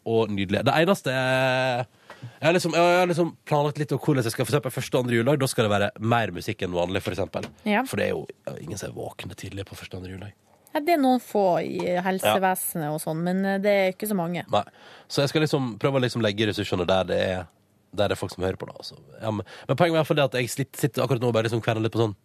[SPEAKER 2] og nydelige. Det eneste er jeg har, liksom, jeg har liksom planlagt litt om hvordan jeg skal For eksempel første og andre juledag. Da skal det være mer musikk enn vanlig. For, eksempel.
[SPEAKER 4] Ja.
[SPEAKER 2] for det er jo ingen som er våkne tidlig på første og andre juledag.
[SPEAKER 4] Ja, Det er noen få i helsevesenet og sånn, men eh, det er ikke så mange.
[SPEAKER 2] Nei. Så jeg skal liksom prøve å liksom legge ressursene der det er der det er folk som hører på. da altså. ja, men, men poenget er i hvert fall det at jeg slitt- sitter akkurat nå og bare liksom kverner litt på sånn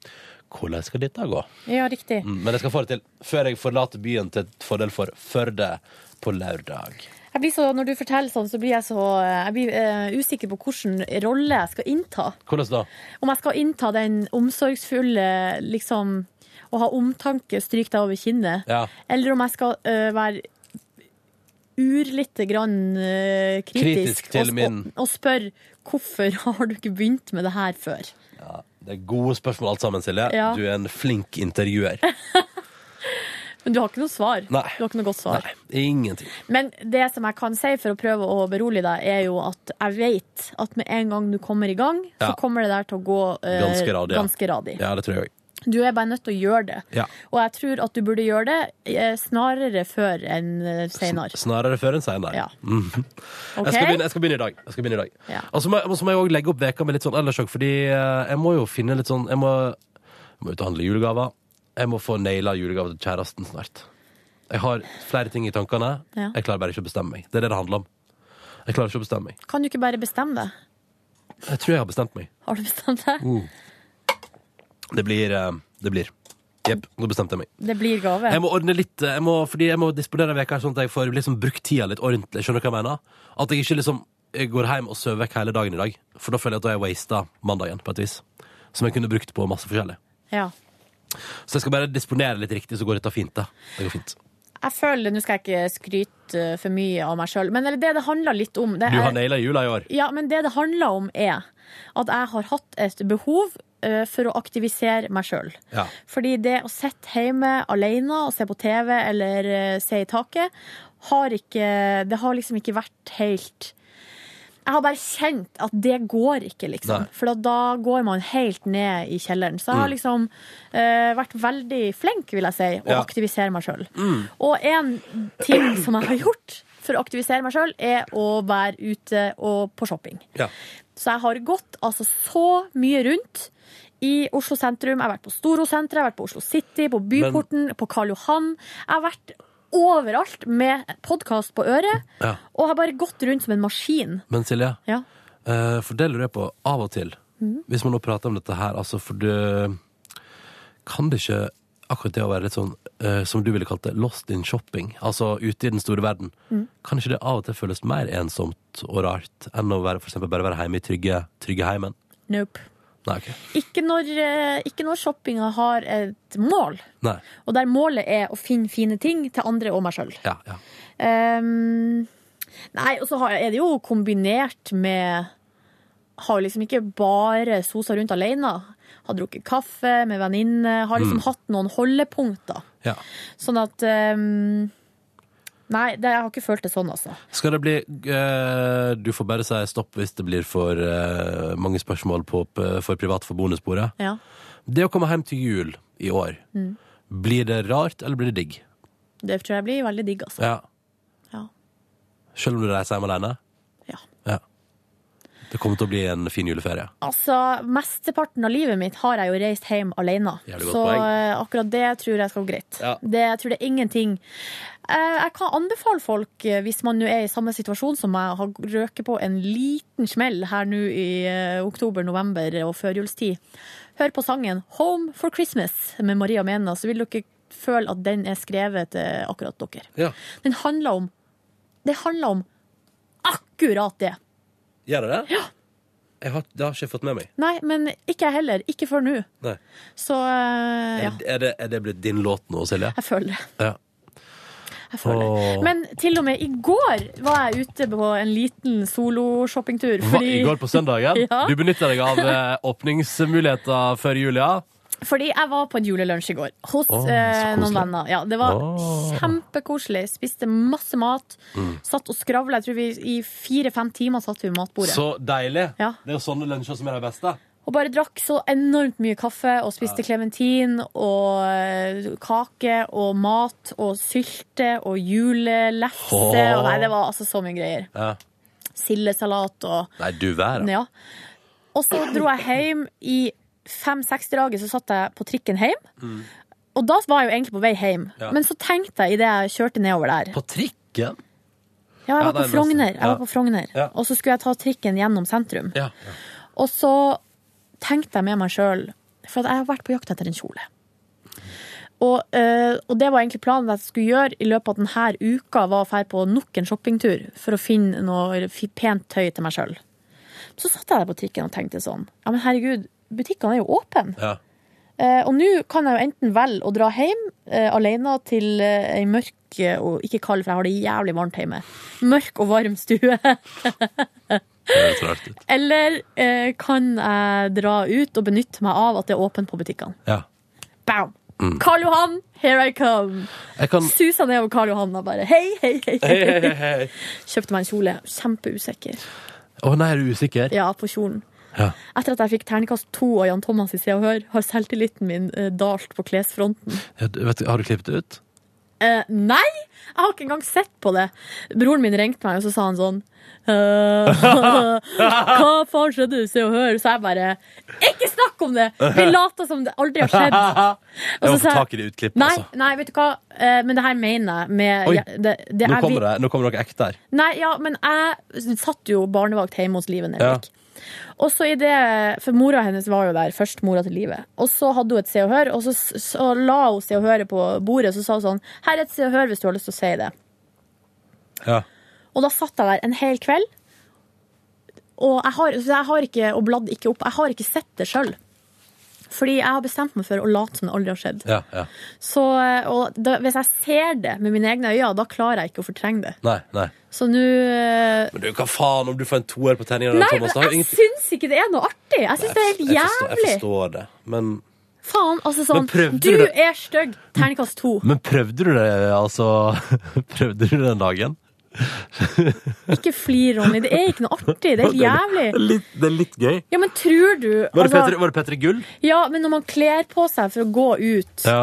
[SPEAKER 2] Hvordan skal dette gå?
[SPEAKER 4] Ja, riktig.
[SPEAKER 2] Mm, men jeg skal få det til før jeg forlater byen til fordel for Førde på lørdag.
[SPEAKER 4] Jeg blir så, når du forteller sånn, så blir jeg så eh, Jeg blir eh, usikker på hvilken rolle jeg skal innta.
[SPEAKER 2] Hvordan da?
[SPEAKER 4] Om jeg skal innta den omsorgsfulle, liksom Å ha omtanke, stryk deg over kinnet.
[SPEAKER 2] Ja.
[SPEAKER 4] Eller om jeg skal eh, være ur lite grann eh, kritisk,
[SPEAKER 2] Kritisk til
[SPEAKER 4] og, sp-
[SPEAKER 2] min-
[SPEAKER 4] og spørre hvorfor har du ikke begynt med det her før?
[SPEAKER 2] Det er gode spørsmål alt sammen, Silje.
[SPEAKER 4] Ja.
[SPEAKER 2] Du er en flink intervjuer.
[SPEAKER 4] Men du har ikke noe svar.
[SPEAKER 2] Nei.
[SPEAKER 4] Du har ikke noe godt svar.
[SPEAKER 2] Ingenting.
[SPEAKER 4] Men det som jeg kan si for å prøve å berolige deg, er jo at jeg vet at med en gang du kommer i gang, så
[SPEAKER 2] Ja.
[SPEAKER 4] kommer det der til å gå eh,
[SPEAKER 2] Ganske radig. ja.
[SPEAKER 4] ganske radig.
[SPEAKER 2] Ja, det tror jeg òg.
[SPEAKER 4] Du er bare nødt til å gjøre det.
[SPEAKER 2] Ja.
[SPEAKER 4] Og jeg tror at du burde gjøre det eh, snarere før enn eh, senere.
[SPEAKER 2] Snarere før enn senere.
[SPEAKER 4] Ja.
[SPEAKER 2] Mhm.
[SPEAKER 4] Ok.
[SPEAKER 2] Jeg, skal begynne, jeg skal begynne i dag. Jeg skal begynne i dag.
[SPEAKER 4] Ja.
[SPEAKER 2] Og så må, og så må jeg òg legge opp veka med litt sånn ellers òg, fordi eh, jeg må jo finne litt sånn Jeg må, jeg må ut og handle julegaver. Jeg må få naila julegave til kjæresten snart. Jeg har flere ting i tankene.
[SPEAKER 4] Ja.
[SPEAKER 2] Jeg klarer bare ikke å bestemme meg. Det er det det handler om. Jeg klarer ikke å bestemme meg.
[SPEAKER 4] Kan du ikke bare bestemme deg?
[SPEAKER 2] Jeg tror jeg har bestemt meg.
[SPEAKER 4] Har du bestemt deg?
[SPEAKER 2] Mm. Det blir eh, Det blir. Jepp, nå bestemte jeg meg.
[SPEAKER 4] Det blir gave.
[SPEAKER 2] Jeg må ordne litt eh, jeg må, Fordi jeg må disponere veka sånn at jeg får liksom brukt tida litt ordentlig. Skjønner du hva jeg mener? At jeg ikke liksom eh, går hjem og sover vekk hele dagen i dag. For da føler jeg at da har jeg wasta mandagen på et vis. Som jeg kunne brukt på masse forskjellig.
[SPEAKER 4] Ja.
[SPEAKER 2] Så jeg skal bare disponere litt riktig, så går dette fint. da Det går fint
[SPEAKER 4] Jeg føler, Nå skal jeg ikke skryte eh, for mye av meg sjøl, men eller det det handler litt om det
[SPEAKER 15] Du har
[SPEAKER 4] er-
[SPEAKER 15] naila jula i år.
[SPEAKER 4] Ja, men det det handler om er at jeg har hatt et behov eh, for å aktivisere meg sjøl.
[SPEAKER 15] Ja.
[SPEAKER 4] Fordi det å sitte hjemme alene og se på TV eller eh, se i taket, har ikke, det har liksom ikke vært helt jeg har bare kjent at det går ikke, liksom.
[SPEAKER 7] Nei.
[SPEAKER 4] For da går man helt ned i kjelleren. Så jeg har
[SPEAKER 7] Mm.
[SPEAKER 4] liksom eh, vært veldig flink, vil jeg si, å
[SPEAKER 7] Ja. Mm.
[SPEAKER 4] aktivisere meg sjøl. Og en ting som jeg har gjort for å aktivisere meg sjøl, er å være ute og på shopping.
[SPEAKER 2] Ja.
[SPEAKER 4] Så jeg har gått altså så mye rundt i Oslo sentrum. Jeg har vært på Storosenteret, jeg har vært på Oslo City, på Byporten, på Karl Johan. Jeg har vært overalt med podkast på øret,
[SPEAKER 2] Ja.
[SPEAKER 4] og har bare gått rundt som en maskin.
[SPEAKER 2] Men Silje,
[SPEAKER 4] Ja.
[SPEAKER 2] eh, for det lurer jeg på av og til.
[SPEAKER 4] Mhm.
[SPEAKER 2] Hvis man nå prater om dette her, altså for det Kan det ikke akkurat det å være litt sånn, eh, som du ville kalt det, lost in shopping? Altså ute i den store verden.
[SPEAKER 15] Mhm.
[SPEAKER 2] Kan ikke det av og til føles mer ensomt og rart enn å være, for eksempel, bare være hjemme i trygge, trygge heimen?
[SPEAKER 4] Nope.
[SPEAKER 2] Nei, ok.
[SPEAKER 4] Ikke når, eh, ikke når shoppinga har et mål,
[SPEAKER 2] Nei.
[SPEAKER 4] og der målet er å finne fine ting til andre og meg sjøl.
[SPEAKER 2] Ja, ja.
[SPEAKER 4] Ehm, nei, og så har- er det jo kombinert med Har jo liksom ikke bare sosa rundt alene. Har drukket kaffe med venninne. Har liksom
[SPEAKER 7] Mm.
[SPEAKER 4] hatt noen holdepunkter.
[SPEAKER 2] Ja.
[SPEAKER 4] Sånn at ehm, Nei, det, jeg har ikke følt det sånn, altså.
[SPEAKER 2] Skal det bli eh, Du får bare si stopp hvis det blir for eh, mange spørsmål på, p- for privat for bonussporet.
[SPEAKER 4] Ja.
[SPEAKER 2] Det å komme hjem til jul i år,
[SPEAKER 4] Mm.
[SPEAKER 2] blir det rart, eller blir det digg?
[SPEAKER 4] Det tror jeg blir veldig digg, altså.
[SPEAKER 2] Ja.
[SPEAKER 4] Ja.
[SPEAKER 2] Selv om du reiser hjem alene?
[SPEAKER 4] Ja.
[SPEAKER 2] Det kommer til å bli en fin juleferie.
[SPEAKER 4] Altså, Mesteparten av livet mitt har jeg jo reist hjem alene.
[SPEAKER 2] Jævlig godt
[SPEAKER 4] Så
[SPEAKER 2] poeng.
[SPEAKER 4] eh, akkurat det tror jeg skal gå greit.
[SPEAKER 2] Ja.
[SPEAKER 4] Det, jeg tror det er ingenting. Eh, jeg kan anbefale folk, eh, hvis man nå er i samme situasjon som meg, har røket på en liten smell her nå i eh, oktober, november og førjulstid. Hør på sangen 'Home for Christmas' med Maria Mena, så vil dere føle at den er skrevet til akkurat dere. Den handler om Det handler om akkurat det.
[SPEAKER 2] Gjør det det? Jeg har, det har ikke jeg fått med meg.
[SPEAKER 4] Nei, men ikke jeg heller. Ikke før nå.
[SPEAKER 2] Nei.
[SPEAKER 4] Så eh, ja,
[SPEAKER 2] Er, er, det, er det blitt din låt nå, Silje?
[SPEAKER 4] jeg føler det.
[SPEAKER 2] Ja.
[SPEAKER 4] Jeg føler det. Men til og med i går var jeg ute på en liten solo-shoppingtur.
[SPEAKER 15] Hva, I går på søndagen.
[SPEAKER 4] Ja.
[SPEAKER 15] Du benytta deg av eh, åpningsmuligheter før jul, ja?
[SPEAKER 4] Fordi jeg var på en julelunsj i går hos
[SPEAKER 15] Åh, så
[SPEAKER 4] eh, noen
[SPEAKER 15] koselig.
[SPEAKER 4] venner. Ja, det var
[SPEAKER 15] Åh. Mm.
[SPEAKER 4] kjempekoselig. Spiste masse mat. Satt og skravla. Jeg tror vi i fire-fem timer satt vi ved matbordet.
[SPEAKER 2] Så deilig.
[SPEAKER 4] Ja.
[SPEAKER 2] Det er jo sånne lunsjer som er de beste.
[SPEAKER 4] Og bare drakk så enormt mye kaffe og spiste klementin og eh, kake og mat og sylte og julelefse.
[SPEAKER 2] Åh.
[SPEAKER 4] Og nei, det var altså så mye greier.
[SPEAKER 2] Ja.
[SPEAKER 4] Sildesalat og
[SPEAKER 2] Nei, du verden.
[SPEAKER 4] ja. Og så dro jeg hjem i fem-seks-draget, så satt jeg på trikken hjem.
[SPEAKER 2] Mm.
[SPEAKER 4] Og da var jeg jo egentlig på vei hjem,
[SPEAKER 2] Ja.
[SPEAKER 4] men så tenkte jeg idet jeg kjørte nedover der
[SPEAKER 2] På trikken?
[SPEAKER 4] Ja, jeg
[SPEAKER 2] Ja,
[SPEAKER 4] var
[SPEAKER 2] det
[SPEAKER 4] på
[SPEAKER 2] er
[SPEAKER 4] Frogner.
[SPEAKER 2] nesten-
[SPEAKER 4] Jeg
[SPEAKER 2] ja.
[SPEAKER 4] var på Frogner.
[SPEAKER 2] Ja.
[SPEAKER 4] Og så skulle jeg ta trikken gjennom sentrum.
[SPEAKER 2] Ja.
[SPEAKER 4] Og så tenkte jeg med meg sjøl For at jeg har vært på jakt etter en kjole. Og, eh, og det var egentlig planen at jeg skulle gjøre i løpet av denne uka, var å dra på nok en shoppingtur for å finne noe fi- pent tøy til meg sjøl. Så satt jeg der på trikken og tenkte sånn Ja, men herregud, butikkene er jo åpne.
[SPEAKER 2] Ja.
[SPEAKER 4] Eh, og nå kan jeg jo enten velge å dra hjem eh, alene til eh, ei mørk eh, og ikke kald, for jeg har det jævlig varmt hjemme. Mørk og varm stue. Eller eh, kan jeg dra ut og benytte meg av at det er åpent på butikkene.
[SPEAKER 2] Ja.
[SPEAKER 4] Bam!
[SPEAKER 2] Mm.
[SPEAKER 4] Karl Johan, here I come!
[SPEAKER 2] Jeg kan-
[SPEAKER 4] Susa nedover Karl Johan og bare hei, hei, hei.
[SPEAKER 2] Hei, hei, hei, hei.
[SPEAKER 4] Kjøpte meg en kjole. Kjempeusikker.
[SPEAKER 2] Å nei, er du usikker?
[SPEAKER 4] Ja, på kjolen.
[SPEAKER 2] Ja.
[SPEAKER 4] Etter at jeg fikk terningkast to av Jan Thomas i Se og Hør, har selvtilliten min eh, dalt på klesfronten.
[SPEAKER 2] Ja, du- vet, du, har du klippet det ut?
[SPEAKER 4] Eh, nei, jeg har ikke engang sett på det. Broren min ringte meg, og så sa han sånn eh, Hva faen skjedde du Se og Hør? Så jeg bare Ikke snakk om det! Vi later som det aldri har skjedd.
[SPEAKER 2] Jeg må
[SPEAKER 4] Og så
[SPEAKER 2] få
[SPEAKER 4] sa jeg-
[SPEAKER 2] tak i det utklippet,
[SPEAKER 4] Nei,
[SPEAKER 2] altså.
[SPEAKER 4] nei, vet du hva? Eh, men det her mener jeg med
[SPEAKER 2] Oi,
[SPEAKER 4] ja, det, det
[SPEAKER 2] nå,
[SPEAKER 4] er vi-
[SPEAKER 2] kommer det, nå kommer noe ekte her.
[SPEAKER 4] Nei, ja, men jeg satt jo barnevakt hjemme hos Liven
[SPEAKER 2] Ja.
[SPEAKER 4] Nelvik. Og så i det, For mora hennes var jo der, først mora til livet. Og så hadde hun et Se og Hør, og så, så la hun Se og Høret på bordet, så sa hun sånn Her er et Se og Hør hvis du har lyst til å si det.
[SPEAKER 2] Ja.
[SPEAKER 4] Og da satt jeg der en hel kveld, og jeg har, så jeg har ikke, og bladde ikke opp. Jeg har ikke sett det sjøl. Fordi jeg har bestemt meg for å late som det aldri har skjedd.
[SPEAKER 2] Ja, ja.
[SPEAKER 4] Så, eh, og da, hvis jeg ser det med mine egne øyne, da klarer jeg ikke å fortrenge det.
[SPEAKER 2] Nei, nei.
[SPEAKER 4] Så nå eh,
[SPEAKER 2] Men du, hva faen om du får en toer på terninga?
[SPEAKER 4] Nei,
[SPEAKER 2] Thomas, det har jo
[SPEAKER 4] men jeg
[SPEAKER 2] ingenting-
[SPEAKER 4] syns ikke det er noe artig! Jeg syns det er helt
[SPEAKER 2] Jeg forstår, jeg
[SPEAKER 4] jævlig!
[SPEAKER 2] forstår det, men
[SPEAKER 4] Faen, altså
[SPEAKER 15] Men
[SPEAKER 4] sånn
[SPEAKER 15] prøvde
[SPEAKER 4] Du
[SPEAKER 15] du det?
[SPEAKER 4] er stygg! Terningkast to.
[SPEAKER 15] Men prøvde du det, altså? Prøvde du den dagen?
[SPEAKER 4] Ikke flir, Ronny. Det er ikke noe artig. Det er helt jævlig.
[SPEAKER 15] Litt, det er litt gøy.
[SPEAKER 4] Ja, men tror du
[SPEAKER 15] Var det
[SPEAKER 4] altså-
[SPEAKER 15] Petre- var det Petter Gull?
[SPEAKER 4] Ja, men når man kler på seg for å gå ut,
[SPEAKER 15] Ja.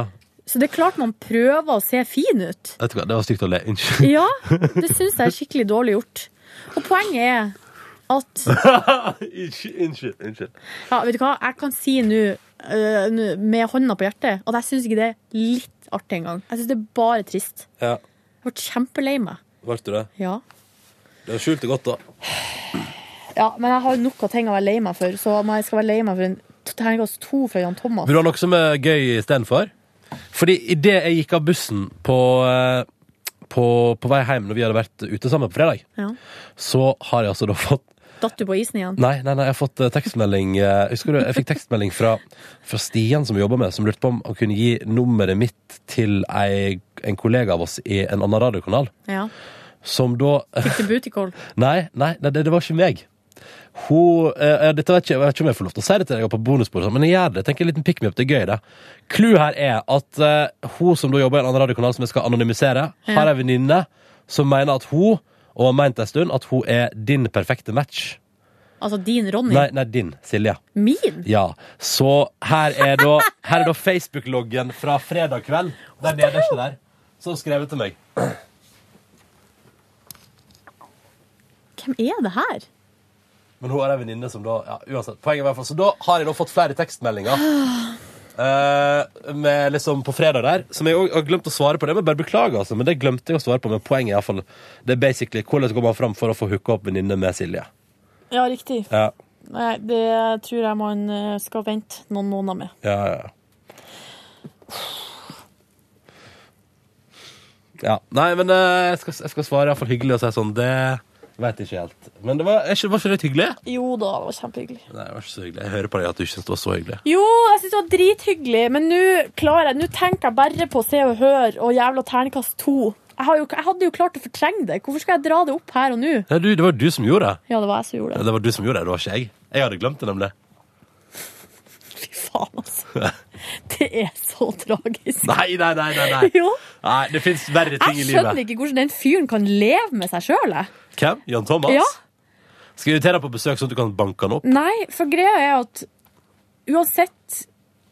[SPEAKER 4] så det er klart man prøver å se fin ut.
[SPEAKER 15] Vet du hva, det var stygt å le. Unnskyld.
[SPEAKER 4] Ja, det syns jeg er skikkelig dårlig gjort. Og poenget er at
[SPEAKER 15] Unnskyld, unnskyld, unnskyld.
[SPEAKER 4] Ja, vet du hva, jeg kan si nå øh, nå, med hånda på hjertet at jeg syns ikke det er litt artig engang. Jeg syns det er bare trist.
[SPEAKER 2] ja.
[SPEAKER 4] Jeg ble kjempelei meg.
[SPEAKER 2] Ble du det?
[SPEAKER 4] Ja.
[SPEAKER 2] Du har skjult det godt, da.
[SPEAKER 4] ja, men jeg har nok av ting å være lei meg for, så om jeg skal være lei meg for en terningkast to fra Jan Thomas
[SPEAKER 2] Vil du ha noe som er gøy istedenfor? Fordi idet jeg gikk av bussen på, eh, på, på vei hjem når vi hadde vært ute sammen på fredag,
[SPEAKER 4] ja.
[SPEAKER 2] så har jeg altså da fått
[SPEAKER 4] Datt du på isen igjen?
[SPEAKER 2] Nei, nei, nei, jeg har fått eh, tekstmelding eh, Husker du, jeg fikk tekstmelding fra, fra Stian som vi jobber med, som lurte på om han kunne gi nummeret mitt til ei, en kollega av oss i en annen radiokanal,
[SPEAKER 4] Ja.
[SPEAKER 2] som da
[SPEAKER 4] Fikk du bootycall?
[SPEAKER 2] Nei, nei, nei det, det var ikke meg. Hun, eh, ja, dette vet ikke, jeg vet ikke om jeg får lov til å si det til deg på bonusbordet, sånn, men jeg gjør det. Jeg tenker en liten pick me up, det er gøy, det. Clou her er at eh, hun som da jobber i en annen radiokanal som jeg skal anonymisere,
[SPEAKER 15] Ja.
[SPEAKER 2] har ei venninne som mener at hun, og har meint en stund, at hun er din perfekte match.
[SPEAKER 4] Altså din Ronny?
[SPEAKER 2] Nei, nei din, Silje.
[SPEAKER 4] Min?
[SPEAKER 2] Ja. Så her er da, her er da Facebook-loggen fra fredag kveld. Den nederste der. Som skrevet til meg.
[SPEAKER 4] Hvem er det her?
[SPEAKER 2] Men hun har ei venninne som da ja, Uansett. Poenget i hvert fall. Så da har jeg da fått flere tekstmeldinger. eh, med liksom på fredag der, som jeg òg har glemt å svare på. Det men bare beklager, altså. Men det glemte jeg å svare på. Men poenget er i hvert fall Det er basically hvordan går man fram for å få hooka opp venninne med Silje.
[SPEAKER 4] Ja, riktig.
[SPEAKER 2] Ja,
[SPEAKER 4] Nei, det tror jeg man eh, skal vente noen måneder med.
[SPEAKER 2] ja, ja. Ja. Nei, men eh, jeg, skal, jeg skal svare iallfall hyggelig og si sånn Det veit jeg ikke helt. Men det var, er ikke, var ikke det litt hyggelig?
[SPEAKER 4] Jo da, det var kjempehyggelig.
[SPEAKER 2] Nei, det var ikke så hyggelig. Jeg hører på deg at du ikke syns det var så hyggelig.
[SPEAKER 4] Jo, jeg syns det var drithyggelig, men nå klarer jeg Nå tenker jeg bare på Se og Hør og jævla terningkast to. Jeg, har jo, jeg hadde jo klart å fortrenge det. Hvorfor skal jeg dra det opp her og nå?
[SPEAKER 2] Nei, du, det var du som gjorde det.
[SPEAKER 4] Ja, det var jeg som gjorde
[SPEAKER 2] Ja,
[SPEAKER 4] det.
[SPEAKER 2] Det var du som gjorde det, det var ikke jeg. Jeg hadde glemt det, nemlig.
[SPEAKER 4] Faen, altså. Det er så tragisk.
[SPEAKER 2] Nei, nei, nei, nei. nei.
[SPEAKER 4] Jo.
[SPEAKER 2] nei det fins verre ting
[SPEAKER 4] Jeg
[SPEAKER 2] i
[SPEAKER 4] skjønner
[SPEAKER 2] livet.
[SPEAKER 4] ikke hvordan den fyren kan leve med seg sjøl, jeg.
[SPEAKER 2] Hvem? Jan Thomas?
[SPEAKER 4] Ja.
[SPEAKER 2] Skal jeg invitere deg på besøk, sånn at du kan banke han opp?
[SPEAKER 4] Nei, for greia er at uansett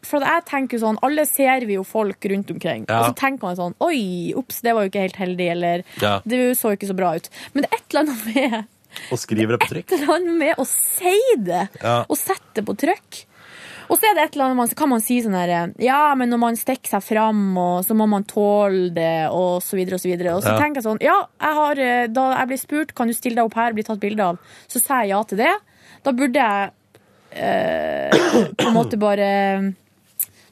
[SPEAKER 4] For at jeg tenker jo sånn, alle ser vi jo folk rundt omkring.
[SPEAKER 2] Ja.
[SPEAKER 4] Og så tenker man sånn Oi, ops, det var jo ikke helt heldig, eller
[SPEAKER 2] Ja.
[SPEAKER 4] Du så ikke så bra ut. Men det er et eller annet med,
[SPEAKER 2] Og skrive det på
[SPEAKER 4] et
[SPEAKER 2] trykk?
[SPEAKER 4] eller annet med å si det,
[SPEAKER 2] Ja.
[SPEAKER 4] og sette det på trykk. Og så er det et eller annet man, så kan man si sånn her Ja, men når man stikker seg fram, og så må man tåle det, og så videre og så videre. Og så
[SPEAKER 16] Ja.
[SPEAKER 4] tenker jeg sånn Ja, jeg har, eh, da jeg ble spurt kan du stille deg opp her og bli tatt bilde av, så sa jeg ja til det. Da burde jeg eh, på en måte bare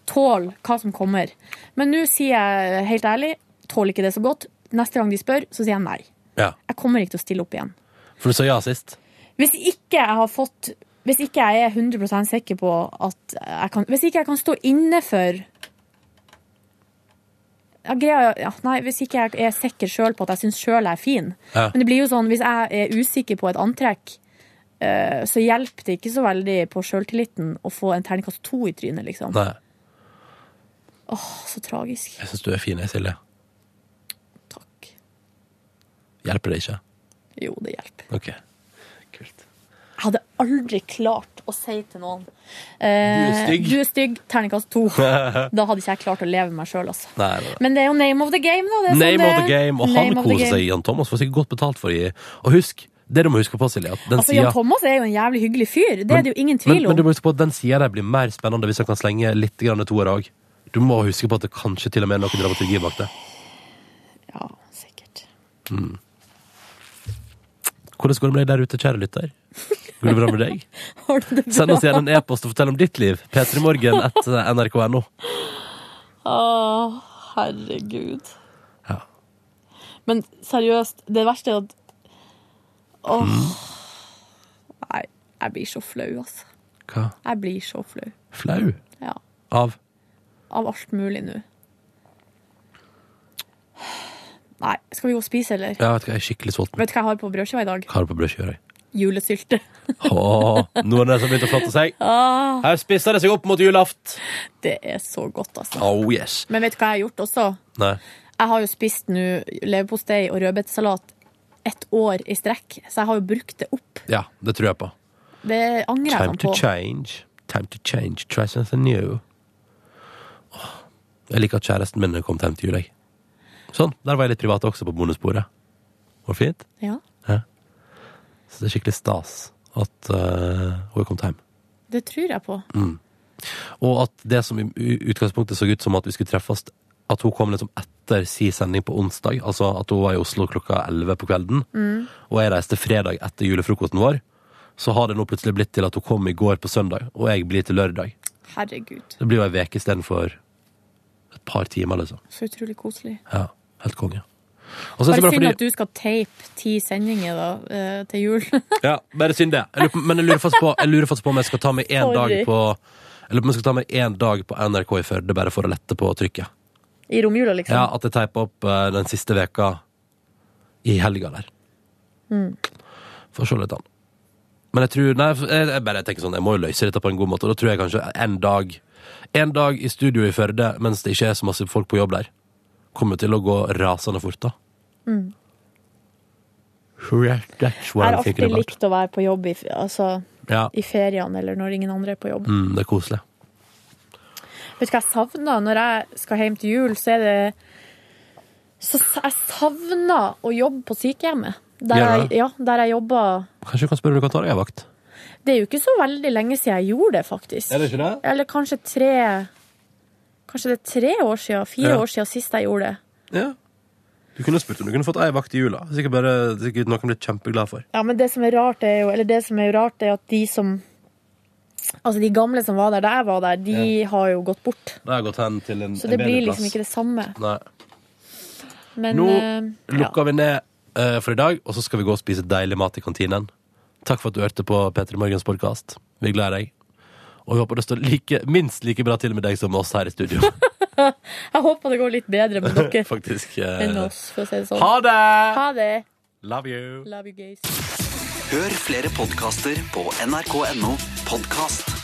[SPEAKER 4] tåle hva som kommer. Men nå sier jeg helt ærlig, tåler ikke det så godt. Neste gang de spør, så sier jeg nei.
[SPEAKER 2] Ja.
[SPEAKER 4] Jeg kommer ikke til å stille opp igjen.
[SPEAKER 2] For du sa ja sist.
[SPEAKER 4] Hvis ikke jeg har fått Hvis ikke jeg er 100 sikker på at jeg kan Hvis ikke jeg kan stå inne for ja, greia, ja, nei, Hvis ikke jeg er sikker sjøl på at jeg syns sjøl jeg er fin.
[SPEAKER 16] Ja.
[SPEAKER 4] Men det blir jo sånn, hvis jeg er usikker på et antrekk, eh, så hjelper det ikke så veldig på sjøltilliten å få en terningkast to i trynet, liksom.
[SPEAKER 2] Nei.
[SPEAKER 4] Åh, så tragisk.
[SPEAKER 2] Jeg syns du er fin, jeg, Silje. Takk. Hjelper det ikke?
[SPEAKER 4] Jo, det hjelper.
[SPEAKER 2] OK.
[SPEAKER 4] Jeg hadde aldri klart å si til noen
[SPEAKER 2] er stygg.
[SPEAKER 4] eh, Du er stygg, terningkast to. Da hadde ikke jeg klart å leve med meg sjøl, altså.
[SPEAKER 2] Nei, nei, nei.
[SPEAKER 4] Men det er jo name of the game, da. Det er sånn
[SPEAKER 2] Name of
[SPEAKER 4] det
[SPEAKER 2] the
[SPEAKER 4] er.
[SPEAKER 2] game, og
[SPEAKER 4] Name
[SPEAKER 2] han
[SPEAKER 4] of the
[SPEAKER 2] koser
[SPEAKER 4] game.
[SPEAKER 2] seg. Jan Thomas får sikkert godt betalt for det. Og husk, det du må huske på, Silje, at den
[SPEAKER 4] Altså, Jan
[SPEAKER 2] sida
[SPEAKER 4] Thomas er jo en jævlig hyggelig fyr. Det er det jo ingen tvil
[SPEAKER 2] men,
[SPEAKER 4] om.
[SPEAKER 2] men du må huske på at den sida der blir mer spennende hvis han kan slenge litt grann toer òg. Du må huske på at det kanskje til og med er noe dramaturgi bak det.
[SPEAKER 4] Ja, sikkert.
[SPEAKER 2] Mm. Hvordan går det med deg der ute, kjære lytter? Går det bra med deg?
[SPEAKER 4] Har du det bra?
[SPEAKER 2] Send oss gjerne en e-post og fortell om ditt liv. P3morgen etter nrk.no.
[SPEAKER 4] Å, herregud.
[SPEAKER 2] Ja.
[SPEAKER 4] Men seriøst, det verste er at Åh.
[SPEAKER 2] Mm.
[SPEAKER 4] Nei, jeg blir så flau, altså.
[SPEAKER 2] Hva?
[SPEAKER 4] Jeg blir så flau.
[SPEAKER 2] Flau?
[SPEAKER 4] Ja.
[SPEAKER 2] Av?
[SPEAKER 4] Av alt mulig nå. Nei, skal vi gå og spise, eller?
[SPEAKER 2] Jeg vet ikke, jeg er skikkelig sulten.
[SPEAKER 4] Vet du hva jeg har på brødskiva i dag?
[SPEAKER 2] Hva har du på brødskiva i dag?
[SPEAKER 4] Julesylte.
[SPEAKER 2] Åh, nå er det som begynte å flotte seg.
[SPEAKER 4] Ah,
[SPEAKER 2] Her spisser det seg opp mot julaft.
[SPEAKER 4] det er så godt, altså.
[SPEAKER 2] Oh yes.
[SPEAKER 4] Men vet du hva jeg har gjort også?
[SPEAKER 2] Nei.
[SPEAKER 4] Jeg har jo spist nå leverpostei og rødbetsalat ett år i strekk, så jeg har jo brukt det opp.
[SPEAKER 2] Ja, det tror jeg på.
[SPEAKER 4] Det angrer jeg
[SPEAKER 2] Time
[SPEAKER 4] meg
[SPEAKER 2] to
[SPEAKER 4] på.
[SPEAKER 2] change. Time to change. Try something new. Åh, Jeg liker at kjæresten min kom hjem til jul, jeg. Sånn. Der var jeg litt privat også, på bonussporet. Var det fint?
[SPEAKER 4] Ja,
[SPEAKER 2] Ja. Så det er skikkelig stas at eh, hun er kommet hjem.
[SPEAKER 4] det tror jeg på.
[SPEAKER 2] Mm. Og at det som i u- utgangspunktet så ut som at vi skulle treffes At hun kom liksom etter si sending på onsdag, altså at hun var i Oslo klokka 11 på kvelden,
[SPEAKER 16] Mm.
[SPEAKER 2] og jeg reiste fredag etter julefrokosten vår, så har det nå plutselig blitt til at hun kom i går på søndag, og jeg blir til lørdag.
[SPEAKER 4] Herregud,
[SPEAKER 2] Det blir jo ei uke istedenfor et par timer, liksom.
[SPEAKER 4] så utrolig koselig.
[SPEAKER 2] Ja, helt konge. Og så er det så
[SPEAKER 4] Bare
[SPEAKER 2] bra
[SPEAKER 4] synd
[SPEAKER 2] fordi-
[SPEAKER 4] at du skal teipe ti sendinger da, eh, til jul.
[SPEAKER 2] Ja, bare synd det. Jeg lurer, på- men jeg lurer faktisk på, jeg lurer faktisk på om jeg skal ta med én dag
[SPEAKER 4] Sorry.
[SPEAKER 2] på jeg lurer på om jeg skal ta med én dag på NRK i Førde, bare for å lette på trykket.
[SPEAKER 4] I romjula, liksom.
[SPEAKER 2] Ja, At jeg teipa opp eh, den siste veka i helga der.
[SPEAKER 4] Mm.
[SPEAKER 2] Får se litt an. Men jeg tror Nei, jeg, jeg bare tenker sånn, jeg må jo løse dette på en god måte, og da tror jeg kanskje en dag En dag i studio i Førde mens det ikke er så masse folk på jobb der, kommer til å gå rasende fort, da.
[SPEAKER 4] Mm.
[SPEAKER 2] That's
[SPEAKER 4] Jeg
[SPEAKER 2] what
[SPEAKER 4] har
[SPEAKER 2] I'm thinking
[SPEAKER 4] alltid
[SPEAKER 2] about.
[SPEAKER 4] likt å være på jobb i, f- altså,
[SPEAKER 2] Ja.
[SPEAKER 4] i feriene eller når ingen andre er på jobb.
[SPEAKER 2] Mm, det er koselig.
[SPEAKER 4] Vet du hva jeg savner? Når jeg skal hjem til jul, så er det så s- Jeg savner å jobbe på sykehjemmet. Der
[SPEAKER 2] Gjør du
[SPEAKER 4] jeg,
[SPEAKER 2] det?
[SPEAKER 4] ja, der jeg jobber
[SPEAKER 2] Kanskje du kan spørre om du kan ta deg en vakt?
[SPEAKER 4] Det er jo ikke så veldig lenge siden jeg gjorde det, faktisk.
[SPEAKER 2] Er det ikke det?
[SPEAKER 4] Eller kanskje tre Kanskje det er tre år siden, fire
[SPEAKER 2] Ja.
[SPEAKER 4] år siden sist jeg gjorde det.
[SPEAKER 2] Ja. Du kunne spurt om du kunne fått ei vakt i jula. Sikkert, bare, sikkert noen blitt kjempeglad for.
[SPEAKER 4] Ja, men det som er rart, er jo Eller det som er rart, er at de som Altså, de gamle som var der da jeg var der, de har jo gått bort.
[SPEAKER 2] Da har jeg gått hen til en,
[SPEAKER 4] Så det
[SPEAKER 2] en bedre
[SPEAKER 4] blir liksom
[SPEAKER 2] plass.
[SPEAKER 4] ikke det samme.
[SPEAKER 2] Nei.
[SPEAKER 4] Men
[SPEAKER 2] Nå
[SPEAKER 4] eh, ja.
[SPEAKER 2] lukker vi ned eh, for i dag, og så skal vi gå og spise deilig mat i kantinen. Takk for at du hørte på P3 Morgens podkast. Vi er glad i deg. Og vi håper det står like, minst like bra til med deg som med oss her i studio.
[SPEAKER 4] Jeg håper det går litt bedre med dere
[SPEAKER 2] Faktisk. eh,
[SPEAKER 4] enn oss, for å si det sånn.
[SPEAKER 2] Ha det!
[SPEAKER 4] Ha det!
[SPEAKER 2] Love you.
[SPEAKER 4] Love you guys.
[SPEAKER 16] Hør flere podkaster på nrk.no podkast.